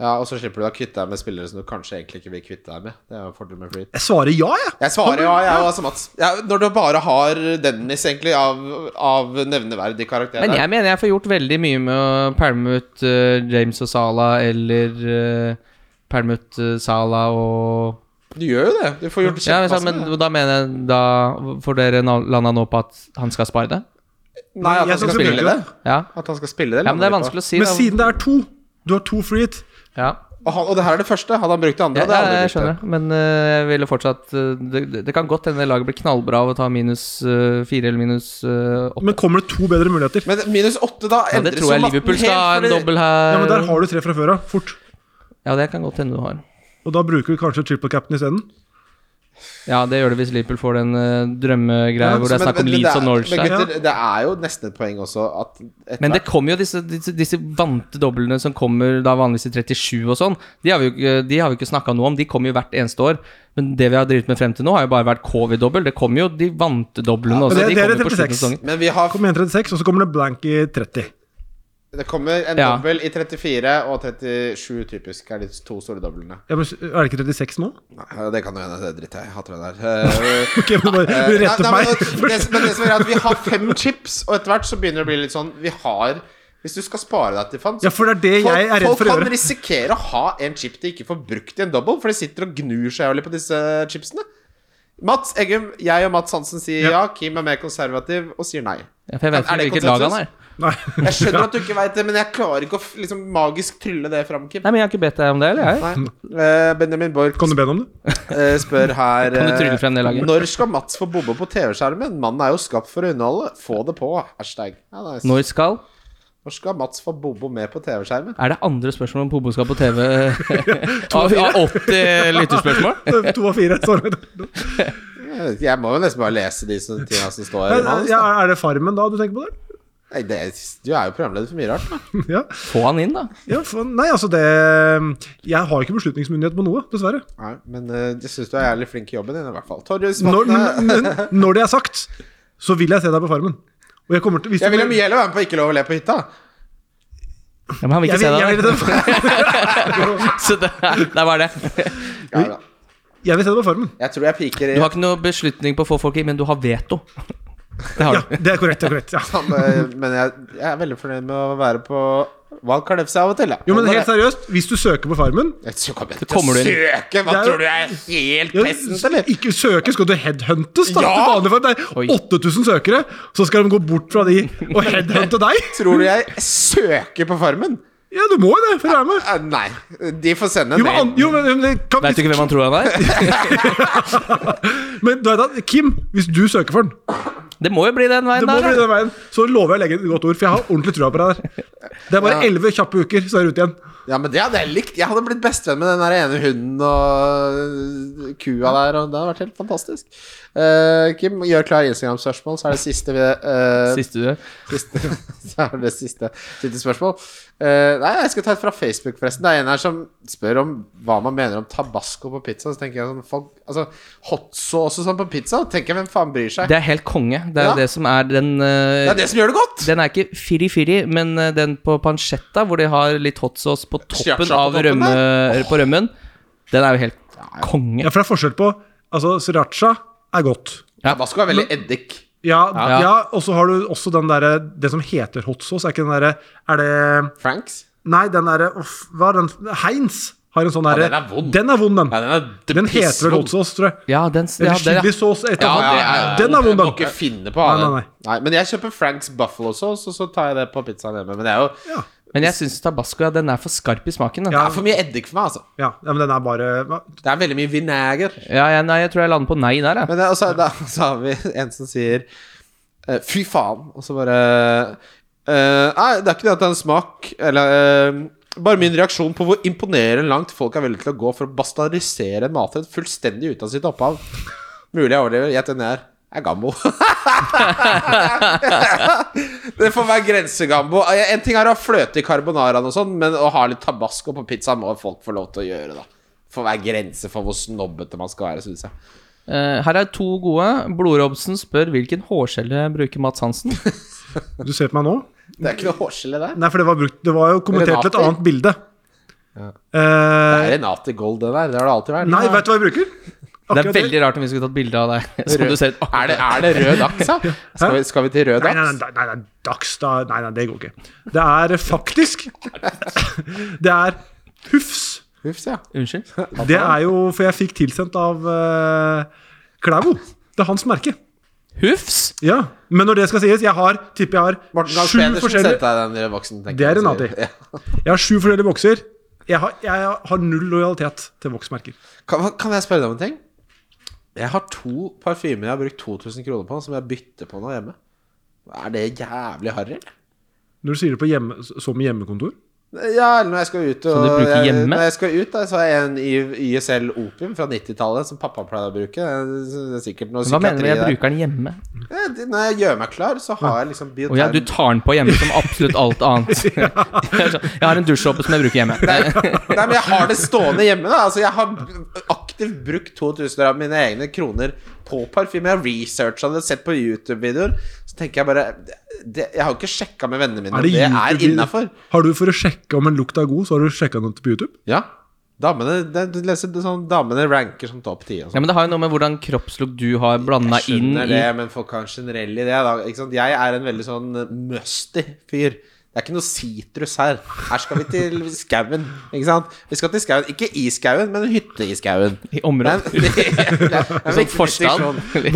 Speaker 3: ja Og så slipper du å kvitte deg med spillere som du kanskje egentlig ikke vil kvitte deg med. Det er jo en fordel med free.
Speaker 4: Jeg svarer ja, jeg.
Speaker 3: Jeg svarer ja, jeg er også Mats. Ja, når du bare har Dennis, egentlig, av, av nevneverdig karakter.
Speaker 2: Men
Speaker 3: der.
Speaker 2: jeg mener jeg får gjort veldig mye med å pælme ut eh, James og Sala, eller uh, pælme ut eh, Sala og
Speaker 3: Du gjør jo det. Du får gjort
Speaker 2: Ja, men, sant,
Speaker 3: kjempemasse.
Speaker 2: men da mener jeg da Får dere na- landa nå på at han skal spare det?
Speaker 3: Nei, at han skal
Speaker 4: Jeg synes det
Speaker 3: spille
Speaker 4: burde
Speaker 3: det.
Speaker 4: jo.
Speaker 2: Ja,
Speaker 3: At han skal spille det.
Speaker 2: ja men det er vanskelig å si.
Speaker 4: Men
Speaker 2: da.
Speaker 4: siden det er to Du har to free hit.
Speaker 2: ja.
Speaker 3: Og, han, og det her er det første. Hadde han brukt det andre,
Speaker 2: Ja,
Speaker 3: hadde jeg
Speaker 2: jeg
Speaker 3: aldri brukt det.
Speaker 2: skjønner, men eh, jeg ville fortsatt eh, det, det- det kan godt hende laget blir knallbra av å ta minus eh, fire eller minus eh, åtte.
Speaker 4: Men kommer det to bedre muligheter?
Speaker 3: Men minus åtte, da
Speaker 2: Ja, det
Speaker 3: endres
Speaker 2: tror jeg
Speaker 3: jo
Speaker 2: Liverpool
Speaker 3: matten
Speaker 2: skal ha en
Speaker 3: helt, fordi-
Speaker 2: dobbel her.
Speaker 4: Ja, men
Speaker 3: eh,
Speaker 4: Der har du tre fra før av. Fort.
Speaker 2: Ja, det kan godt hende du har.
Speaker 4: Og da bruker du kanskje triple cap'n isteden.
Speaker 2: Ja, det gjør det hvis Liverpool får den eh, drømmegreia
Speaker 4: Ja,
Speaker 2: hvor det er
Speaker 3: Men-
Speaker 2: snakk om
Speaker 3: men det
Speaker 2: Leeds
Speaker 3: er-
Speaker 2: og Norwich
Speaker 3: Men
Speaker 2: der.
Speaker 3: gutter, det er jo nesten et poeng også at etter
Speaker 2: Men det
Speaker 3: hvert-
Speaker 2: kommer jo disse, disse, disse vante doblene som kommer da vanligvis i 37 og sånn. De har vi jo ikke, de har vi ikke snakka noe om, de kommer jo hvert eneste år. Men det vi har drevet med frem til nå, har jo bare vært covid-dobbel. Det kommer jo de vante doblene
Speaker 4: men
Speaker 2: også.
Speaker 4: det-
Speaker 2: de
Speaker 4: det er
Speaker 2: kommer på
Speaker 4: 36.
Speaker 2: slutten av sesongen.
Speaker 3: Men vi har
Speaker 4: Kommer 1,36, og så kommer det blank i 30.
Speaker 3: Det kommer en
Speaker 2: Ja.
Speaker 3: dobbel i 34 og 37, typisk. Er de to store doblene.
Speaker 4: Ja, men, er det ikke 36 nå?
Speaker 3: Nei, det kan jo hende. Det driter jeg i. Hater det der. Eh,
Speaker 4: Ok, men bare
Speaker 3: Eh,
Speaker 4: rett opp
Speaker 3: nei, nei,
Speaker 4: meg. [LAUGHS]
Speaker 3: men, det, men det som er greit, vi har fem chips, og etter hvert så begynner det å bli litt sånn Vi har Hvis du skal spare deg til fant
Speaker 4: Ja, for det er det jeg er redd
Speaker 3: Folk
Speaker 4: for å
Speaker 3: kan
Speaker 4: gjøre.
Speaker 3: risikere å ha en chip de ikke får brukt i en double, for de sitter og gnur seg jævlig på disse chipsene. Mats Eggum, jeg og Mats Hansen sier
Speaker 4: Ja.
Speaker 3: ja, Kim er mer konservativ og sier nei.
Speaker 2: Ja, for jeg vet
Speaker 3: Er
Speaker 2: ikke
Speaker 3: det
Speaker 2: hvilket lag han er.
Speaker 4: Nei.
Speaker 3: Jeg skjønner at du ikke veit det, men jeg klarer ikke å f- liksom, magisk trylle det fram, Kim.
Speaker 2: Nei, men jeg har ikke bedt deg om det, eller jeg?
Speaker 3: Nei. Eh, Benjamin Borch
Speaker 4: Kan du be ham om det? [LAUGHS]
Speaker 3: Eh, spør her
Speaker 2: Kan du trylle
Speaker 3: eh,
Speaker 2: frem det laget?
Speaker 3: Når skal Mats få bobbe på TV-skjermen? Mannen er jo skapt for å underholde. Få det på. Hashtag. Ja, nice.
Speaker 2: Når skal?
Speaker 3: Når skal Mats få Bobo med på TV-skjermen?
Speaker 2: Er det andre spørsmål om Bobo skal på TV?
Speaker 4: [LAUGHS]
Speaker 2: Av av 80 lyttespørsmål?
Speaker 4: To av fire. Sorry. Nei,
Speaker 3: Jeg vet ikke, Eh, Jeg må jo nesten bare lese de som, tinga som står her i manus.
Speaker 4: Ja,
Speaker 3: da.
Speaker 4: er det Farmen da du tenker på det?
Speaker 3: Nei, det, du er jo programleder for mye rart. Da.
Speaker 4: Ja.
Speaker 2: Få han inn, da.
Speaker 4: ja for, nei, altså det Jeg har ikke beslutningsmyndighet på noe, dessverre.
Speaker 3: Nei, men eh, jeg syns du er jævlig flink i jobben din, i hvert fall. Torjus
Speaker 4: Når,
Speaker 3: Vatne.
Speaker 4: men når det er sagt, så vil jeg se deg på Farmen. Og jeg kommer til hvis
Speaker 3: Jeg
Speaker 4: du-
Speaker 3: vil jo mye heller være med på Ikke lov å le på hytta.
Speaker 2: Ja, men han vil ikke
Speaker 4: Jeg
Speaker 2: se
Speaker 4: vil, jeg,
Speaker 2: deg.
Speaker 4: vil, jeg, vil,
Speaker 2: da. [LAUGHS] Så det, det var det.
Speaker 3: Ja, da.
Speaker 4: [LAUGHS] jeg vil se deg på Farmen.
Speaker 3: Jeg tror jeg piker i
Speaker 2: Du har ikke noe beslutning på å få folk inn, men du har veto. Det har
Speaker 4: Ja,
Speaker 2: du.
Speaker 4: det er korrekt. Det er korrekt ja.
Speaker 3: Han, eh, Men jeg, jeg er veldig fornøyd med å være på Val Kalefse av og til.
Speaker 4: Jo, men helt seriøst, hvis du søker på Farmen
Speaker 3: Så kommer jeg
Speaker 2: Så kommer
Speaker 3: til
Speaker 2: du
Speaker 3: å søke! Hva
Speaker 4: Det er jo-
Speaker 3: tror du, jeg er helt
Speaker 4: ja,
Speaker 3: pessens, eller?
Speaker 4: Ikke søke, skal du headhuntes, da?
Speaker 3: Ja!
Speaker 4: Til vanlig form.
Speaker 2: Oi.
Speaker 4: Det er 8000 søkere, så skal de gå bort fra de og headhunte deg?
Speaker 3: Tror du jeg søker på Farmen?
Speaker 4: Ja, du må jo det, for å være med.
Speaker 3: Eh, Nei. De får sende
Speaker 4: Jo,
Speaker 3: en
Speaker 4: men, an-
Speaker 3: mail.
Speaker 4: jo, men, men, det kan,
Speaker 2: Veit du ikke hvem han tror han er?
Speaker 4: men du vet at Kim, hvis du søker for den,
Speaker 2: Det må jo bli den
Speaker 4: det
Speaker 2: veien
Speaker 4: må
Speaker 2: der.
Speaker 4: bli
Speaker 2: da.
Speaker 4: den veien, så lover jeg å legge inn et godt ord, for jeg har ordentlig trua på deg der. Det er bare
Speaker 3: Ja.
Speaker 4: elleve kjappe uker, så er du ute igjen.
Speaker 3: Ja, men det hadde jeg likt. Jeg hadde blitt bestevenn med den der ene hunden og øh, kua der, og det hadde vært helt fantastisk. Eh, Kim, gjør klar Instagram-spørsmål, så er det siste vi eh,
Speaker 2: Siste du gjør.
Speaker 3: siste. [LAUGHS] Så er det siste, siste spørsmål. Eh, nei, jeg skal ta et fra Facebook, forresten. Det er en her som spør om hva man mener om tabasco på pizza. Så tenker jeg sånn folk, altså Hot sauce og sånn på pizza, tenker jeg, hvem faen bryr seg?
Speaker 2: Det er helt konge. Det er
Speaker 3: Ja.
Speaker 2: jo det som er den eh,
Speaker 3: Det er det som gjør det godt!
Speaker 2: Den er ikke firi-firi, men eh, den på pancetta, hvor de har litt hot sauce på
Speaker 3: Sriracha på
Speaker 2: toppen av
Speaker 3: toppen
Speaker 2: rømme, eh, på rømmen, den er jo helt konge.
Speaker 4: Ja, for det er forskjell på Altså, sriracha er godt.
Speaker 3: Tabasco er veldig eddik.
Speaker 4: Ja, ja.
Speaker 2: Ja.
Speaker 4: og så har du også den derre Det som heter hot sauce, er ikke den derre Er det
Speaker 3: Franks?
Speaker 4: Nei, den derre uff, Hva er den? Heinz har en sånn
Speaker 3: Ja,
Speaker 4: derre
Speaker 3: den er vond.
Speaker 4: Den er vond, den.
Speaker 3: Ja, den er
Speaker 4: den heter vel hot sauce, tror jeg.
Speaker 2: Ja, den ja,
Speaker 4: Eller
Speaker 2: det-
Speaker 4: chilisauce etter
Speaker 2: Ja,
Speaker 4: hvert.
Speaker 2: det er-
Speaker 4: Den er vond,
Speaker 3: Du må ikke
Speaker 4: den.
Speaker 3: finne på nei,
Speaker 4: Nei,
Speaker 3: nei,
Speaker 4: nei,
Speaker 3: Men jeg kjøper Franks Buffalo Sauce, og så tar jeg det på pizzaen hjemme. Men det er jo
Speaker 4: Ja,
Speaker 2: Men jeg syns tabasco ja, den er for skarp i smaken. Den.
Speaker 3: det
Speaker 2: Ja.
Speaker 4: Ja.
Speaker 3: er for mye eddik for meg, altså.
Speaker 4: ja, ja, men den er bare hva-
Speaker 3: Det er veldig mye vinæger.
Speaker 2: jeg- nei, jeg tror jeg lander på nei der, jeg.
Speaker 3: Men det, og så, da, så har vi en som sier eh, Fy faen! Og så bare eh, Nei, det er ikke det at det er en smak, eller eh, Bare min reaksjon på hvor imponerende langt folk er villige til å gå for å bastardisere en matrett fullstendig ut av sitt opphav. Mulig jeg overdriver. Gjett hvem det er. Det er Gambo. [LAUGHS] det får være grensegambo. Ah, En ting er å ha fløte i carbonaraen og sånn, men å ha litt tabasco på pizza må folk få lov til å gjøre, da. Får være grense for hvor snobbete man skal være, syns jeg.
Speaker 2: Eh, her er to gode. Blodrobsen spør hvilken hårskjelle bruker Mats Hansen.
Speaker 4: Du ser på meg nå?
Speaker 3: Det er ikke noe hårskille der.
Speaker 4: Nei, for det var, brukt, det var jo kommentert til et
Speaker 3: Renate?
Speaker 4: annet bilde.
Speaker 3: Det
Speaker 4: Eh,
Speaker 3: er Renate Gold, det der. Det har det alltid vært.
Speaker 4: nei, vet du hva jeg bruker?
Speaker 2: Det er
Speaker 4: Akkurat det.
Speaker 2: veldig rart om vi skulle tatt bilde av deg. [LAUGHS] Som du ser
Speaker 3: Er det, er det rød dags,
Speaker 4: [LAUGHS]
Speaker 3: da? Skal vi, skal vi til rød
Speaker 4: Nei, nei,
Speaker 3: dags?
Speaker 4: nei, nei, nei, dags, da. Nei, nei, det går ikke. Det er faktisk [LAUGHS] Det er Hufs.
Speaker 3: Hufs, ja.
Speaker 2: Unnskyld?
Speaker 4: Det er jo For jeg fikk tilsendt av uh, Klæbo. Det er hans merke.
Speaker 2: Hufs?
Speaker 4: Ja, men når det skal sies, jeg har, tipper jeg har
Speaker 3: Morten Gahls
Speaker 4: sju
Speaker 3: Pedersen
Speaker 4: forskjellige,
Speaker 3: sendte deg den voksen. tenker
Speaker 4: Det er
Speaker 3: jeg.
Speaker 4: Renate.
Speaker 3: Ja.
Speaker 4: jeg har sju forskjellige bokser. Jeg har, jeg har null lojalitet til voksmerker.
Speaker 3: Kan, kan jeg spørre deg om en ting? Jeg har to parfymer jeg har brukt 2000 kroner på, som jeg bytter på nå hjemme. Er det jævlig harry? eller?
Speaker 4: Når du sier det på hjemme, som hjemmekontor
Speaker 3: Ja, eller når jeg skal ut og,
Speaker 2: Som du bruker
Speaker 3: jeg,
Speaker 2: hjemme?
Speaker 3: Når jeg skal ut, da, så har jeg en I- YSL Opium fra 90-tallet som pappa pleide å bruke. Det er sikkert noe
Speaker 2: Hva mener du med
Speaker 3: psykiatri
Speaker 2: jeg
Speaker 3: der.
Speaker 2: bruker den hjemme?
Speaker 3: Ja, det- Når jeg gjør meg klar, så har jeg liksom
Speaker 2: Å ja, du
Speaker 3: bioterm
Speaker 2: tar den på hjemme som absolutt alt
Speaker 3: [LAUGHS]
Speaker 2: annet. [LAUGHS] Jeg har en dusjsåpe som jeg bruker hjemme.
Speaker 3: Nei, men jeg har det stående hjemme, da. Altså, jeg har ak aktivt brukt 2000 av mine egne kroner på parfyme. Jeg har researcha det, sett på YouTube-videoer. Så tenker jeg bare det, Jeg har jo ikke sjekka med vennene mine om det er
Speaker 4: YouTube-video?
Speaker 3: innafor.
Speaker 4: Har du for å sjekke om en lukt er god, så har du sjekka den på YouTube?
Speaker 3: Ja. Damene, det, du leser det sånn, damene ranker som topp ti. sånn.
Speaker 2: Ja, men det har jo noe med hvordan kroppslukt du har blanda
Speaker 3: Jeg
Speaker 2: inn
Speaker 3: skjønner
Speaker 2: i
Speaker 3: det, men folk har en generell idé. Da. Ikke sant? Jeg er en veldig sånn musty fyr. Det er ikke noe sitrus her. Her skal vi til skauen. Ikke sant? Vi skal til skauen. Ikke i skauen, men hytte i skauen.
Speaker 2: I området.
Speaker 3: [LAUGHS] Men- det er- det er en
Speaker 2: [LAUGHS] Sånn
Speaker 3: viktig
Speaker 2: forstand.
Speaker 3: distinksjon.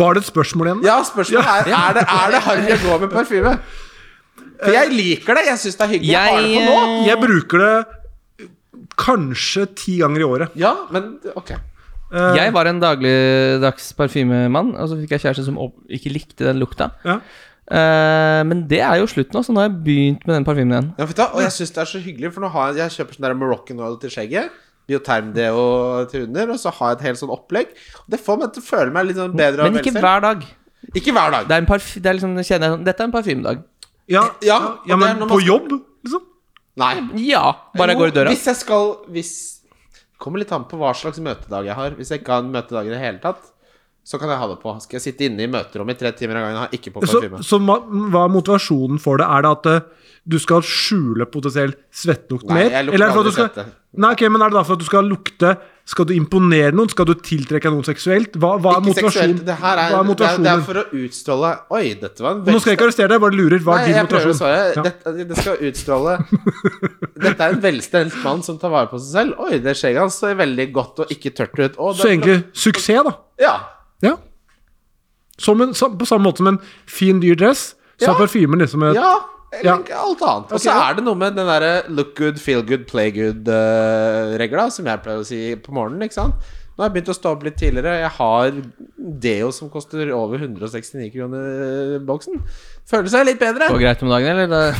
Speaker 2: [LAUGHS]
Speaker 4: Var det et spørsmål igjen? da?
Speaker 3: Ja, spørsmålet er Er det, er det harry å gå med parfyme? For jeg liker det. Jeg syns det er hyggelig. Jeg har det på nå.
Speaker 2: Jeg
Speaker 4: Jeg bruker det kanskje ti ganger i året.
Speaker 3: Ja, men ok.
Speaker 4: Eh,
Speaker 2: Jeg var en dagligdags parfymemann, og så fikk jeg kjæreste som opp- ikke likte den lukta.
Speaker 4: ja.
Speaker 2: Eh, men det er jo slutt nå, så nå har jeg begynt med den parfymen igjen.
Speaker 3: Ja, vet du, hva? og jeg syns det er så hyggelig, for nå har jeg, jeg kjøper sånn der Moroccan oil til skjegget. Biotermdeo til hunder, og så har jeg et helt sånn opplegg. Og det får meg til å føle meg litt sånn bedre og
Speaker 2: Men ikke
Speaker 3: velstelt.
Speaker 2: hver dag.
Speaker 3: ikke hver dag.
Speaker 2: Det er en parf det er liksom, det kjenner jeg sånn Dette er en parfymedag.
Speaker 3: Ja,
Speaker 4: Ja, ja,
Speaker 3: og det er
Speaker 4: ja, men
Speaker 3: når man
Speaker 4: på
Speaker 3: skal-
Speaker 4: jobb, liksom?
Speaker 3: Nei.
Speaker 2: Ja, bare jeg
Speaker 3: Jo,
Speaker 2: går i døra.
Speaker 3: Hvis jeg skal Hvis Kommer litt an på hva slags møtedag jeg har. Hvis jeg ikke har en møtedag i det hele tatt, så kan jeg ha det på. Skal jeg sitte inne i møterommet i tre timer av gangen og ha ikke på
Speaker 4: Så,
Speaker 3: parfyme?
Speaker 4: så ma- hva er motivasjonen for det? Er det at eh, du skal skjule potensiell svettlukt
Speaker 3: Nei,
Speaker 4: mer?
Speaker 3: jeg lukter
Speaker 4: Eller er det for at
Speaker 3: aldri
Speaker 4: du skal,
Speaker 3: svette.
Speaker 4: nei, ok, men er det da for at du skal lukte Skal du imponere noen? Skal du tiltrekke noen seksuelt? Hva, hva er
Speaker 3: Ikke seksuelt.
Speaker 4: motivasjonen?
Speaker 3: Det her er, det er,
Speaker 4: hva er
Speaker 3: det er
Speaker 4: motivasjonen?
Speaker 3: for å utstråle Oi, dette var en
Speaker 4: Nå skal jeg ikke arrestere deg, jeg bare lurer. Hva er
Speaker 3: Nei,
Speaker 4: din
Speaker 3: jeg prøver å
Speaker 4: motivasjon?
Speaker 3: svare.
Speaker 4: Ja.
Speaker 3: Dette, det skal utstråle Dette er en velstelt mann som tar vare på seg selv. Oi, det skjegget hans ser veldig godt og ikke tørt ut. Å, det
Speaker 4: Så
Speaker 3: er
Speaker 4: egentlig suksess, da.
Speaker 3: flott. Ja.
Speaker 4: Ja. Som en, sam, på samme måte som en fin, dyr dress, så
Speaker 3: Ja.
Speaker 4: er parfymen liksom et
Speaker 3: ja.
Speaker 4: Ja.
Speaker 3: Eller alt annet. Og
Speaker 4: Ok,
Speaker 3: så
Speaker 4: ja.
Speaker 3: er det noe med den derre look good, feel good, play good-regla, som jeg pleier å si på morgenen, ikke sant? Nå har jeg begynt å stå opp litt tidligere. Jeg har Deo som koster over 169 kroner eh, boksen. Føler seg litt bedre.
Speaker 2: Går greit om dagen, eller?
Speaker 3: [LAUGHS]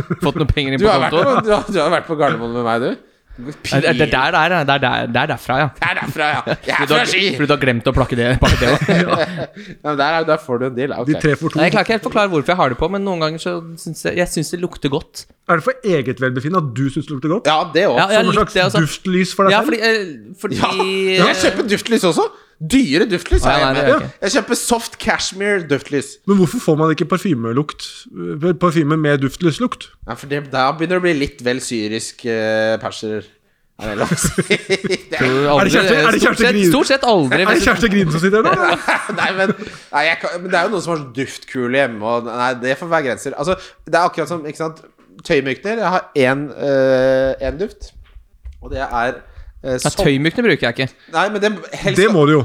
Speaker 2: Da- Fått noen penger inn
Speaker 3: Du
Speaker 2: på
Speaker 3: har vært på,
Speaker 2: konto?
Speaker 3: du har, du har vært på Gardermoen med meg, du.
Speaker 2: Er Det er der, der, der, der, der derfra, ja.
Speaker 3: Det er derfra,
Speaker 2: [LAUGHS]
Speaker 3: ja. Jeg er
Speaker 2: Fordi du
Speaker 3: fra
Speaker 2: har-
Speaker 3: Ski!
Speaker 2: Fordi du har glemt å plakke det, pakke det også.
Speaker 3: Ja, men der, er, der får du en deal.
Speaker 4: De tre for to.
Speaker 2: Nei, Jeg klarer ikke helt forklare hvorfor jeg har det på, men noen ganger så syns jeg, jeg synes det lukter godt.
Speaker 4: Er det for eget velbefinnende at du syns det lukter godt?
Speaker 3: Ja, altså. det òg.
Speaker 2: Ja, jeg
Speaker 4: Som et
Speaker 2: likte
Speaker 4: slags
Speaker 2: det også.
Speaker 4: duftlys for deg
Speaker 2: Ja,
Speaker 4: selv?
Speaker 2: fordi, eh, fordi
Speaker 3: Jeg kjøper duftlys også. Dyre duftlys.
Speaker 2: Nei,
Speaker 3: er jeg
Speaker 2: nei, det
Speaker 3: med.
Speaker 2: gjør jeg ikke.
Speaker 3: Jeg kjøper soft cashmere duftlys.
Speaker 4: Men hvorfor får man ikke parfymelukt eh, Parfyme med duftløslukt?
Speaker 3: Nei, for det, Da begynner det å bli litt vel syrisk eh, perser. Er det lov å si? [LAUGHS] Det
Speaker 2: Aldri-
Speaker 3: er-
Speaker 4: Er det Kjersti- er
Speaker 2: stort,
Speaker 4: det Kjersti
Speaker 2: sett,
Speaker 4: Grin?
Speaker 2: stort sett aldri.
Speaker 4: Er det
Speaker 2: hvis du-
Speaker 4: Kjersti Grine som sitter her nå? eller?
Speaker 3: [LAUGHS] Nei, men, nei jeg kan, men det er jo noen som har sånn duftkule hjemme, og nei, det får være grenser. Altså, det er akkurat som ikke sant? tøymykner. Jeg har én øh, én duft, og det er øh,
Speaker 2: Ja,
Speaker 3: som-
Speaker 2: Tøymykne bruker jeg ikke.
Speaker 3: Nei, men det helst
Speaker 4: Det må du jo.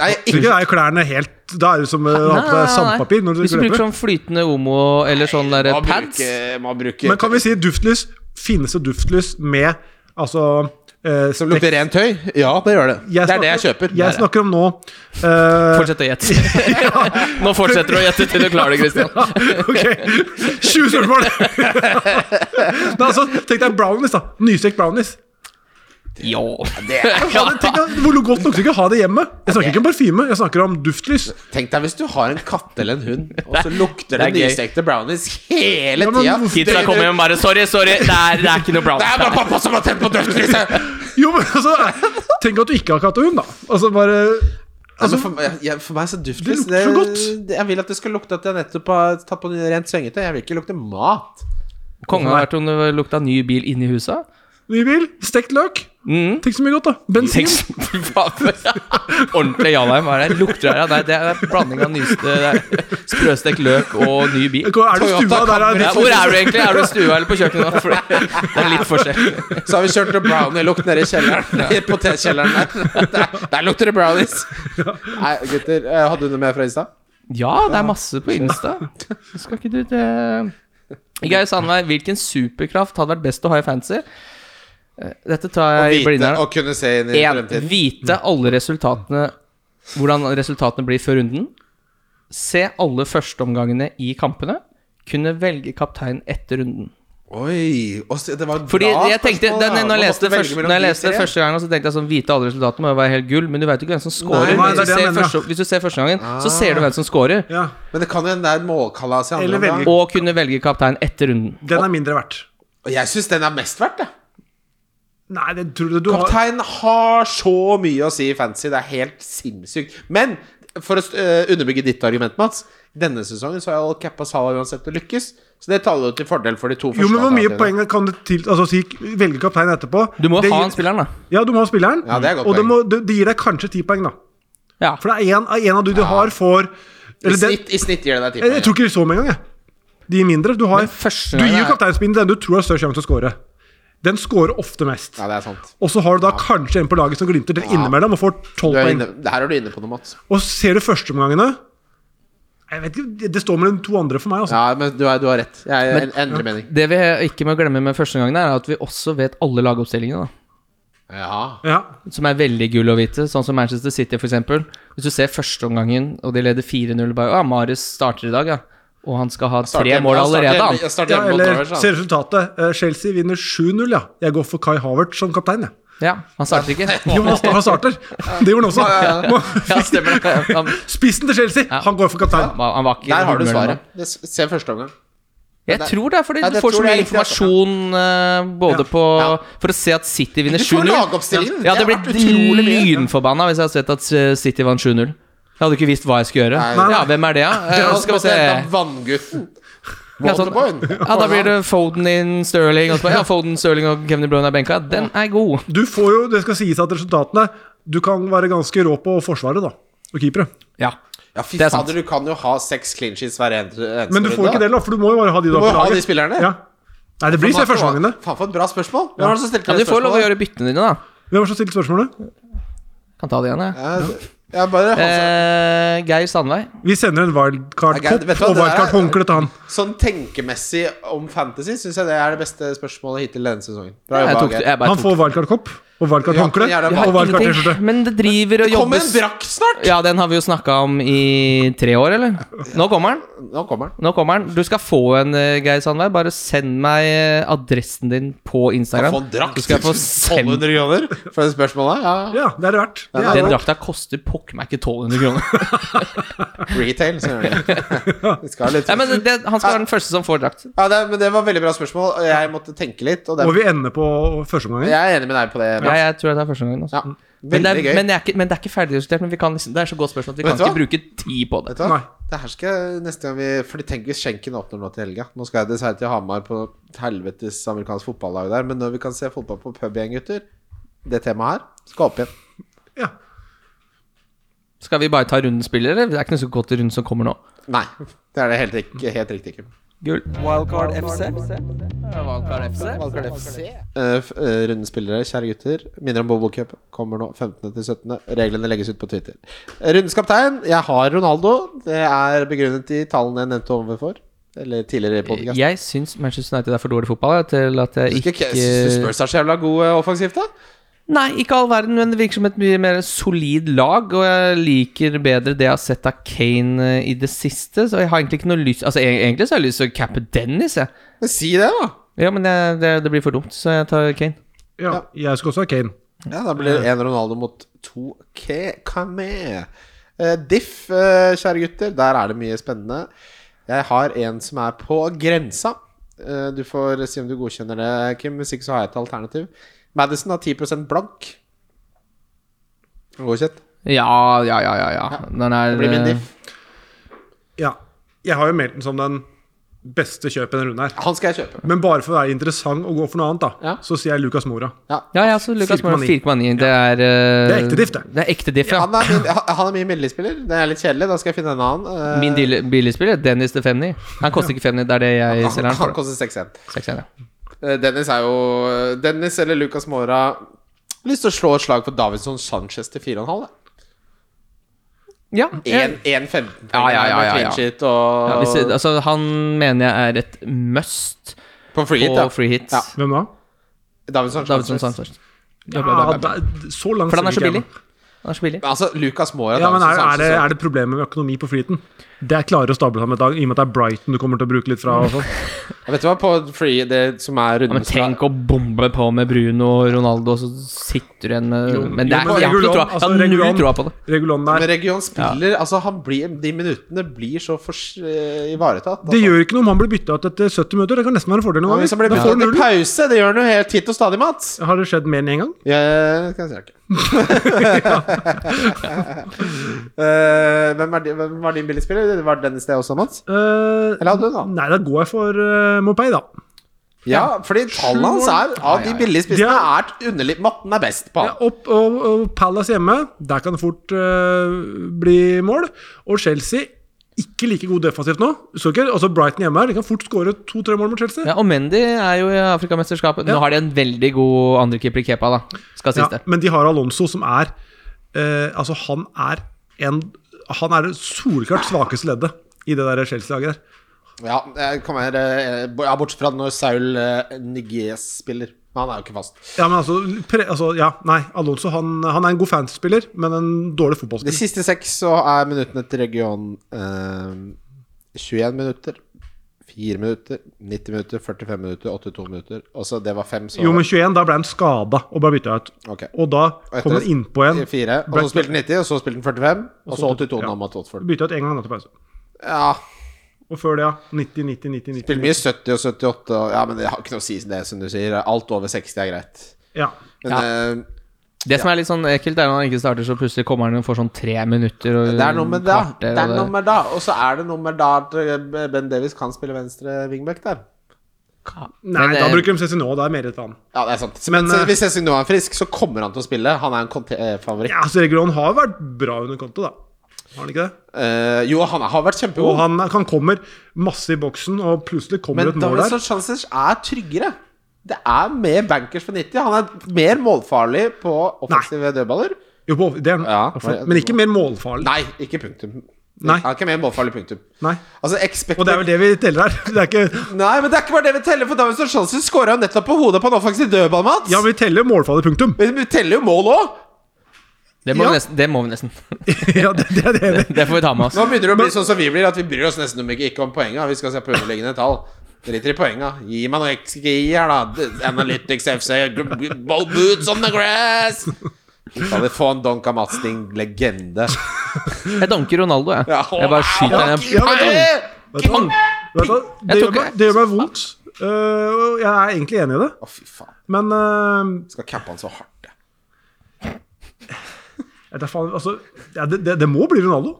Speaker 3: Nei, ikke
Speaker 4: Så ikke er jo klærne helt Da er det som eh, å
Speaker 2: Nei,
Speaker 4: ha på deg
Speaker 2: nei, nei.
Speaker 4: sandpapir når du
Speaker 2: Hvis du bruker
Speaker 4: løper.
Speaker 2: sånn flytende omo eller sånn der
Speaker 3: Man
Speaker 2: pads
Speaker 3: bruker- Man bruker
Speaker 4: Men kan vi si duftlys? Finnes det duftlys med altså eh,
Speaker 3: Som lukter rent tøy? Ja, det gjør det.
Speaker 4: Jeg
Speaker 3: det er det jeg
Speaker 4: snakker-
Speaker 3: kjøper.
Speaker 4: Jeg
Speaker 3: Der, ja.
Speaker 4: snakker om nå eh,
Speaker 2: Fortsett å
Speaker 4: [LAUGHS]
Speaker 2: gjette. Nå fortsetter du å gjette til du klarer det, Christian.
Speaker 4: [LAUGHS] Ok,
Speaker 2: [LAUGHS]
Speaker 4: 20 spørsmål! Nei, altså, tenk deg brownies, da. Nystekt brownies.
Speaker 2: Ja.
Speaker 3: det er.
Speaker 4: Ja, men tenk deg, hvor godt lukter det ikke å ha det hjemme? Jeg snakker ikke om parfyme, jeg snakker om duftlys.
Speaker 3: Tenk deg hvis du har en katt eller en hund, og så
Speaker 4: [LAUGHS]
Speaker 3: lukter
Speaker 2: det
Speaker 3: det
Speaker 2: er gøy.
Speaker 3: nystekte brownies hele
Speaker 4: Ja, men
Speaker 3: tida.
Speaker 4: hvorfor-
Speaker 2: Kidsa kommer hjem og bare 'sorry, sorry', det er, det er ikke noe brown.
Speaker 3: Det er bare pappa som har tent på dødslyset! Nei,
Speaker 4: Jo, men altså, Tenk at du ikke har katt og hund, da. Altså bare
Speaker 3: men Altså, for, meg- jeg- for meg så duftlys
Speaker 4: Det lukter så godt.
Speaker 3: det- Jeg vil at det skal lukte at jeg nettopp har tatt på ny- rent sengetøy. Jeg vil ikke lukte mat.
Speaker 2: Kongen har vært om det lukta ny bil inni huset.
Speaker 4: Ny bil, stekt løk.
Speaker 2: Mm.
Speaker 4: Tenk så mye godt, da. Bensin.
Speaker 2: Tenk så- Fy faen. [LAUGHS] Ordentlig Jalheim. Hva er det lukter her? ja? Nei, Det er blanding av nyste det er sprøstekt løk og ny bil.
Speaker 4: Er du i stua der er
Speaker 2: Ja, hvor er du egentlig? Er du i stua eller på kjøkkenet?
Speaker 4: [LAUGHS]
Speaker 2: nå? Fordi Det er litt forskjell.
Speaker 3: Så har vi kjørt noe brownie-lukt nede i kjelleren. I potetkjelleren der. der. Der lukter det brownies. Nei, gutter. eh, Hadde du noe mer fra Insta?
Speaker 2: Ja, det er masse på Insta. Skal ikke du det Geir Sandberg, hvilken superkraft hadde vært best å ha i fantasy? Eh, Dette tar jeg i
Speaker 3: Vite
Speaker 2: blinderen.
Speaker 3: og kunne se inn i
Speaker 2: En,
Speaker 3: fremtiden.
Speaker 2: Vite alle resultatene hvordan resultatene blir før runden. Se alle førsteomgangene i kampene. Kunne velge kaptein etter runden.
Speaker 3: Oi og se, Det var et
Speaker 2: Fordi
Speaker 3: bra
Speaker 2: jeg tenkte
Speaker 3: spørsmål,
Speaker 2: den,
Speaker 3: da.
Speaker 2: Når jeg
Speaker 3: Man
Speaker 2: leste,
Speaker 3: måtte velge
Speaker 2: først,
Speaker 3: mellom
Speaker 2: når jeg
Speaker 3: de
Speaker 2: leste
Speaker 3: tre.
Speaker 2: første gangen, så tenkte jeg sånn Vite alle resultatene må jo være helt gull, men du veit jo ikke hvem som scorer.
Speaker 3: Nei, nei,
Speaker 2: Men
Speaker 4: det er
Speaker 2: Hvis, du
Speaker 4: det
Speaker 2: ser
Speaker 4: jeg mener, Ah. ja.
Speaker 2: første- hvis du ser første gangen, så ser du hvem som scorer.
Speaker 4: Ja,
Speaker 3: Men det kan jo hende det er målkalas i andre
Speaker 4: Eller
Speaker 3: omgang.
Speaker 4: velge-
Speaker 2: Og kunne velge kaptein etter runden.
Speaker 4: den er mindre verdt.
Speaker 3: Og jeg syns den er mest verdt, jeg.
Speaker 4: Nei, det tror du du har
Speaker 3: Kapteinen har så mye å si i fantasy. Det er helt sinnssykt. Men for å eh, underbygge ditt argument, Mats. Denne sesongen så har jeg cappa Salah uansett å lykkes. Så det taler jo til fordel for de to første.
Speaker 4: Jo, men hvor mye
Speaker 3: alternativene.
Speaker 4: poeng kan du til, altså, si, velge kaptein etterpå?
Speaker 2: Du må
Speaker 4: Det
Speaker 2: ha
Speaker 4: gir-
Speaker 2: han spilleren, da.
Speaker 4: Ja, du må ha spilleren.
Speaker 3: Ja, det er et godt
Speaker 4: og det,
Speaker 3: poeng.
Speaker 4: må, det, det gir deg kanskje ti poeng, da.
Speaker 2: Ja.
Speaker 4: For det er en, en av du du har, får
Speaker 3: I
Speaker 4: eller den,
Speaker 3: snitt, I snitt gir det deg ti
Speaker 4: Jeg, jeg tror ikke så mange engang. jeg. De gir mindre. Du, har,
Speaker 2: Men første
Speaker 4: du
Speaker 2: gang
Speaker 4: gir jo
Speaker 2: er-
Speaker 4: kapteinspinnen den du tror har størst sjanse til å score. Den scorer ofte mest.
Speaker 3: Ja, det er sant.
Speaker 4: Og så har du da kanskje en på laget som glimter til innimellom og får tolv
Speaker 3: Du er
Speaker 4: poeng.
Speaker 3: inne, her er du inne på noe, Mats.
Speaker 4: Og så ser du førsteomgangene Jeg vet ikke, det- Det står mellom to andre for meg, altså.
Speaker 3: Ja, men du, er, du har rett. Jeg jeg endrer mening.
Speaker 2: Det vi ikke må glemme med første gangen, er at vi også vet alle lagoppstillingene. da
Speaker 3: Ja.
Speaker 4: Ja.
Speaker 2: Som er veldig gull å vite, sånn som Manchester City f.eks. Hvis du ser førsteomgangen, og de leder 4-0 bare Ja, Marius starter i dag, ja. Og han skal ha
Speaker 3: Starter
Speaker 2: tre
Speaker 3: hjemme-
Speaker 2: mål
Speaker 3: jeg starter
Speaker 2: allerede,
Speaker 3: hjemme-
Speaker 2: han.
Speaker 3: Jeg starter
Speaker 4: ja
Speaker 3: hjemme mot
Speaker 4: eller
Speaker 3: Norwich.
Speaker 2: sånn.
Speaker 3: da.
Speaker 4: se resultatet. Eh, Chelsea vinner 7-0, ja. Jeg går for Kai Havert som kaptein, jeg.
Speaker 2: Ja, han starter
Speaker 3: [LAUGHS]
Speaker 2: ikke.
Speaker 4: Jo, han sta- han
Speaker 2: [LAUGHS]
Speaker 4: starter. Det gjorde han også. [LAUGHS]
Speaker 2: Ja, stemmer det. Han,
Speaker 4: Spissen til Chelsea, han går for kaptein.
Speaker 2: han var ikke
Speaker 3: Der har du
Speaker 2: humøren
Speaker 3: svaret.
Speaker 2: da.
Speaker 3: Det s- Se første omgang.
Speaker 2: Jeg tror det er fordi
Speaker 3: Ja,
Speaker 2: du
Speaker 3: det
Speaker 2: får så
Speaker 3: tror jeg
Speaker 2: mye
Speaker 3: egentlig også.
Speaker 2: informasjon eh, både
Speaker 4: Ja.
Speaker 2: på For å se at City vinner
Speaker 3: Du får
Speaker 2: 7-0
Speaker 3: lagoppstillingen.
Speaker 2: Ja, det
Speaker 3: Det har
Speaker 2: ble
Speaker 3: vært utrolig mye.
Speaker 2: lynforbanna hvis jeg hadde sett at eh, City vant 7-0. Jeg hadde ikke visst hva jeg skulle gjøre.
Speaker 3: Nei.
Speaker 2: Ja, hvem er det, ja? Eh,
Speaker 3: [LAUGHS] Ja,
Speaker 2: skal vi se.
Speaker 3: Vanngutten.
Speaker 2: Ja, sånn-
Speaker 3: Waterboyen.
Speaker 2: Ja, da blir det Foden inn, Sterling og så, bare, Ja, Foden, Sterling og Kevin De Bruyne er benka. Den er god.
Speaker 4: Du får jo, det skal sies at resultatene Du kan være ganske rå på forsvaret, da. Og keepere.
Speaker 2: Ja.
Speaker 3: Ja, fy
Speaker 2: Det er sant.
Speaker 3: fader, du kan jo ha seks clean sheets hver en- eneste
Speaker 4: Men du får ikke det, da, for du må jo bare ha de du
Speaker 3: må
Speaker 4: har
Speaker 3: jo
Speaker 4: på
Speaker 3: ha
Speaker 4: laget.
Speaker 3: de spillerne.
Speaker 4: Ja. Nei, det blir se førsteomgangene.
Speaker 3: Faen, for et bra spørsmål. Hvem var det som stilte
Speaker 2: ja
Speaker 3: det
Speaker 2: du får lov å
Speaker 3: spørsmålet?
Speaker 2: gjøre byttene dine, da.
Speaker 4: Hvem var det som stilte spørsmålet?
Speaker 2: Kan ta det igjen, jeg.
Speaker 3: Ja, ja, bare altså, han som-
Speaker 2: Eh, Geir Sandveig.
Speaker 4: Vi sender
Speaker 3: Ja,
Speaker 4: en
Speaker 3: Geir, vet
Speaker 4: wildcard-kopp
Speaker 3: du hva, det
Speaker 4: og
Speaker 3: der er-
Speaker 4: wildcard-håndkle til han.
Speaker 3: Sånn tenkemessig om fantasy syns jeg det er det beste spørsmålet hittil denne sesongen. Bra
Speaker 2: Jeg
Speaker 3: jobba,
Speaker 2: tok,
Speaker 3: Geir.
Speaker 2: jeg bare
Speaker 4: Han
Speaker 2: tok.
Speaker 4: får wildcard-kopp og wildcard-håndkle
Speaker 3: Ja, jeg har
Speaker 4: og wildcard-T-skjorte.
Speaker 2: ingenting. Men det driver og
Speaker 3: Kom med en
Speaker 2: jobbes
Speaker 3: brakk snart!
Speaker 2: Ja, den har vi jo snakka om i tre år, eller? Nå kommer den.
Speaker 3: Nå kommer han.
Speaker 2: Nå kommer den. Du skal få en, eh, Geir Sandberg. Bare send meg eh, adressen din på
Speaker 3: Kan få
Speaker 2: Instagram.
Speaker 3: en drakt.
Speaker 2: Du skal få sendt
Speaker 3: 1200 kroner for det spørsmålet. Ja,
Speaker 4: Ja, det er det verdt. Det
Speaker 2: Den
Speaker 4: er det.
Speaker 2: drakta koster pokker meg ikke 1200
Speaker 3: [LAUGHS]
Speaker 2: kroner.
Speaker 3: Retail, så gjør det. Vi skal ha litt
Speaker 2: Nei, men det, Han skal være den første som får drakt.
Speaker 3: ja, det, men det var veldig bra spørsmål. og Jeg måtte tenke litt. Og det,
Speaker 4: Må vi ende på førsteomgangen?
Speaker 3: jeg er enig med deg på det.
Speaker 2: Ja,
Speaker 3: Mats.
Speaker 2: jeg tror det er første gangen. Altså.
Speaker 3: Ja.
Speaker 2: Men, det
Speaker 3: Veldig
Speaker 2: er,
Speaker 3: gøy.
Speaker 2: men, det er ikke, men det er ikke ferdigdiskutert. Men vi kan, liksom- det er så godt spørsmål at vi
Speaker 3: Vet
Speaker 2: kan
Speaker 3: du
Speaker 2: ikke
Speaker 3: hva?
Speaker 2: bruke tid på det.
Speaker 3: Vet du hva?
Speaker 4: Nei.
Speaker 3: Det her skal jeg neste gang vi For tenk hvis skjenken åpner nå til helga. Nå skal jeg dessverre til Hamar på et helvetes amerikansk fotballag der, men når vi kan se fotball på pub igjen, gutter Det temaet her skal opp igjen.
Speaker 4: Ja.
Speaker 2: Skal vi bare ta runden spiller, eller? Det er ikke noe så godt i runden som kommer nå.
Speaker 3: Nei. Det er det helt riktig. Helt riktig. Kim.
Speaker 2: Gull.
Speaker 1: Wildcard FC.
Speaker 2: Valgkart FC.
Speaker 3: Eh, f- eh, Runde spillere, kjære gutter. Minner om Bobocup. Kommer nå 15.-17. Reglene legges ut på Twitter. Eh, Rundens kaptein, jeg har Ronaldo. Det er begrunnet i tallene jeg nevnte overfor. Eller tidligere i podkasten.
Speaker 2: Eh, Jeg syns Manchester United er for dårlig fotball jeg, til at jeg
Speaker 3: Syns
Speaker 2: ikke
Speaker 3: du Spurs er så jævla god eh, offensivt, da?
Speaker 2: Nei, ikke all verden, men det virker som et mye mer solid lag. Og jeg liker bedre det jeg har sett av Kane eh, i det siste. Så jeg har egentlig ikke noe lyst Altså, e- egentlig så har jeg lyst til å cappe Dennis, jeg.
Speaker 3: Men Si det, da!
Speaker 2: Ja, men jeg, det, det blir for dumt, så jeg tar Kane.
Speaker 4: ja. Jeg skal også ha Kane.
Speaker 3: Ja, da blir det
Speaker 2: Eh.
Speaker 3: én Ronaldo mot to Ke- Kame. Eh, Diff, eh, kjære gutter, der er det mye spennende. Jeg har en som er på grensa. Eh, du får si om du godkjenner det, Kim. Hvis ikke så har jeg et alternativ. Madison har 10 blank. Godkjent.
Speaker 2: Ja, ja, ja, ja. ja. Den er
Speaker 3: Det blir min
Speaker 2: eh,
Speaker 3: diff.
Speaker 4: Ja. Jeg har jo meldt den som den beste kjøpet i denne runden her.
Speaker 3: Han skal jeg kjøpe.
Speaker 4: Men bare for å være interessant og gå for noe annet, da,
Speaker 3: Ja.
Speaker 4: så sier jeg Lucas Mora.
Speaker 2: eh, Ja, ja, så Lucas Moura
Speaker 4: 4,9.
Speaker 2: 4,9. Det er eh,
Speaker 4: Det er ekte diff, det.
Speaker 2: Det er ekte diff, ja.
Speaker 3: Han er min, han er min billigspiller. Det er litt kjedelig. Da skal jeg finne en annen. Eh,
Speaker 2: Min deal- billigspiller, Dennis til 5,9. Han koster ikke 5,9, det er det jeg
Speaker 3: han,
Speaker 2: selger
Speaker 3: han
Speaker 2: han for.
Speaker 3: koster 6-1.
Speaker 2: Seks igjen, ja.
Speaker 3: Eh, Dennis er jo Dennis eller Lucas Mora Lyst til å slå et slag for Davidson Sanchez til 4,5.
Speaker 2: Ja, jeg-
Speaker 3: 1-15
Speaker 2: Ja, ja, ja, ja, ja.
Speaker 3: clean sheet og
Speaker 2: ja, hvis, altså, han mener jeg er et must
Speaker 3: På free hit,
Speaker 2: på
Speaker 3: da.
Speaker 2: free hits.
Speaker 3: Ja.
Speaker 4: Hvem da?
Speaker 3: Davidson
Speaker 2: Davidson
Speaker 3: Sanchez.
Speaker 2: Sanchez.
Speaker 4: Ja, da, så langt
Speaker 2: For den er så
Speaker 4: stikker jeg
Speaker 2: billig.
Speaker 4: meg.
Speaker 2: Den er så billig.
Speaker 3: Altså, Lucas Mora
Speaker 4: Ja, men er,
Speaker 3: Davidson
Speaker 4: er, det,
Speaker 3: Sanchez
Speaker 4: er det problemer med økonomi på flyten? Det er klare å stable sammen et dag, i og med at det er Brighton du kommer til å bruke litt fra. Og
Speaker 3: [LAUGHS]
Speaker 4: sånn.
Speaker 3: Ja, vet du hva, på free, det som er
Speaker 2: Ja, men
Speaker 3: runden
Speaker 2: tenk å bombe på med Bruno og Ronaldo, og så sitter du igjen med Men det er,
Speaker 4: Jo, jo, men
Speaker 2: jeg har ikke
Speaker 4: Regulon,
Speaker 2: troa. Jeg
Speaker 4: altså,
Speaker 2: har null
Speaker 4: Regulon-
Speaker 2: troa på det.
Speaker 4: Regulon
Speaker 3: Men
Speaker 4: der.
Speaker 3: Region spiller altså han blir, De minuttene blir så fors- eh, ivaretatt. Altså.
Speaker 4: Det gjør ikke noe om han blir bytta ut etter 70 minutter. Det kan nesten være en fordel.
Speaker 3: ja,
Speaker 4: noen
Speaker 3: Hvis han
Speaker 4: ganger.
Speaker 3: blir
Speaker 4: Da
Speaker 3: byttet
Speaker 4: får han
Speaker 3: ut i
Speaker 4: null.
Speaker 3: pause, det gjør han jo helt hit og stadig, Mats.
Speaker 4: Har det skjedd mer enn én gang?
Speaker 3: Ja, det skal jeg si
Speaker 4: [LAUGHS]
Speaker 3: ikke. Eh, hvem, er, din- hvem var din billigspiller? Det var Dennis det også, Mats?
Speaker 4: Eh,
Speaker 3: Eller hadde du den, da?
Speaker 4: Nei, da går jeg for uh, Mopay, da.
Speaker 3: Ja, fordi tallene hans er av de billige spissene er underlig Matten er best på
Speaker 4: Ja,
Speaker 3: han.
Speaker 4: opp, og, og Palace hjemme, der kan det fort eh, bli mål. Og Chelsea ikke like god defensivt nå. Så ikke, altså Brighton hjemme her, de kan fort skåre to-tre mål mot Chelsea.
Speaker 2: Ja, og Mendy er jo i Afrikamesterskapet. Nå
Speaker 4: Ja.
Speaker 2: har de en veldig god andrekeeper i Kepa, da. Skal
Speaker 4: Ja,
Speaker 2: sies det.
Speaker 4: men de har Alonso, som er eh, Altså, han er en Han er det soleklart svakeste leddet i det der Chelsea-laget der.
Speaker 3: Ja, jeg kan være, eh, bo- ja, bortsett fra når Saul eh, Niguez spiller. Men han er jo ikke fast.
Speaker 4: Ja, men altså, pre, altså Ja, nei. Alonso han, han er en god fanspiller, men en dårlig
Speaker 3: De
Speaker 4: fotballspiller.
Speaker 3: siste seks så er minuttene til region eh, 21 minutter, 4 minutter, 90 minutter, 45 minutter, 82 minutter. Og så det var fem, så
Speaker 4: Jo, men 21, da ble han skada og ble bytta ut.
Speaker 3: Ok.
Speaker 4: Og da
Speaker 3: etter
Speaker 4: kom
Speaker 3: det-
Speaker 4: han innpå igjen.
Speaker 3: fire, og så
Speaker 4: Black-
Speaker 3: spilte han 90, og så spilte han 45, og så
Speaker 4: så
Speaker 3: 82
Speaker 4: ja.
Speaker 3: nå mot Watford.
Speaker 4: Bytta ut én gang da til pause.
Speaker 3: Ja,
Speaker 4: Og før det, ja. 90, 90, 90. 90.
Speaker 3: spilte mye 70 og 78, og, ja, men det har ikke noe å si det, som du sier. Alt over 60 er greit.
Speaker 4: Ja.
Speaker 3: Men eh,
Speaker 2: Det som er litt sånn ekkelt, er når han ikke starter, så plutselig kommer han og får sånn tre minutter og
Speaker 3: det er noe med det.
Speaker 2: kvarter,
Speaker 3: Det
Speaker 2: og
Speaker 3: er noe med det. Og så er det noe med det at eh, Ben Davies kan spille venstre wingback der.
Speaker 4: Nei,
Speaker 2: Men,
Speaker 4: da
Speaker 2: eh,
Speaker 4: bruker de CC nå. Da er mer rett vann.
Speaker 3: Ja, det er sant. Men,
Speaker 4: Men, eh,
Speaker 3: hvis jeg nå er frisk, så kommer han til å spille. Han er en eh, Conte-favoritt.
Speaker 4: Ja, så Regulon har vært bra under konto, da. Har han ikke det?
Speaker 3: Eh, jo, han har vært
Speaker 4: Og
Speaker 3: kjempegod.
Speaker 4: han, han kommer masse i boksen, og plutselig kommer
Speaker 3: men
Speaker 4: et mål der.
Speaker 3: Davinson Chancers er tryggere. Det er mer bankers for 90. Han er mer målfarlig på offensive dødballer.
Speaker 4: Jo, på- det er,
Speaker 3: Ja,
Speaker 4: for- men ikke mer målfarlig.
Speaker 3: Nei, ikke punktum.
Speaker 4: Nei.
Speaker 3: Han er ikke mer målfarlig, punktum.
Speaker 4: Nei.
Speaker 3: Altså, expected
Speaker 4: Og det er vel det vi teller her. Det er ikke,
Speaker 3: Nei, men det er ikke bare det vi teller, for Davinson Chancers skåra jo nettopp på hodet på en offensiv dødball, Mats.
Speaker 4: ja, vi teller målfarlig,
Speaker 3: [LAUGHS]
Speaker 4: punktum. [LAUGHS]
Speaker 3: Men vi teller jo mål òg.
Speaker 2: Det må,
Speaker 4: Ja.
Speaker 2: vi nesten, det må vi nesten. [LAUGHS]
Speaker 4: Ja, det, det, er det, det.
Speaker 2: Det får vi ta med oss.
Speaker 3: Nå begynner det å bli sånn som vi blir, at vi bryr oss nesten om ikke, ikke om poenga. Vi skal se på underliggende tall. Driter i poenga. Gi meg noe XGI her, da. Analytics FC. gr- gr- Ball boots on the grass! Skal vi få en Donka Masting-legende?
Speaker 2: Jeg danker Ronaldo, jeg.
Speaker 3: Ja,
Speaker 2: Jeg bare skyter
Speaker 3: ja,
Speaker 2: han.
Speaker 4: ja, men-
Speaker 3: Hey!
Speaker 4: Vet du hva? Vet du hva? Det,
Speaker 2: Jeg
Speaker 4: gjør
Speaker 2: tok-
Speaker 4: meg, det gjør meg vondt. Eh, og jeg er egentlig enig i det,
Speaker 3: Å, fy faen.
Speaker 4: men eh,
Speaker 3: Skal cappe han så hardt. jeg.
Speaker 4: jeg vet da faen, altså, ja, det, det, det må bli Ronaldo.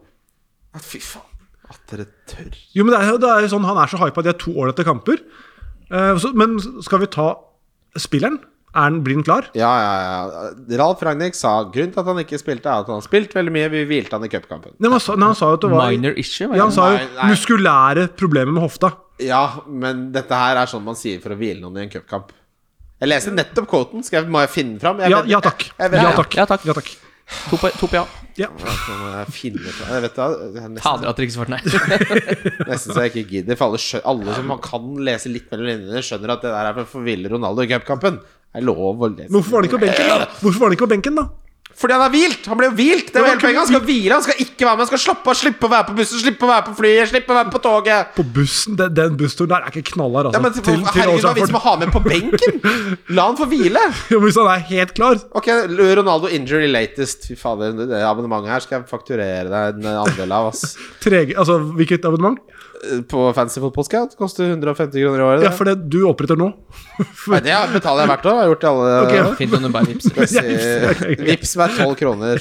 Speaker 3: Å, Fy faen. At dere tør.
Speaker 4: Jo, men det er, jo- det er jo sånn, Han er så hypa, de har to år etter kamper. Eh, så, men skal vi ta spilleren? Er han, blir han klar?
Speaker 3: Ja, ja, ja. Ralf Ragnhild sa grunnen til at han ikke spilte, er at han har spilt veldig mye. Vi hvilte han i cupkampen.
Speaker 4: Nei, men han sa- nei, han sa jo at det var
Speaker 2: Minor issue. hva
Speaker 4: Ja,
Speaker 2: er
Speaker 4: han
Speaker 2: det?
Speaker 4: sa jo
Speaker 3: Nei, nei.
Speaker 4: muskulære problemer med hofta.
Speaker 3: Ja, men dette her er sånn man sier for å hvile noen i en cupkamp. Jeg leste nettopp quoten. Skal jeg, må jeg finne fram? Jeg
Speaker 4: Ja,
Speaker 3: vet-
Speaker 4: ja takk.
Speaker 3: Jeg
Speaker 2: Ja,
Speaker 3: vet,
Speaker 4: Ja takk.
Speaker 2: ja, takk.
Speaker 4: Ja, takk.
Speaker 2: To på, to på ja.
Speaker 4: Ja.
Speaker 3: Så må jeg finne fram. Jeg vet da, jeg er nesten,
Speaker 2: Fader at dere ikke svarte nei.
Speaker 3: nesten så jeg ikke gidder. For alle, skjø- alle som man kan lese litt mellom linjene, skjønner at det der er for å forville Ronaldo i cupkampen. Det er lov å lese.
Speaker 4: Men hvorfor var han ikke på benken, da? Hvorfor var han ikke på benken da?
Speaker 3: Fordi han er hvilt! Han ble jo hvilt! Det er jo hele poenget. Han skal hvile, han skal ikke være med. Han skal slappe av, slippe å være på bussen, slippe å være på flyet, slippe å være på toget.
Speaker 4: På bussen? Den, den bussturen der er ikke knallhard,
Speaker 3: Ja,
Speaker 4: altså.
Speaker 3: men,
Speaker 4: til, til Old
Speaker 3: herregud, hva er vitsen med
Speaker 4: Trafford.
Speaker 3: å ha med på benken? La han få hvile!
Speaker 4: Ja, men [LAUGHS] Hvis han er helt klar
Speaker 3: Ok, Ronaldo injury latest. Fy fader, det abonnementet her skal jeg fakturere deg en andel av.
Speaker 4: [LAUGHS]
Speaker 3: ass
Speaker 4: Trege, altså, Hvilket abonnement?
Speaker 3: På Fancy Football Scout koster 150 kroner i året.
Speaker 4: Ja,
Speaker 3: det.
Speaker 4: for det du oppretter nå.
Speaker 3: Nei, det betaler jeg hvert år. Har jeg gjort det alle
Speaker 4: Ok, ja.
Speaker 2: [LAUGHS] Fint om du bare vipser.
Speaker 4: [LAUGHS]
Speaker 3: Eh, Vips meg 12 kroner.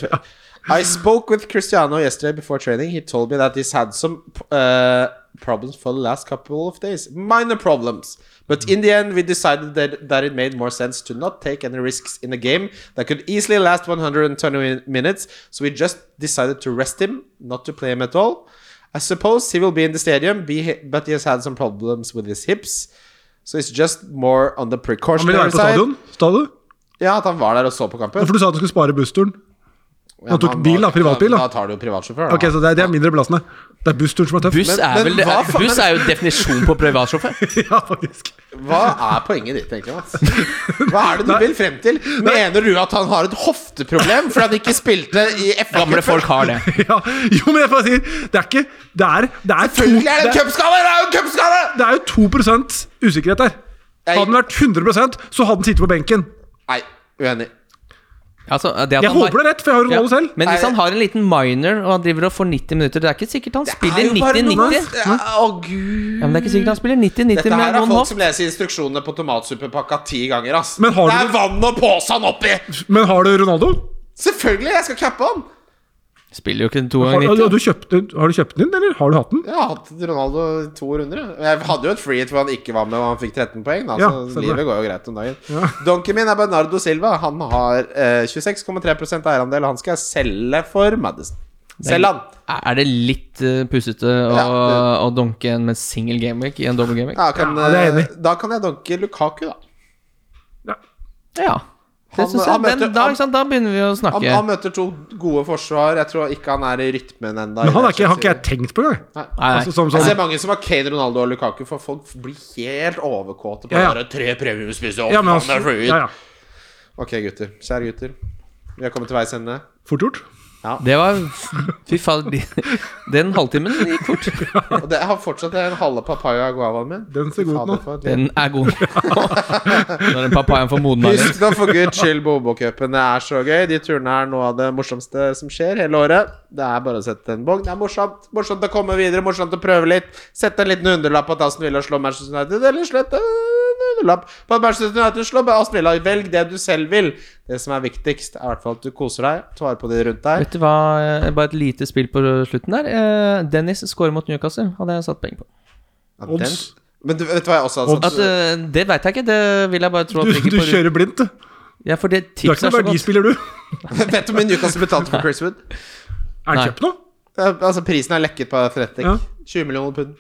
Speaker 3: I spoke with Cristiano yesterday before training. He told me that he's had some uh, problems for the last couple of days. Minor problems. But in the end, we decided that, that it made more sense to not take any risks in a game that could easily last 120 min- minutes. So we just decided to rest him, not to play him at all. I suppose he will be in the stadium, be, but he has had some problems with his hips. So it's just more on the
Speaker 4: Han ville
Speaker 3: precautionary
Speaker 4: være på
Speaker 3: side.
Speaker 4: stadion, sa du?
Speaker 3: Ja, at han var der og så på kampen.
Speaker 4: Ja, For du sa at du skulle spare bussturen.
Speaker 3: Ja,
Speaker 4: tok
Speaker 3: men
Speaker 4: bil, da, privatbil, da.
Speaker 3: Da tar du jo privatsjåfør, da.
Speaker 4: Ok, så det er, det er mindre belastende. Det er bussturen som er tøff.
Speaker 5: Buss
Speaker 3: Men-
Speaker 5: er,
Speaker 3: men
Speaker 5: vel, det
Speaker 3: hva
Speaker 5: er,
Speaker 3: faen-
Speaker 5: buss er jo definisjon på privatsjåfør.
Speaker 4: [LAUGHS] ja, faktisk. [LAUGHS]
Speaker 3: Hva er poenget ditt, egentlig, Mats? Hva er det du vil frem til? Mener du at han har et hofteproblem fordi han ikke spilte i FA?
Speaker 5: Gamle folk har det.
Speaker 4: Ja. Jo, men jeg får si det er ikke Det er, det er, to,
Speaker 3: Selvfølgelig er det
Speaker 4: det
Speaker 3: en cupskade! Det er jo en cupskade!
Speaker 4: er, det er jo 2 usikkerhet der. Hadde den vært 100 så hadde den sittet på benken.
Speaker 3: Nei, uenig.
Speaker 2: Altså, det at han
Speaker 4: Jeg
Speaker 2: har-
Speaker 4: håper det er rett, for jeg har Ronaldo selv.
Speaker 2: Men hvis
Speaker 3: Nei.
Speaker 2: han har en liten minor og han driver og får 90 minutter Det er ikke sikkert han
Speaker 3: Det
Speaker 2: spiller
Speaker 3: er jo bare
Speaker 2: 90-90.
Speaker 3: noe- Ja, Å, gud.
Speaker 2: Ja, men det er ikke sikkert han spiller 90-90
Speaker 3: Dette her
Speaker 2: med
Speaker 3: er
Speaker 2: noen
Speaker 3: folk
Speaker 2: hoff.
Speaker 3: som leser instruksjonene på tomatsuppepakka ti ganger, ass.
Speaker 4: Men har
Speaker 3: det
Speaker 4: du-
Speaker 3: er vann og påsan oppi!
Speaker 4: Men har du Ronaldo?
Speaker 3: Selvfølgelig, jeg skal cappe han!
Speaker 2: Spiller jo ikke to
Speaker 4: Har,
Speaker 2: ganger
Speaker 4: har,
Speaker 2: 90.
Speaker 4: du kjøpt, den- har du kjøpt den, eller har du hatt den?
Speaker 3: Jeg har hatt Ronaldo i to runder. jeg. Jeg hadde jo et free hit hvor han ikke var med, og han fikk 13 poeng. Da,
Speaker 4: Ja,
Speaker 3: så
Speaker 4: stemmer.
Speaker 3: livet går jo greit om dagen. Donken min er Bernardo Silva. Han har eh, 26,3 eierandel, og han skal jeg selge for Madison. Selg han!
Speaker 2: Er det litt eh, pussete å,
Speaker 3: Ja,
Speaker 2: å donke en med single gameweek i en double gameweek?
Speaker 3: Ja, kan,
Speaker 4: Ja, det er jeg
Speaker 3: eh,
Speaker 4: enig
Speaker 3: da kan jeg donke Lukaku, da.
Speaker 4: Ja.
Speaker 2: Ja. Det
Speaker 3: Han-
Speaker 2: synes jeg,
Speaker 3: han møter-
Speaker 2: den, da,
Speaker 3: han-
Speaker 2: ikke sant, da begynner vi å
Speaker 3: Han,
Speaker 2: snakke.
Speaker 3: han møter to gode forsvar. Jeg tror ikke han er i rytmen ennå.
Speaker 4: Men han er ikke, har ikke jeg tenkt på engang.
Speaker 2: Nei,
Speaker 4: Altså,
Speaker 2: nei.
Speaker 4: som,
Speaker 3: Jeg ser
Speaker 4: sånn,
Speaker 3: mange som har Kane, Ronaldo og Lukaku, for folk blir helt overkåte på
Speaker 4: Ja, ja.
Speaker 3: det der, tre premiumspisser og
Speaker 4: ja, men
Speaker 3: faen,
Speaker 4: altså,
Speaker 3: det er free hit».
Speaker 4: ja, ja.
Speaker 3: Ok, gutter. Kjære gutter. Vi har kommet til veis ende.
Speaker 4: Fort gjort.
Speaker 2: Det var Fy faen, de- den halvtimen gikk fort.
Speaker 3: Og det, jeg har fortsatt en halve papaya guavaen min.
Speaker 4: Den ser
Speaker 3: Fy
Speaker 4: god
Speaker 3: faen,
Speaker 4: ut nå.
Speaker 3: det får et liv.
Speaker 2: Den er god. Når den papayaen får modna litt.
Speaker 3: Husk nå for guds skyld Bobokupen. Det er så gøy. De turene er noe av det morsomste som skjer hele året. Det er bare å sette en bong. Det er morsomt. Morsomt å komme videre, morsomt å prøve litt. Sette en liten hundrelapp på at Aston Villa slår Manchester United, eller slett en hundrelapp på at Manchester United slår bare Aston Villa. Velg det du selv vil. Det som er viktigst, er i hvert fall at du koser deg, tar på de rundt deg.
Speaker 2: Vet du hva, eh, bare et lite spill på slutten der. Eh, Dennis scorer mot Newcastle, hadde jeg satt penger på.
Speaker 3: Ja, den-
Speaker 4: Odds.
Speaker 3: Men du, vet du hva jeg også hadde
Speaker 2: At,
Speaker 3: sagt?
Speaker 2: eh, det veit jeg ikke, det vil jeg bare tro at
Speaker 4: Altså- Du,
Speaker 2: ligger
Speaker 4: du
Speaker 2: på
Speaker 4: kjører blindt, du.
Speaker 2: Ja, for det
Speaker 4: Du er ikke
Speaker 2: tipset er
Speaker 4: noen
Speaker 2: så godt.
Speaker 4: verdispiller,
Speaker 3: [LAUGHS]
Speaker 4: du.
Speaker 3: Vet du hvor mye Newcastle betalte for Chris Wood?
Speaker 4: Er
Speaker 2: Nei.
Speaker 4: den kjøpt nå?
Speaker 3: Ja, Altså, prisen er lekket på Athletic.
Speaker 4: Ja.
Speaker 3: 20 millioner pund.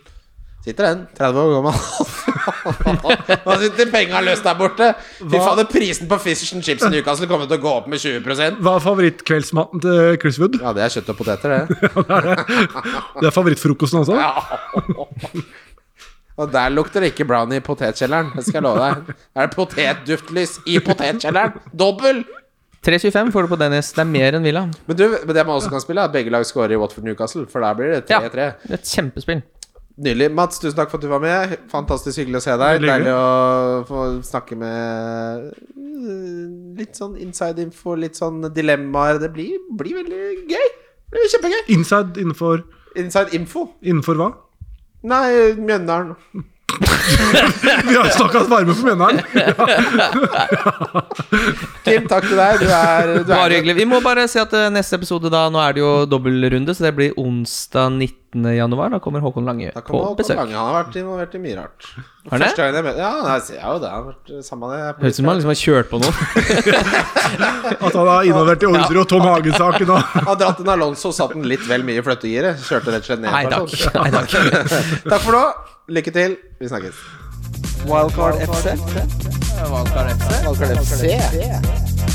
Speaker 3: Sitter den, 30 år gammel. [LAUGHS] Nå sitter penga løst der borte. Fy
Speaker 4: Hva-
Speaker 3: fader, prisen på fish and chips i Newcastle kommer til å gå opp med 20
Speaker 4: Hva er favorittkveldsmaten til Chris Wood?
Speaker 3: Ja, det er kjøtt og poteter, [LAUGHS] det.
Speaker 4: Det [LAUGHS] er favorittfrokosten hans også.
Speaker 3: Og der lukter det ikke brownie i potetkjelleren. Det skal jeg love deg. Der er det potetduftlys i potetkjelleren. Dobbel!
Speaker 2: 3,25 får du på Dennis. Det er mer enn Villa.
Speaker 3: Men du, men det man også kan spille, er at begge lag scorer i Watford Newcastle, for der blir det
Speaker 2: Ja,
Speaker 3: 3-3.
Speaker 2: det er et kjempespill.
Speaker 3: Nydelig. Mats, tusen takk for at du var med. Fantastisk hyggelig å se deg.
Speaker 4: Veldig hyggelig.
Speaker 3: Deilig å få snakke med øh, litt sånn inside info, litt sånn dilemmaer. Det blir, blir veldig gøy. Det blir kjempegøy.
Speaker 4: Inside innenfor
Speaker 3: Inside info?
Speaker 4: Innenfor hva?
Speaker 3: Nei, Mjøndalen.
Speaker 4: Vi har snakka varme for mennene.
Speaker 3: Kim, takk til deg. Du er, du
Speaker 2: Bare
Speaker 3: er
Speaker 2: hyggelig. Vi må bare se at eh, neste episode da Nå er det jo dobbeltrunde, så det blir onsdag 19. januar. Da kommer Håkon Lange
Speaker 3: Da
Speaker 2: på
Speaker 3: kommer Håkon
Speaker 2: besøk.
Speaker 3: Lange. Han har vært involvert i mye rart.
Speaker 2: Har han det?
Speaker 3: Første gangen jeg møter Ja, jeg ser jo det. Han har vært eh, samme det.
Speaker 2: Høres ut som han liksom har kjørt på noen.
Speaker 4: At han er involvert i ordre og Tom Hagen-saken og
Speaker 3: Han har dratt en Alonso og satt den litt vel mye i fløttegiret. Kjørte rett og slett ned.
Speaker 2: Nei
Speaker 3: personen.
Speaker 2: takk. Nei, takk.
Speaker 3: [LAUGHS] Takk for nå. Lykke til. Vi snakkes.
Speaker 1: Wildcard FC. Uh, Wildcard FC. Wildcard FC.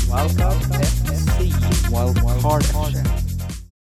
Speaker 1: Wildcard FC. Wildcard FC.